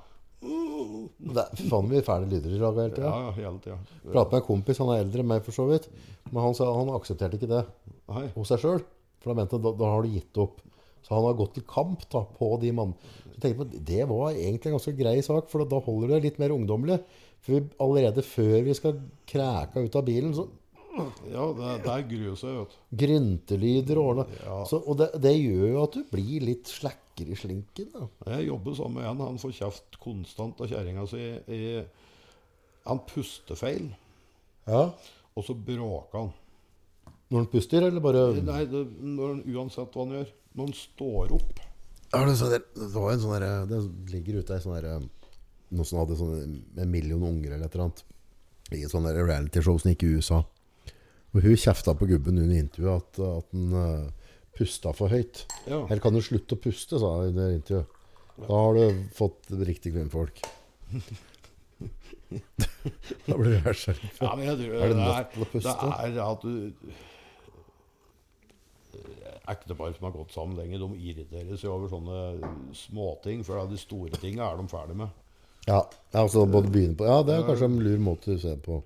[SPEAKER 2] Mm.
[SPEAKER 1] Det er fy faen mye fæle lyder i dag hele
[SPEAKER 2] Ja,
[SPEAKER 1] tida.
[SPEAKER 2] ja, hele tida.
[SPEAKER 1] Prater med en kompis, han er eldre enn meg for så vidt. Men han, sa, han aksepterte ikke det
[SPEAKER 2] Nei.
[SPEAKER 1] hos seg sjøl. For da mente han da, da har du gitt opp. Så han har gått til kamp da, på de mannene. Så tenkte jeg på, Det var egentlig en ganske grei sak, for da holder du deg litt mer ungdommelig. For vi, allerede før vi skal kræka ut av bilen, så
[SPEAKER 2] Ja, det, der gruer seg, vet du.
[SPEAKER 1] Gryntelyder og ordne.
[SPEAKER 2] Ja.
[SPEAKER 1] Så, og det, det gjør jo at du blir litt slakker i slinken. Da.
[SPEAKER 2] Jeg jobber sammen med en. Han får kjeft konstant av kjerringa si. i- Han puster feil,
[SPEAKER 1] Ja.
[SPEAKER 2] og så bråker han.
[SPEAKER 1] Når den puster, eller bare
[SPEAKER 2] Nei, det, når, han- uansett hva han gjør. Når han står opp
[SPEAKER 1] Er det, sånn der, det var en sånn der Det ligger ute ei sånn der Noen som hadde sånn en million unger eller et eller annet. I et sånn sånt der realityshow som gikk i USA. Og hun kjefta på gubben under intervjuet at, at han eh, pusta for høyt.
[SPEAKER 2] Ja.
[SPEAKER 1] Her kan du slutte å puste, sa hun under intervjuet. Da har du fått riktig kvinnfolk. da blir du skjerpa.
[SPEAKER 2] Ja, men jeg tror,
[SPEAKER 1] Er det
[SPEAKER 2] det
[SPEAKER 1] nødt til å puste?
[SPEAKER 2] Det er at du Ektepar som har gått sammen lenge, de irriterer seg over sånne småting. For de store tinga er de ferdig med.
[SPEAKER 1] Ja, ja, altså både begynne på Ja, det er kanskje en lur måte å se på.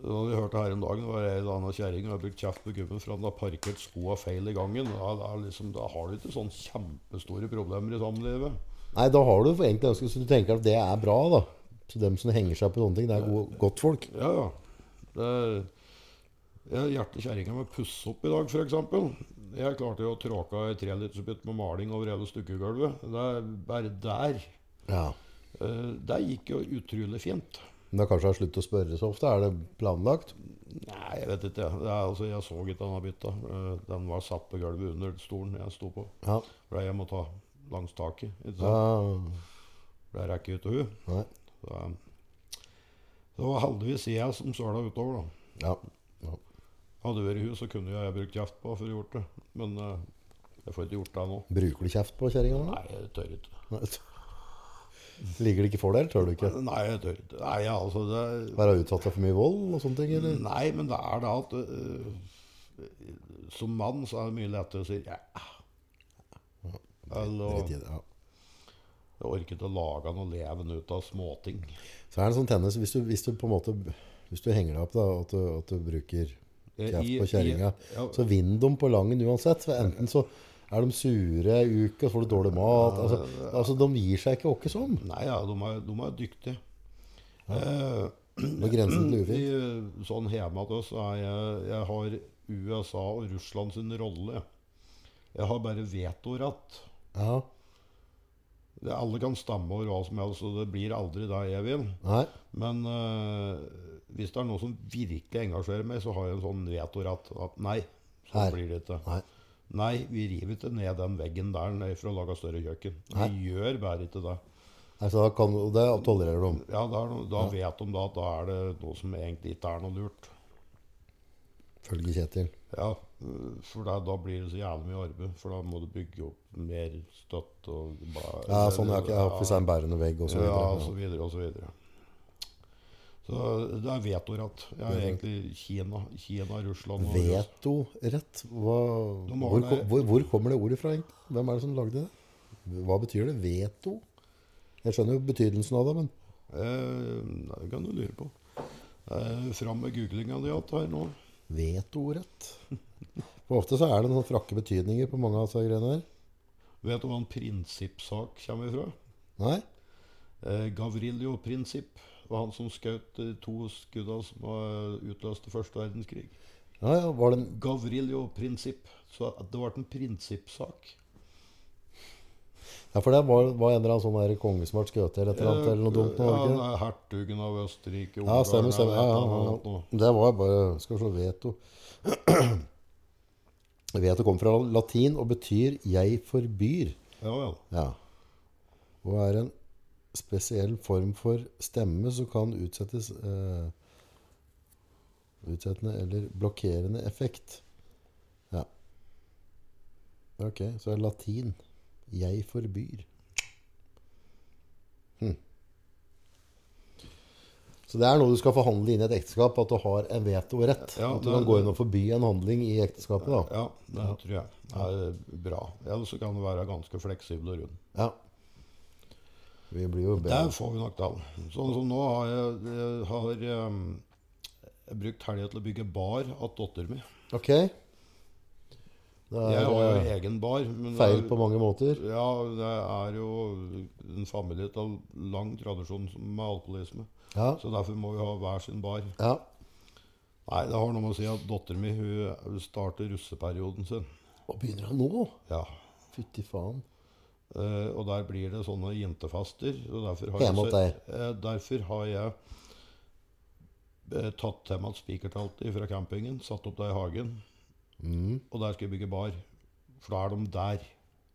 [SPEAKER 2] Da vi hørte her om dagen, var ei eller annen kjerring som hadde brukt kjeft på gubben for han har parkert skoa feil i gangen. Da, da, er liksom, da har du ikke sånne kjempestore problemer i samlivet.
[SPEAKER 1] Nei, da har du egentlig ganske Så du tenker at det er bra, da. Så dem som henger seg opp i sånne ting, det er gode, godt folk.
[SPEAKER 2] Ja, ja. Det, jeg hjertet kjerringa med å pusse opp i dag, f.eks. Jeg klarte jo å tråke ei trelitersbit med maling over hele stukkegulvet. Det er bare der.
[SPEAKER 1] Ja.
[SPEAKER 2] Eh, Det gikk jo utrolig fint.
[SPEAKER 1] Men da kanskje har slutt å spørre så ofte. Er det planlagt?
[SPEAKER 2] Nei, jeg vet ikke. Det er, altså, jeg så ikke denne bytta. Eh, Den var satt på gulvet under stolen jeg sto på.
[SPEAKER 1] Ja.
[SPEAKER 2] For jeg må ta langs taket. Ikke
[SPEAKER 1] ja.
[SPEAKER 2] sant? Det rekker jeg ikke hun.
[SPEAKER 1] Nei.
[SPEAKER 2] Så, eh, det var heldigvis jeg som søla utover, da.
[SPEAKER 1] Ja. ja.
[SPEAKER 2] Hadde det vært hun, så kunne jeg brukt kjeft på for å gjort det. Men eh, jeg får ikke gjort det nå.
[SPEAKER 1] Bruker du kjeft på kjerringa nå?
[SPEAKER 2] Nei, jeg tør ikke.
[SPEAKER 1] Nei. Ligger det ikke for deg, eller tør du ikke?
[SPEAKER 2] Nei, jeg tør ikke. Nei, altså, det,
[SPEAKER 1] Være utsatt for mye vold og sånne ting, eller?
[SPEAKER 2] nei men det er det at eh, Som mann så er det mye lettere å si ja. Eller,
[SPEAKER 1] Litt i det, ja.
[SPEAKER 2] Jeg orker ikke å lage noe leven ut av småting.
[SPEAKER 1] Så er det sånn tennis hvis du, hvis du på en måte Hvis du henger deg opp, da, at du, at du bruker kjeft på kjerringa.
[SPEAKER 2] Ja,
[SPEAKER 1] Så vinner de på langen uansett. For enten så er de sure ei uke, og så får du dårlig mat. Altså, altså De gir seg ikke åkke som.
[SPEAKER 2] nei, ja, de er, de er dyktige. Eh,
[SPEAKER 1] Det er grensen til
[SPEAKER 2] i,
[SPEAKER 1] ufint.
[SPEAKER 2] eh, sånn hjemme hos oss er jeg, jeg har USA og Russland sin rolle. Jeg har bare vetorett.
[SPEAKER 1] Ja.
[SPEAKER 2] Det- Alle kan stemme over hva som helst, og det blir aldri det jeg vil.
[SPEAKER 1] Nei.
[SPEAKER 2] Men eh, hvis det er noe som virkelig engasjerer meg, så har jeg en sånn vetorett. At nei,
[SPEAKER 1] Her.
[SPEAKER 2] sånn blir det ikke.
[SPEAKER 1] Nei.
[SPEAKER 2] Nei, vi river ikke ned den veggen der nede for å lage større kjøkken. Vi gjør bare ikke det.
[SPEAKER 1] Altså, da kan, og det tolererer de.
[SPEAKER 2] Ja, da, er no- da vet de da at da er det noe som egentlig ikke er noe lurt.
[SPEAKER 1] Følge Kjetil.
[SPEAKER 2] Ja, øh, for da, da blir det så jævlig mye arbeid. For da må du bygge opp mer støtt og ba- sånn,
[SPEAKER 1] Ja, sånn, jeg har ikke jeg har ikke seg en bærende vegg og så
[SPEAKER 2] Ja, altså.
[SPEAKER 1] videre.
[SPEAKER 2] og så videre og så videre. Så det er vetorett. Det er egentlig Kina, Kina Russland og
[SPEAKER 1] Vetorett? Hva,
[SPEAKER 2] De har
[SPEAKER 1] hvor,
[SPEAKER 2] det-
[SPEAKER 1] kom- hvor, hvor kommer det ordet fra, egentlig? Hvem er det som lagde det? Hva betyr det? Veto? Jeg skjønner jo betydelsen av det, men
[SPEAKER 2] Eh, nei, det kan du lure på. Eh, fram med googlinga di igjen her nå.
[SPEAKER 1] vetorett? For ofte så er det noen frakke betydninger på mange av disse greiene her.
[SPEAKER 2] Vet du hva en prinsippsak kommer ifra?
[SPEAKER 1] Nei?
[SPEAKER 2] Eh, Gavrilio Prinsipp var han som skjøt de to skudda som eh, utløste første verdenskrig.
[SPEAKER 1] Ja, ja, var det en
[SPEAKER 2] Gavrilio Prinsipp. Så det ble en prinsippsak.
[SPEAKER 1] Ja, for det var, var en eller annen sånn der konge som ble skutt eller et eller annet, eller noe dumt. nå, var det
[SPEAKER 2] Eh, ja,
[SPEAKER 1] ikke det?
[SPEAKER 2] nei, hertugen av Østerrike.
[SPEAKER 1] Ja,
[SPEAKER 2] Ungarn,
[SPEAKER 1] stemmer,
[SPEAKER 2] jeg
[SPEAKER 1] stemmer.
[SPEAKER 2] vet
[SPEAKER 1] Ja,
[SPEAKER 2] han har
[SPEAKER 1] ja,
[SPEAKER 2] hatt noe.
[SPEAKER 1] ja. Det var bare Skal vi se veto. Veto kommer fra latin og betyr 'jeg forbyr'.
[SPEAKER 2] Ja vel.
[SPEAKER 1] Ja. Og er en spesiell form for stemme som kan utsettes eh, Utsettende eller blokkerende effekt. Ja. Ok, så er det latin. 'Jeg forbyr'. Hm. Så det er noe du skal forhandle inn i et ekteskap, at du har en vetorett.
[SPEAKER 2] Ja,
[SPEAKER 1] at du
[SPEAKER 2] det-
[SPEAKER 1] kan gå inn og forby en handling i ekteskapet. da.
[SPEAKER 2] Ja, det tror jeg er bra. Ellers så kan det være ganske fleksibel og rund.
[SPEAKER 1] Ja. Vi blir jo bedre.
[SPEAKER 2] Der får vi nok til. Sånn som nå har jeg, jeg har em, jeg brukt helga til å bygge bar av datteren min.
[SPEAKER 1] Ok. Det
[SPEAKER 2] Jeg
[SPEAKER 1] er
[SPEAKER 2] har jo
[SPEAKER 1] eh,
[SPEAKER 2] egen bar. Men
[SPEAKER 1] feil
[SPEAKER 2] det er-
[SPEAKER 1] på mange måter.
[SPEAKER 2] Ja, det er jo en familie av lang tradisjon som- med alkoholisme.
[SPEAKER 1] Ja.
[SPEAKER 2] Så derfor må vi ha hver sin bar.
[SPEAKER 1] ja.
[SPEAKER 2] Nei, det har noe med å si at datteren min hun starter russeperioden sin.
[SPEAKER 1] Og begynner han nå?
[SPEAKER 2] Ja.
[SPEAKER 1] Fytti faen.
[SPEAKER 2] Eh, og der blir det sånne jentefester. Og derfor har
[SPEAKER 1] Hjemme hos
[SPEAKER 2] jeg,
[SPEAKER 1] deg.
[SPEAKER 2] eh, derfor har jeg eh, tatt til meg et spikertelt fra campingen, satt opp det i hagen. Og der skal jeg bygge bar. For da er de der.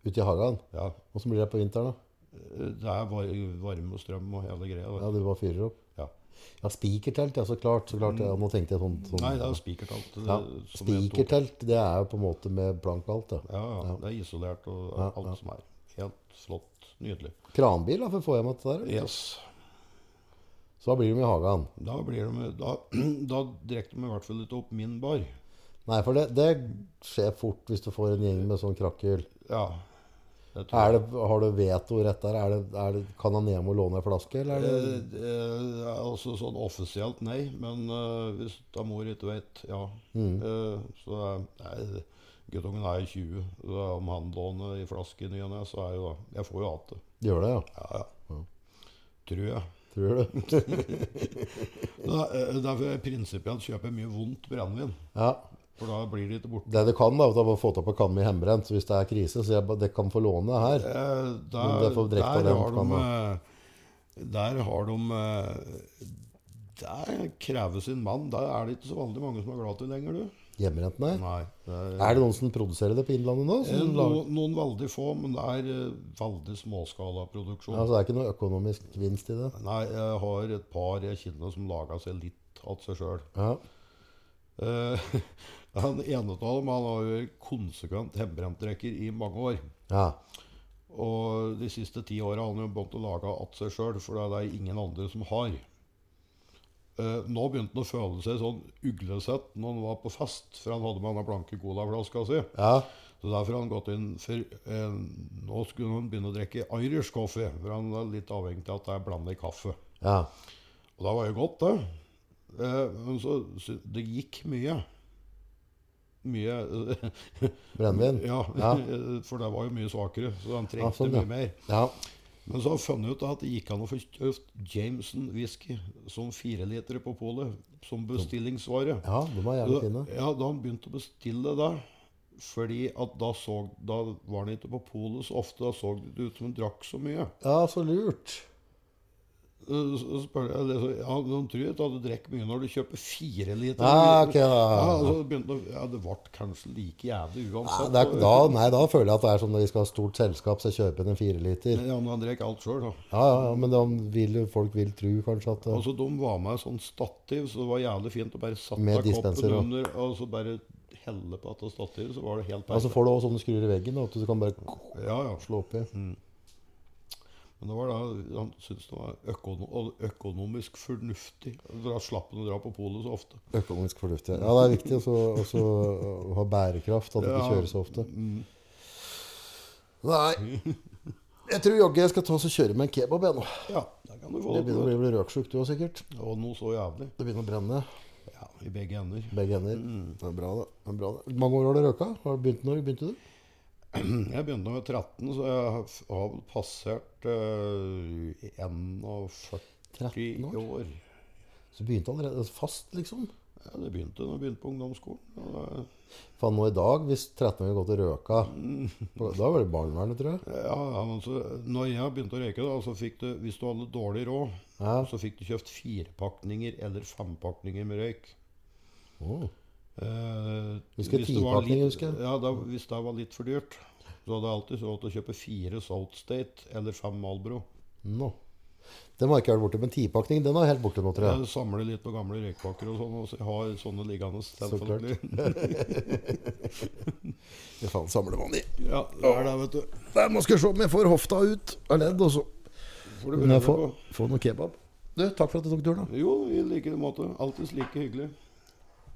[SPEAKER 1] Ute i hagen.
[SPEAKER 2] Ja.
[SPEAKER 1] Åssen blir det på vinteren, da?
[SPEAKER 2] Eh, Det er var varme og strøm og hele greia.
[SPEAKER 1] Ja,
[SPEAKER 2] der.
[SPEAKER 1] Du bare fyrer opp?
[SPEAKER 2] Ja.
[SPEAKER 1] Ja, spikertelt, ja, så klart. Så klart ja. Nå tenkte jeg sånn, sånn
[SPEAKER 2] Nei, det er jo spikertelt. eh,
[SPEAKER 1] ja.
[SPEAKER 2] som jeg tok.
[SPEAKER 1] Spikertelt, det er jo på en måte med plank og alt, ja.
[SPEAKER 2] Ja, ja, Det er isolert og
[SPEAKER 1] Ja,
[SPEAKER 2] alt
[SPEAKER 1] ja.
[SPEAKER 2] som er. Helt flott. Nydelig.
[SPEAKER 1] Kranbil, da, for å få hjem alt det der.
[SPEAKER 2] Yes.
[SPEAKER 1] Så da blir de i hagen.
[SPEAKER 2] Da blir de Da, da drikker de i hvert fall ikke opp min bar.
[SPEAKER 1] Nei, for det, det skjer fort hvis du får en gjeng med sånn krakkhjul.
[SPEAKER 2] Ja. Det tror jeg.
[SPEAKER 1] Er det, har du vetorett der? Er det, er det, kan han ned og låne en flaske, eller er det
[SPEAKER 2] Eh, eh, altså sånn offisielt nei, men eh, hvis da mor ikke vet, ja.
[SPEAKER 1] Mm.
[SPEAKER 2] Eh, så er- nei, guttungen er jo 20. Så om han låner i flaske i ny og ne, så er jo da Jeg får jo alt det.
[SPEAKER 1] Gjør det, ja.
[SPEAKER 2] Ja, ja. Tror jeg.
[SPEAKER 1] Tror du?
[SPEAKER 2] Da, eh, derfor er prinsipielt kjøper jeg mye vondt brennevin.
[SPEAKER 1] Ja.
[SPEAKER 2] For da blir det ikke borte.
[SPEAKER 1] Det du kan, da, er å få tak på en kanne med hjemmebrent. Så hvis det er krise, så jeg, ba- det kan få låne her.
[SPEAKER 2] Eh,
[SPEAKER 1] Men
[SPEAKER 2] der,
[SPEAKER 1] det får
[SPEAKER 2] der,
[SPEAKER 1] drekke av den
[SPEAKER 2] har de,
[SPEAKER 1] kanna.
[SPEAKER 2] eh, der har de eh, Der krever sin mann. Der er det ikke så veldig mange som er glad til lenger, du.
[SPEAKER 1] Hjemmebrent, nei.
[SPEAKER 2] Nei. Det er,
[SPEAKER 1] Er det noen som produserer det på Innlandet nå?
[SPEAKER 2] Eh,
[SPEAKER 1] Som lager,
[SPEAKER 2] Noen, noen veldig få, men det er eh, veldig småskalaproduksjon.
[SPEAKER 1] altså, det er ikke noe økonomisk vinst i det?
[SPEAKER 2] Nei, jeg har et par jeg kjenner som laga seg litt av seg sjøl.
[SPEAKER 1] Ja.
[SPEAKER 2] Eh, den ene av dem han har jo konsekvent hjemmebrentdrikker i mange år.
[SPEAKER 1] ja.
[SPEAKER 2] Og de siste ti åra har han jo begynt å lage av seg sjøl, for det er det ingen andre som har. Eh, nå begynte han å føle seg sånn uglesett når han var på fest, for han hadde med denne blanke colaflaska si.
[SPEAKER 1] ja.
[SPEAKER 2] Så derfor har han gått inn for eh, Nå skulle han begynne å drikke Irish coffee, for han er litt avhengig av at det er blanda i kaffe.
[SPEAKER 1] Ja.
[SPEAKER 2] Og da var jo godt, det. Eh, men så, så Det gikk mye. Mye eh,
[SPEAKER 1] Brennevin?
[SPEAKER 2] Ja,
[SPEAKER 1] Ja.
[SPEAKER 2] eh, for det var jo mye svakere, så han trengte
[SPEAKER 1] Ja, sånn, ja.
[SPEAKER 2] mye mer.
[SPEAKER 1] ja.
[SPEAKER 2] Men så har han funnet ut at det gikk an å få kjøpt Jameson whisky som firelitere på polet som bestillingsvare.
[SPEAKER 1] Ja, de er
[SPEAKER 2] Da-
[SPEAKER 1] jævlig fine.
[SPEAKER 2] Ja, da han begynte å bestille det, fordi at da, så, da var han ikke på polet så ofte. Da så det ut som han drakk så mye.
[SPEAKER 1] Ja, så lurt.
[SPEAKER 2] Eh, Så spør jeg, eller så, ja, De tror ikke at du drikker mye når du kjøper fire liter.
[SPEAKER 1] Ja, Ah, ok, da.
[SPEAKER 2] Ja, og så begynte han å- ja, det ble kanskje like jævlig
[SPEAKER 1] Ja,
[SPEAKER 2] uansett.
[SPEAKER 1] det er, da, nei, da føler jeg at det er sånn når vi skal ha stort selskap, så kjøper jeg en fireliter.
[SPEAKER 2] Ja, men han drakk alt sjøl, da.
[SPEAKER 1] Ja, ja, ja, men da vil, jo- folk vil tro kanskje at eh,
[SPEAKER 2] Altså, de var med sånn stativ, så det var jævlig fint å bare satt
[SPEAKER 1] Med
[SPEAKER 2] av koppen
[SPEAKER 1] dispenser, da.
[SPEAKER 2] under og så bare helle på at det stativet, så var det helt
[SPEAKER 1] Ja, så
[SPEAKER 2] perfekt.
[SPEAKER 1] får du også sånne skruer i veggen, da, at du kan bare
[SPEAKER 2] Ja, ja.
[SPEAKER 1] slå oppi.
[SPEAKER 2] Men det var da han syntes det var økono økonomisk fornuftig. Da slapp han å dra på polet så ofte.
[SPEAKER 1] Økonomisk fornuftig. Ja, det er viktig også, også å ha bærekraft, at du ikke
[SPEAKER 2] Ja. Mm.
[SPEAKER 1] kjører så ofte. Nei. Jeg tror jaggu jeg skal ta oss og kjøre med en kebab, jeg nå.
[SPEAKER 2] Ja, der kan du få
[SPEAKER 1] Det
[SPEAKER 2] det.
[SPEAKER 1] begynner å
[SPEAKER 2] på det.
[SPEAKER 1] bli- bli røksjuk, du òg sikkert.
[SPEAKER 2] Og noe så jævlig.
[SPEAKER 1] Det begynner å brenne.
[SPEAKER 2] Ja, I begge ender.
[SPEAKER 1] Begge ender.
[SPEAKER 2] Mm.
[SPEAKER 1] Det er bra, det. det, er bra, det. Hvor mange år har du røyka? Har du begynt når begynte du? Mm.
[SPEAKER 2] Jeg begynte da jeg var 13, så jeg har f- har vel passert eh, 41
[SPEAKER 1] 13
[SPEAKER 2] år.
[SPEAKER 1] Så begynte allerede fast, liksom.
[SPEAKER 2] Ja, det begynte da jeg begynte på ungdomsskolen. Og eh, da,
[SPEAKER 1] Faen, nå i dag, hvis 13-åringer går til røyka
[SPEAKER 2] Mm.
[SPEAKER 1] Da var det barnevernet, tror jeg.
[SPEAKER 2] ja, ja, men så, når jeg begynte å røyke, da, så fikk du, hvis du hadde dårlig råd,
[SPEAKER 1] Ja.
[SPEAKER 2] så fikk du kjøpt firepakninger eller fempakninger med røyk.
[SPEAKER 1] Åh.
[SPEAKER 2] Eh,
[SPEAKER 1] Husker
[SPEAKER 2] det var
[SPEAKER 1] tipakning,
[SPEAKER 2] litt-
[SPEAKER 1] husker jeg.
[SPEAKER 2] Ja, da, hvis det var litt for dyrt, så hadde jeg alltid råd til å kjøpe fire Salt State eller fem Malbro.
[SPEAKER 1] Nå. Den har ikke vært borte, men tipakning den er helt borte nå, tror jeg.
[SPEAKER 2] Jeg samler litt på gamle røykpakker og sånn, og så jeg har sånne liggende.
[SPEAKER 1] klart.
[SPEAKER 2] selvfølgelig.
[SPEAKER 1] Fy faen, samler man i.
[SPEAKER 2] Ja, det er det, vet du.
[SPEAKER 1] Nei, Nå skal jeg se om jeg får hofta ut av ledd, og så
[SPEAKER 2] Får du
[SPEAKER 1] kan jeg få,
[SPEAKER 2] prøve på.
[SPEAKER 1] få noe kebab. Du, takk for at du tok turen. da.
[SPEAKER 2] Jo, i like måte. Alltids like hyggelig.